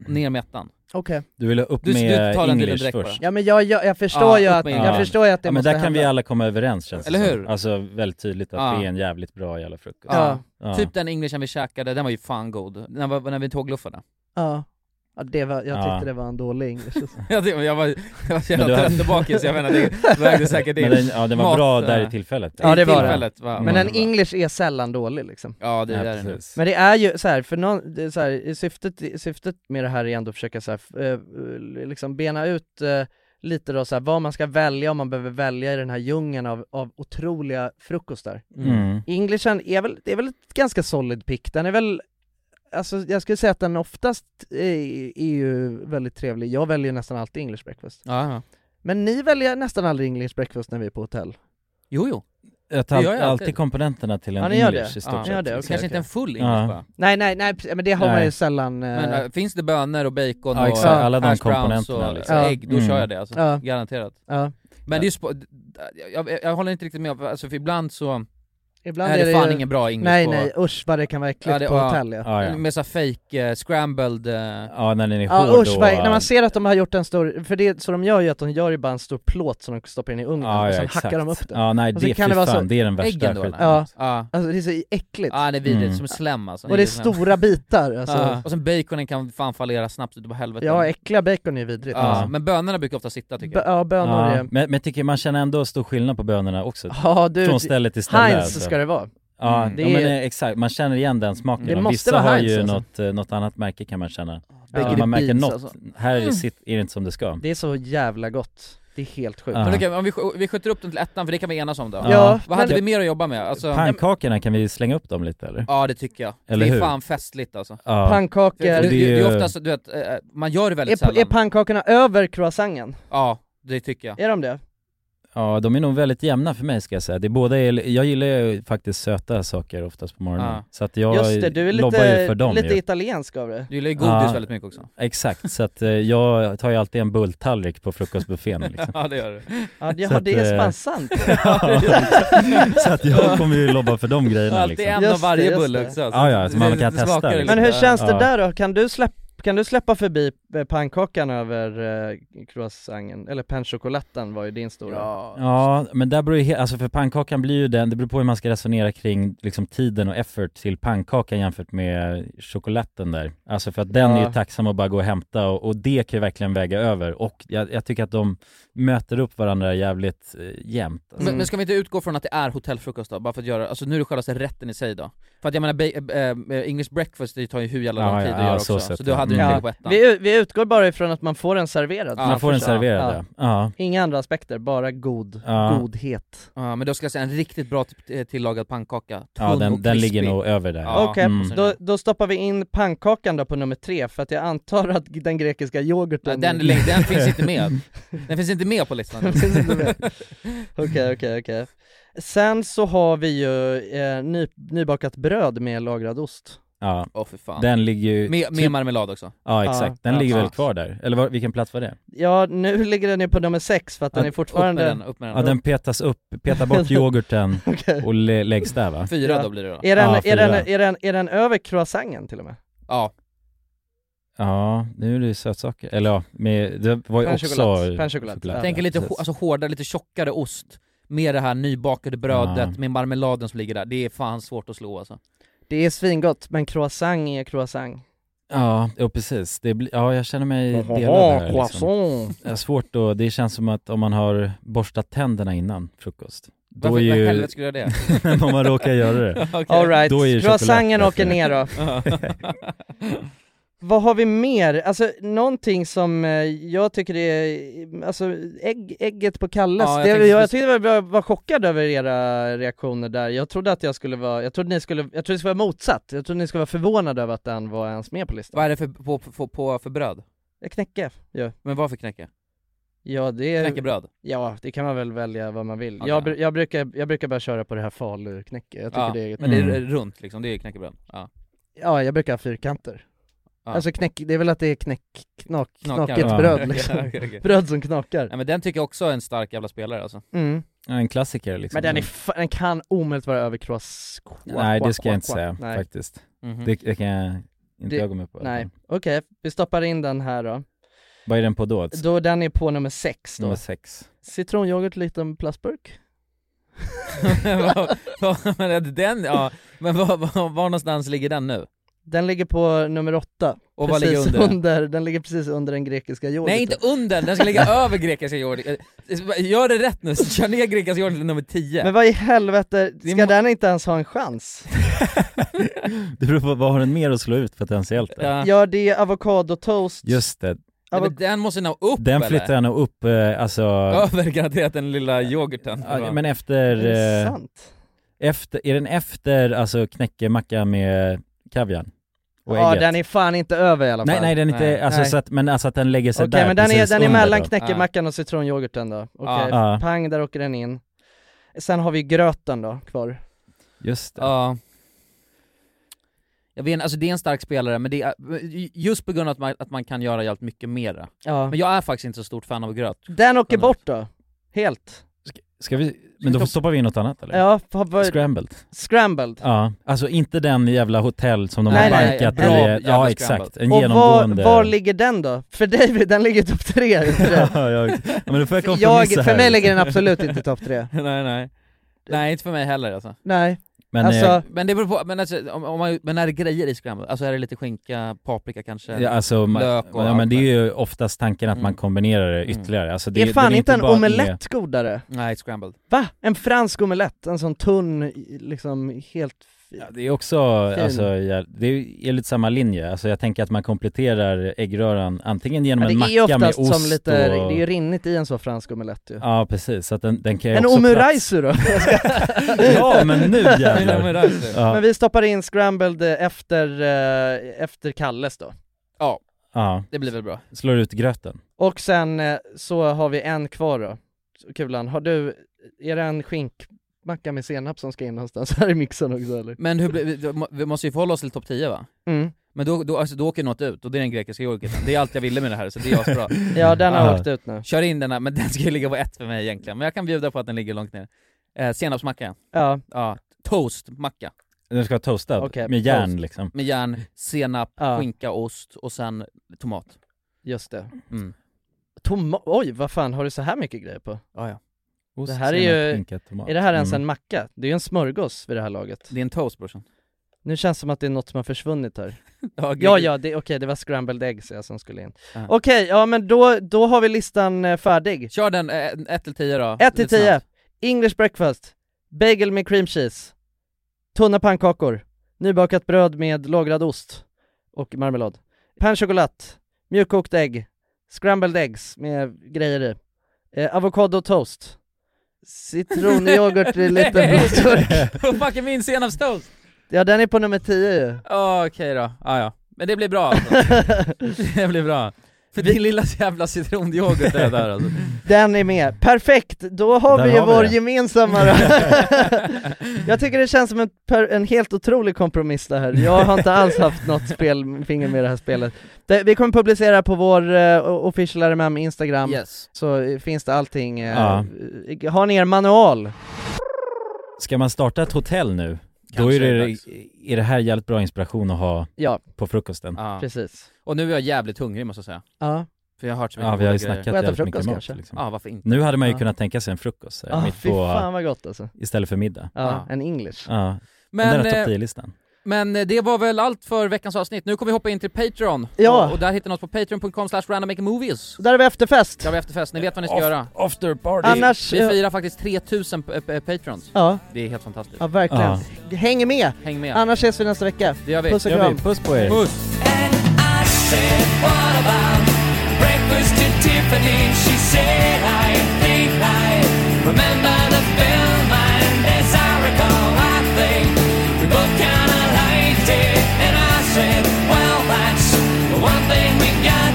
Speaker 2: ner med ettan?
Speaker 1: Okej.
Speaker 3: Du vill ha upp
Speaker 2: Du- du
Speaker 3: med eh,
Speaker 2: tar den bilden
Speaker 3: English
Speaker 2: direkt bara.
Speaker 3: först?
Speaker 1: Ja men jag, jag, jag förstår
Speaker 2: Ja,
Speaker 1: ju
Speaker 2: upp
Speaker 1: att,
Speaker 2: med
Speaker 1: jag
Speaker 3: Ja.
Speaker 1: förstår ju att det
Speaker 3: ja, men
Speaker 1: måste
Speaker 3: där kan
Speaker 1: hända.
Speaker 3: vi alla komma överens känns det
Speaker 2: Eller
Speaker 3: som.
Speaker 2: hur?
Speaker 3: Alltså väldigt tydligt att
Speaker 2: Ja.
Speaker 3: det är en jävligt bra jävla frukost.
Speaker 1: Ja.
Speaker 2: Typ den englishen vi käkade, den var ju fan god, när, var- när vi tågluffade.
Speaker 1: Ja. Ja, det var, jag tyckte
Speaker 3: Ja.
Speaker 1: det var en dålig engelsk.
Speaker 2: jag, tyckte- jag var jag var så
Speaker 3: Men
Speaker 2: jävla
Speaker 3: du hade-
Speaker 2: trött och bakis, jag menar det vägde säkert in.
Speaker 3: Men den- ja, den var bra där i tillfället.
Speaker 1: Ja det var
Speaker 2: tillfället,
Speaker 1: det.
Speaker 2: va?
Speaker 1: Men en
Speaker 2: Mm.
Speaker 1: English är sällan dålig liksom.
Speaker 2: Ja det
Speaker 3: Ja,
Speaker 2: där är det.
Speaker 3: precis.
Speaker 1: Men det är ju så här, för någon, det är så här, i syftet, syftet med det här är ändå att försöka så här, f- eh, liksom bena ut eh, lite då så här, vad man ska välja om man behöver välja i den här djungeln av, av otroliga frukostar.
Speaker 3: Mm.
Speaker 1: Englishen är väl, det är väl ett ganska solid pick, den är väl Alltså jag skulle säga att den oftast är, är ju väldigt trevlig, jag väljer nästan alltid English breakfast
Speaker 2: Ja, ja.
Speaker 1: Men ni väljer nästan aldrig English breakfast när vi är på hotell
Speaker 2: Jo, jo.
Speaker 3: jag
Speaker 2: Det
Speaker 3: tar
Speaker 2: gör jag
Speaker 3: alltid,
Speaker 2: alltid.
Speaker 3: komponenterna till en
Speaker 1: Ja, ni gör
Speaker 3: English
Speaker 1: det.
Speaker 3: i stort
Speaker 1: Ja, ni
Speaker 3: sett.
Speaker 1: gör det, okej,
Speaker 2: Kanske inte
Speaker 1: okej.
Speaker 2: en full English
Speaker 3: Ja.
Speaker 2: bara.
Speaker 1: Nej, nej, nej, pre- men det har man
Speaker 3: Nej.
Speaker 1: ju sällan... eh,
Speaker 2: Men äh, finns det bönor och bacon
Speaker 3: Ja,
Speaker 2: och
Speaker 3: exakt. Alla de
Speaker 2: hash browns
Speaker 3: komponenterna
Speaker 2: och
Speaker 3: liksom.
Speaker 2: ägg, då
Speaker 3: Mm.
Speaker 2: kör jag det alltså.
Speaker 1: Ja.
Speaker 2: Garanterat.
Speaker 1: Ja.
Speaker 2: Men det är ju spo- d- jag, jag, jag håller inte riktigt med, alltså för ibland så...
Speaker 1: Ibland
Speaker 2: är det,
Speaker 1: ju-
Speaker 2: fan ingen bra English
Speaker 1: Nej,
Speaker 2: på...
Speaker 1: nej, usch vad det kan vara äckligt på hotell ja.
Speaker 3: Ja, ja.
Speaker 2: Med så fake eh, scrambled... eh,
Speaker 3: Ja, när den är
Speaker 1: Ja
Speaker 3: hård
Speaker 1: usch,
Speaker 3: och...
Speaker 1: vad, när man ser att de har gjort en stor, för det så de gör ju att de gör ju bara en stor plåt som de stoppar in i ugnen
Speaker 3: Ja,
Speaker 1: och
Speaker 3: ja,
Speaker 1: sen
Speaker 3: exakt.
Speaker 1: hackar de upp Alltså, den.
Speaker 3: Ja, nej,
Speaker 1: Och sen
Speaker 3: det- fy fan, det är den värsta
Speaker 1: Äggen då,
Speaker 3: skiten.
Speaker 1: Ja.
Speaker 2: Ja.
Speaker 1: Alltså det är så äckligt.
Speaker 2: Ja det är vidrigt,
Speaker 3: Mm.
Speaker 2: som slem alltså.
Speaker 1: Och det är
Speaker 2: Riktigt slem.
Speaker 1: stora bitar alltså.
Speaker 2: Ja. Och sen baconen kan fan fallera snabbt utav helvete.
Speaker 1: Ja, äckliga bacon är vidrigt.
Speaker 2: Ja,
Speaker 1: alltså.
Speaker 2: Men bönorna brukar ofta sitta tycker
Speaker 1: Bö-
Speaker 2: jag.
Speaker 1: ja, bönor är...
Speaker 3: Men, men jag tycker man känner ändå stor skillnad på bönorna också.
Speaker 1: Ja, du,
Speaker 3: Från ställe till ställe
Speaker 1: Heinz
Speaker 3: alltså.
Speaker 1: ska det vara.
Speaker 3: Ja,
Speaker 1: Mm.
Speaker 3: ja
Speaker 1: Det
Speaker 3: men
Speaker 1: är-
Speaker 3: eh, exakt, man känner igen den smaken.
Speaker 1: Det
Speaker 3: Och
Speaker 1: måste
Speaker 3: Vissa
Speaker 1: vara
Speaker 3: har
Speaker 1: Heinz,
Speaker 3: ju
Speaker 1: alltså.
Speaker 3: något, eh, något annat märke kan man känna.
Speaker 1: Bakery
Speaker 3: Ja. Man märker
Speaker 1: Beans,
Speaker 3: något,
Speaker 1: alltså.
Speaker 3: här är,
Speaker 1: Mm.
Speaker 3: sitt, är det inte som det ska.
Speaker 1: Det är så jävla gott. Det är helt sjukt.
Speaker 3: Ja.
Speaker 2: Men okej, om vi, sk- vi skjuter upp den till ettan för det kan vi enas om då.
Speaker 3: Ja. Ja,
Speaker 2: Vad hade vi
Speaker 3: men-
Speaker 2: mer att jobba med? Alltså,
Speaker 3: Pannkakorna, kan vi slänga upp dem lite eller?
Speaker 2: Ja det tycker jag.
Speaker 3: Eller
Speaker 2: det är
Speaker 3: hur?
Speaker 2: fan festligt alltså.
Speaker 3: Ja. Pannkakor.
Speaker 2: Det, det, det,
Speaker 3: Det är
Speaker 2: det
Speaker 3: ju-
Speaker 2: är oftast, du vet, eh, man gör det väldigt
Speaker 1: Är,
Speaker 2: sällan.
Speaker 1: är pannkakorna över croissanten?
Speaker 2: Ja, det tycker jag.
Speaker 1: Är de det?
Speaker 3: Ja, de är nog väldigt jämna för mig ska jag säga. Det är båda, är- jag gillar ju faktiskt söta saker oftast på morgonen.
Speaker 2: Ja.
Speaker 3: Så att jag
Speaker 1: Just det, du är
Speaker 3: lobbar ju
Speaker 1: lite,
Speaker 3: för dem
Speaker 1: lite
Speaker 3: ju.
Speaker 1: italiensk av det.
Speaker 2: Du gillar ju
Speaker 3: Ja.
Speaker 2: godis väldigt mycket också.
Speaker 3: Exakt, så att eh, jag tar ju alltid en bulltallrik på frukostbuffén liksom.
Speaker 2: Ja det gör du.
Speaker 1: Ja,
Speaker 3: Så
Speaker 1: ja
Speaker 3: att,
Speaker 1: det är
Speaker 3: eh,
Speaker 1: fan sant.
Speaker 3: Ja, exakt. så att jag kommer ju lobba för de grejerna
Speaker 2: Alltid
Speaker 3: liksom.
Speaker 2: en av varje bulle också. alltså.
Speaker 3: Ja, ja, så man
Speaker 2: Det-
Speaker 3: kan
Speaker 2: det
Speaker 3: testa,
Speaker 2: smakar
Speaker 3: liksom.
Speaker 1: Men hur känns det
Speaker 3: Ja.
Speaker 1: där då? Kan du, släpp, kan du släppa förbi eh, pannkakan över eh, croissanten? Eller panchocolatten var ju din stora.
Speaker 3: Ja, men där beror ju he- alltså för pannkakan blir ju den, det beror på hur man ska resonera kring liksom tiden och effort till pannkakan jämfört med chokoladen där. Alltså för att den
Speaker 1: Ja.
Speaker 3: är ju tacksam att bara gå och hämta och, och det kan ju verkligen väga över och jag, jag tycker att de möter upp varandra jävligt eh, jämnt. Alltså.
Speaker 2: Men, men ska vi inte utgå från att det är hotellfrukost då? Bara för att göra, alltså nu är det självaste rätten i sig då. För att jag menar, ba- eh, eh, English breakfast det tar ju hur jävla lång
Speaker 3: Ja,
Speaker 2: tid
Speaker 3: ja,
Speaker 2: att
Speaker 3: ja,
Speaker 2: göra
Speaker 3: så
Speaker 2: också.
Speaker 3: sett,
Speaker 2: Så då
Speaker 3: ja.
Speaker 2: hade du inte
Speaker 3: Mm.
Speaker 2: legat på ettan.
Speaker 1: Vi, ut- vi utgår bara ifrån att man får en serverad.
Speaker 3: Man får den
Speaker 1: framför sig.
Speaker 3: serverad ja. ja.
Speaker 1: Inga andra aspekter, bara god,
Speaker 3: Ja.
Speaker 1: godhet.
Speaker 2: Ja men då ska jag säga en riktigt bra typ, eh, tillagad pannkaka. Tunn
Speaker 3: Ja, den-
Speaker 2: och
Speaker 3: den
Speaker 2: krispig.
Speaker 3: ligger nog över där.
Speaker 2: Ja.
Speaker 1: Okej,
Speaker 3: Mm.
Speaker 1: då, då stoppar vi in pannkakan då på nummer tre, för att jag antar att den grekiska yoghurten...
Speaker 2: Ja, den, är länge- den finns inte med. Den finns inte med på listan.
Speaker 1: Den finns inte med. Okej, okej, okej. Sen så har vi ju eh, ny, nybakat bröd med lagrad ost.
Speaker 3: ja.
Speaker 2: Åh för fan.
Speaker 3: Den typ- ligger ju...
Speaker 2: Med, med marmelad också.
Speaker 3: Ja
Speaker 1: Ja,
Speaker 3: exakt, den ligger väl
Speaker 1: absolut.
Speaker 3: kvar där? Eller var, vilken plats var det?
Speaker 1: Ja, nu ligger den ju på nummer sex för att den
Speaker 3: Ja,
Speaker 1: är fortfarande...
Speaker 2: upp med den, upp med
Speaker 3: Ja den petas upp, petar bort yoghurten
Speaker 1: Okej.
Speaker 3: och lä- läggs där va?
Speaker 2: Fyra då blir det då.
Speaker 1: Är den,
Speaker 3: Ja,
Speaker 1: är, den,
Speaker 3: fyra.
Speaker 1: är, den, är den över croissanten till och med?
Speaker 2: Ja.
Speaker 3: Ja, nu är det ju sötsaker. Eller ja, med, det var ju
Speaker 1: Pain
Speaker 3: också
Speaker 1: chocolate. Pain chocolate. Ja.
Speaker 2: Tänk er lite hå-
Speaker 3: precis.
Speaker 2: alltså, hårdare, lite tjockare ost. Med det här nybakade brödet, med marmeladen som ligger där. Det är fan svårt att slå alltså.
Speaker 1: Det är svingott, men croissant är croissant.
Speaker 3: Ja, jo, precis. Det blir, ja, jag känner mig
Speaker 1: Ohoho,
Speaker 3: delad här liksom.
Speaker 1: croissant.
Speaker 3: Det är svårt att, det känns som att om man har borstat tänderna innan frukost. Då
Speaker 2: Varför
Speaker 3: är
Speaker 2: i
Speaker 3: ju...
Speaker 2: helvete skulle jag göra det?
Speaker 3: om man råkar göra det.
Speaker 2: Okej.
Speaker 1: All right,
Speaker 3: Då är ju
Speaker 1: croissanten
Speaker 3: choklad
Speaker 1: åker ner då. Vad har vi mer? Alltså någonting som eh, jag tycker är, alltså ägg, ägget på Kalles,
Speaker 2: Ja, jag
Speaker 1: det,
Speaker 2: tänkte-
Speaker 1: jag, jag tyckte jag var, var chockad över era reaktioner där, jag trodde att jag skulle vara, jag trodde ni skulle, jag trodde det skulle vara motsatt, jag trodde ni skulle vara förvånade över att den var ens med på listan.
Speaker 2: Vad är det för, på, på, på, för bröd?
Speaker 1: Jag knäcke, ja.
Speaker 2: Men vad för knäcke?
Speaker 1: Eh, ja det är...
Speaker 2: Knäckebröd?
Speaker 1: Ja, det kan man väl välja vad man vill.
Speaker 2: Okej.
Speaker 1: Jag, bru- jag, brukar, jag brukar bara köra på det här faluknäcke, jag tycker
Speaker 2: ja,
Speaker 1: det är...
Speaker 2: Men det är
Speaker 3: Mm.
Speaker 2: runt liksom, det är knäckebröd. Ja.
Speaker 1: Ja, jag brukar ha fyrkanter.
Speaker 2: Ja.
Speaker 1: Alltså knäck, det är väl att det är knäck, knak,
Speaker 2: Knakar.
Speaker 1: knakigt
Speaker 2: Ja.
Speaker 1: bröd liksom.
Speaker 2: Okej, okej, okej.
Speaker 1: Bröd som knakar.
Speaker 2: Nej men den tycker jag också är en stark jävla spelare alltså.
Speaker 1: Mm.
Speaker 3: Ja, en klassiker liksom.
Speaker 1: Men den, är fa- den kan omöjligt vara över cross...
Speaker 3: Nej, det ska jag inte säga
Speaker 1: Nej.
Speaker 3: faktiskt.
Speaker 2: Mhm.
Speaker 3: Det, det kan jag inte
Speaker 1: Det-
Speaker 3: jag gå med på.
Speaker 1: Nej, okej, vi stoppar in den här då.
Speaker 3: Vad är den på då?
Speaker 1: Då den är på nummer sex då.
Speaker 3: Nummer sex.
Speaker 1: Citronyoghurt, liten plastburk.
Speaker 2: Vad- vad- men att den, ja. Men var, var, var någonstans ligger den nu?
Speaker 1: Den ligger på nummer åtta.
Speaker 2: Och vad
Speaker 1: precis
Speaker 2: ligger under?
Speaker 1: Den ligger precis under den grekiska yoghurten.
Speaker 2: Nej inte under, den ska ligga över grekiska yoghurt. Gör det rätt nu, kör ner grekiska yoghurt till nummer 10.
Speaker 1: Men vad i helvete, ska
Speaker 2: må-
Speaker 1: den inte ens ha en chans?
Speaker 3: Det beror på, vad har den mer att slå ut potentiellt? då?
Speaker 2: Ja.
Speaker 1: Ja, det är avokadotoast.
Speaker 3: Just det,
Speaker 2: Nej, men den måste nå upp
Speaker 3: den
Speaker 2: eller?
Speaker 3: flyttar jag nog upp, eh, alltså...
Speaker 2: Över garanterat den lilla yoghurten.
Speaker 3: Ja, men efter...
Speaker 1: Är det
Speaker 3: eh,
Speaker 1: sant?
Speaker 3: Efter, är den efter alltså knäckemacka med kaviarn? Och
Speaker 1: Ja,
Speaker 3: ägget?
Speaker 1: den är fan inte över i alla fall.
Speaker 3: Nej nej den är inte, alltså
Speaker 1: Nej.
Speaker 3: så att, men alltså att den lägger sig
Speaker 1: Okej
Speaker 3: där
Speaker 1: men den är,
Speaker 3: precis
Speaker 1: den är
Speaker 3: under
Speaker 1: mellan
Speaker 3: då.
Speaker 1: knäckemackan och citronyoghurten då, okej,
Speaker 3: Ja.
Speaker 1: pang där åker den in Sen har vi gröten då kvar.
Speaker 3: Just det.
Speaker 2: Ja. Jag vet alltså det är en stark spelare, men det är, just på grund av att man, att man kan göra jävligt mycket mera.
Speaker 1: Ja.
Speaker 2: Men jag är faktiskt inte så stort fan av gröt.
Speaker 1: Den åker bort då, helt.
Speaker 3: Ska vi, men då stoppar vi in något annat eller?
Speaker 1: Ja, vad- vad-
Speaker 3: Scrambled.
Speaker 1: Scrambled.
Speaker 3: Ja, alltså inte den jävla hotell som de
Speaker 1: Nej,
Speaker 3: har
Speaker 1: nej,
Speaker 3: bankat
Speaker 1: bra
Speaker 3: i,
Speaker 1: jävla
Speaker 3: ja
Speaker 1: scrambled.
Speaker 3: exakt, en
Speaker 1: och
Speaker 3: genomgående...
Speaker 1: var, var ligger den då? För David, den ligger i topp tre. inte det?
Speaker 3: ja, jag, ja, men då får jag
Speaker 1: För
Speaker 3: kompromissa
Speaker 1: jag- för
Speaker 3: här.
Speaker 1: mig ligger den absolut inte i topp tre.
Speaker 2: nej nej. Nej inte för mig heller alltså.
Speaker 1: Nej.
Speaker 3: Men,
Speaker 1: Alltså- eh,
Speaker 2: men det beror på, men, alltså, om, om man, men är det grejer i scramble? Alltså är det lite skinka, paprika kanske?
Speaker 3: Ja, alltså, man,
Speaker 2: lök och
Speaker 3: ja,
Speaker 2: allt
Speaker 3: men det är
Speaker 2: där? Mm.
Speaker 3: ju oftast tanken att man kombinerar det ytterligare. Alltså, det,
Speaker 1: är fan
Speaker 3: det
Speaker 1: inte, en
Speaker 3: bara
Speaker 1: omelett godare?
Speaker 2: Nej, scrambled.
Speaker 1: Va? En fransk omelett? En sån tunn, liksom helt...
Speaker 3: Ja, det är också,
Speaker 1: Fin.
Speaker 3: alltså, ja, det är lite samma linje. Alltså, jag tänker att man kompletterar äggröran antingen genom
Speaker 1: Ja, det
Speaker 3: en
Speaker 1: är ju
Speaker 3: macka med
Speaker 1: oftast
Speaker 3: ost
Speaker 1: som lite,
Speaker 3: och...
Speaker 1: det är ju rinnigt i en sån fransk omelett ju.
Speaker 3: Ja precis, så att den, den kan ju
Speaker 1: en
Speaker 3: också
Speaker 1: omuraisu då?
Speaker 3: Ja, men nu jävlar. En omuraisu. Ja.
Speaker 1: Men vi stoppar in scrambled eh, efter, eh, efter Kalles då.
Speaker 2: Ja.
Speaker 3: Ja.
Speaker 2: Det blir väl bra.
Speaker 3: Slår ut gröten.
Speaker 1: Och sen eh, så har vi en kvar då. Så, Kulan, har du, är det en skinkmacka med senap som ska in någonstans här i mixen också eller?
Speaker 2: Men hur blir, vi- då må- vi måste ju förhålla oss till topp 10 va?
Speaker 1: Mm.
Speaker 2: Men då, då, alltså, då åker något ut, och det är den grekiska yoghurten. Det är allt jag ville med det här, så det är asbra.
Speaker 1: Ja, den har
Speaker 2: Ah.
Speaker 1: åkt ut nu.
Speaker 2: Kör in den här, men den ska ju ligga på ett för mig egentligen. Men jag kan bjuda på att den ligger långt ner. Eh, senapsmacka.
Speaker 1: Ja.
Speaker 2: ja. Toastmacka.
Speaker 3: Den ska vara toastad,
Speaker 2: Okej,
Speaker 3: med järn
Speaker 2: toast.
Speaker 3: liksom.
Speaker 2: Med järn, senap,
Speaker 1: Ja.
Speaker 2: skinka, ost och sen tomat.
Speaker 1: Just det.
Speaker 2: Mm.
Speaker 1: Toma- Oj, vad fan har du så här mycket grejer på?
Speaker 2: Ja, ja.
Speaker 3: Ost,
Speaker 1: det här är
Speaker 3: senap,
Speaker 1: ju,
Speaker 3: skinka, tomat.
Speaker 1: är det här ens
Speaker 3: Mm.
Speaker 1: en macka? Det är ju en smörgås vid det här laget.
Speaker 2: Det är en toast brorsan.
Speaker 1: Nu känns det som att det är något som har försvunnit här.
Speaker 2: Ja,
Speaker 1: ja,
Speaker 2: gud.
Speaker 1: ja, det, okej, det var scrambled eggs jag som skulle in.
Speaker 2: Ja.
Speaker 1: Okej, ja men då, då har vi listan eh, färdig.
Speaker 2: Kör den 1 till 10 då.
Speaker 1: 1 till
Speaker 2: Lite
Speaker 1: 10,
Speaker 2: snabbt.
Speaker 1: English breakfast, bagel med cream cheese, tunna pannkakor, nybakat bröd med lågrad ost och marmelad, pain chocolat, mjukkokt ägg, scrambled eggs med grejer i, eh, avokado toast, citronyoghurt i liten blåturk.
Speaker 2: Vad fuck är min senapstoast?
Speaker 1: Ja den är på nummer 10 ju.
Speaker 2: Ja, Okej då, ah, ja. Men det blir bra alltså. Det blir bra. För din lilla jävla citronyoghurt är det där alltså.
Speaker 1: Den är med, perfekt! Då har
Speaker 2: Där
Speaker 1: vi ju
Speaker 2: har vi
Speaker 1: vår
Speaker 2: det.
Speaker 1: gemensamma då. Jag tycker det känns som en, per, en helt otrolig kompromiss det här, jag har inte alls haft något spel, finger med i det här spelet. Det, vi kommer publicera på vår eh, official RMM Instagram,
Speaker 2: Yes.
Speaker 1: så eh, finns det allting. eh,
Speaker 3: Ja.
Speaker 1: eh, Har ni er manual?
Speaker 3: Ska man starta ett hotell nu, då
Speaker 2: Kanske
Speaker 3: är
Speaker 2: är det
Speaker 3: det,
Speaker 2: dags.
Speaker 3: är det här jävligt bra inspiration att ha
Speaker 1: Ja.
Speaker 3: på frukosten.
Speaker 2: Ja.
Speaker 1: Precis.
Speaker 2: Och nu är jag jävligt hungrig måste jag säga.
Speaker 1: Ja.
Speaker 2: För jag har hört så mycket
Speaker 3: Ja vi har ju
Speaker 2: goda grejer.
Speaker 3: snackat jävligt mycket mat liksom.
Speaker 2: Ja varför inte?
Speaker 3: Nu hade man ju
Speaker 2: Ja.
Speaker 3: kunnat tänka sig en frukost så här,
Speaker 1: Ah,
Speaker 3: mitt
Speaker 1: fy
Speaker 3: på,
Speaker 1: fan vad gott alltså.
Speaker 3: istället för middag.
Speaker 1: Ja, en English.
Speaker 3: Ja.
Speaker 2: Men,
Speaker 3: Men, den där
Speaker 2: eh,
Speaker 3: topp 10-listan.
Speaker 2: Men eh, det var väl allt för veckans avsnitt, nu kommer vi hoppa in till Patreon.
Speaker 1: Ja.
Speaker 2: Och, och där hittar ni oss på patreon.com slash randommakemovies.
Speaker 1: Där har vi efterfest!
Speaker 2: Där har vi efterfest, ni vet vad ni ska
Speaker 1: Off-
Speaker 2: göra.
Speaker 3: After party!
Speaker 1: Annars- eh,
Speaker 2: Vi firar faktiskt 3000 p- p- patrons.
Speaker 1: Ja.
Speaker 2: Det är helt fantastiskt.
Speaker 1: Ja verkligen. Häng med!
Speaker 2: Häng med.
Speaker 1: Annars ses vi nästa vecka.
Speaker 2: Det gör vi.
Speaker 1: Puss och
Speaker 2: Det gör vi.
Speaker 1: kram.
Speaker 3: Puss på er.
Speaker 2: Puss.
Speaker 12: I said, what about breakfast at Tiffany? She said, I think I remember the film, and as I recall, I think we both kinda liked it. And I said, well, that's the one thing we got.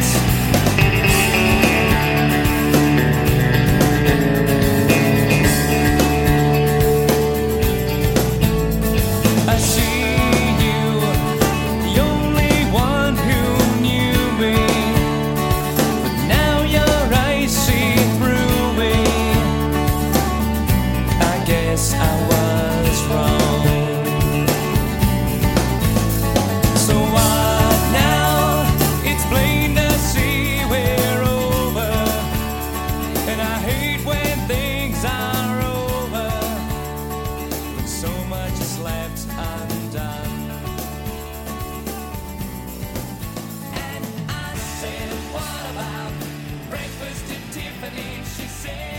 Speaker 12: I see you the only one who knew me. But now your eyes see through me. I guess I was wrong. So what now? It's plain to see we're over. And I hate when things are over. When so much is left undone. I said, what about breakfast at Tiffany? She said.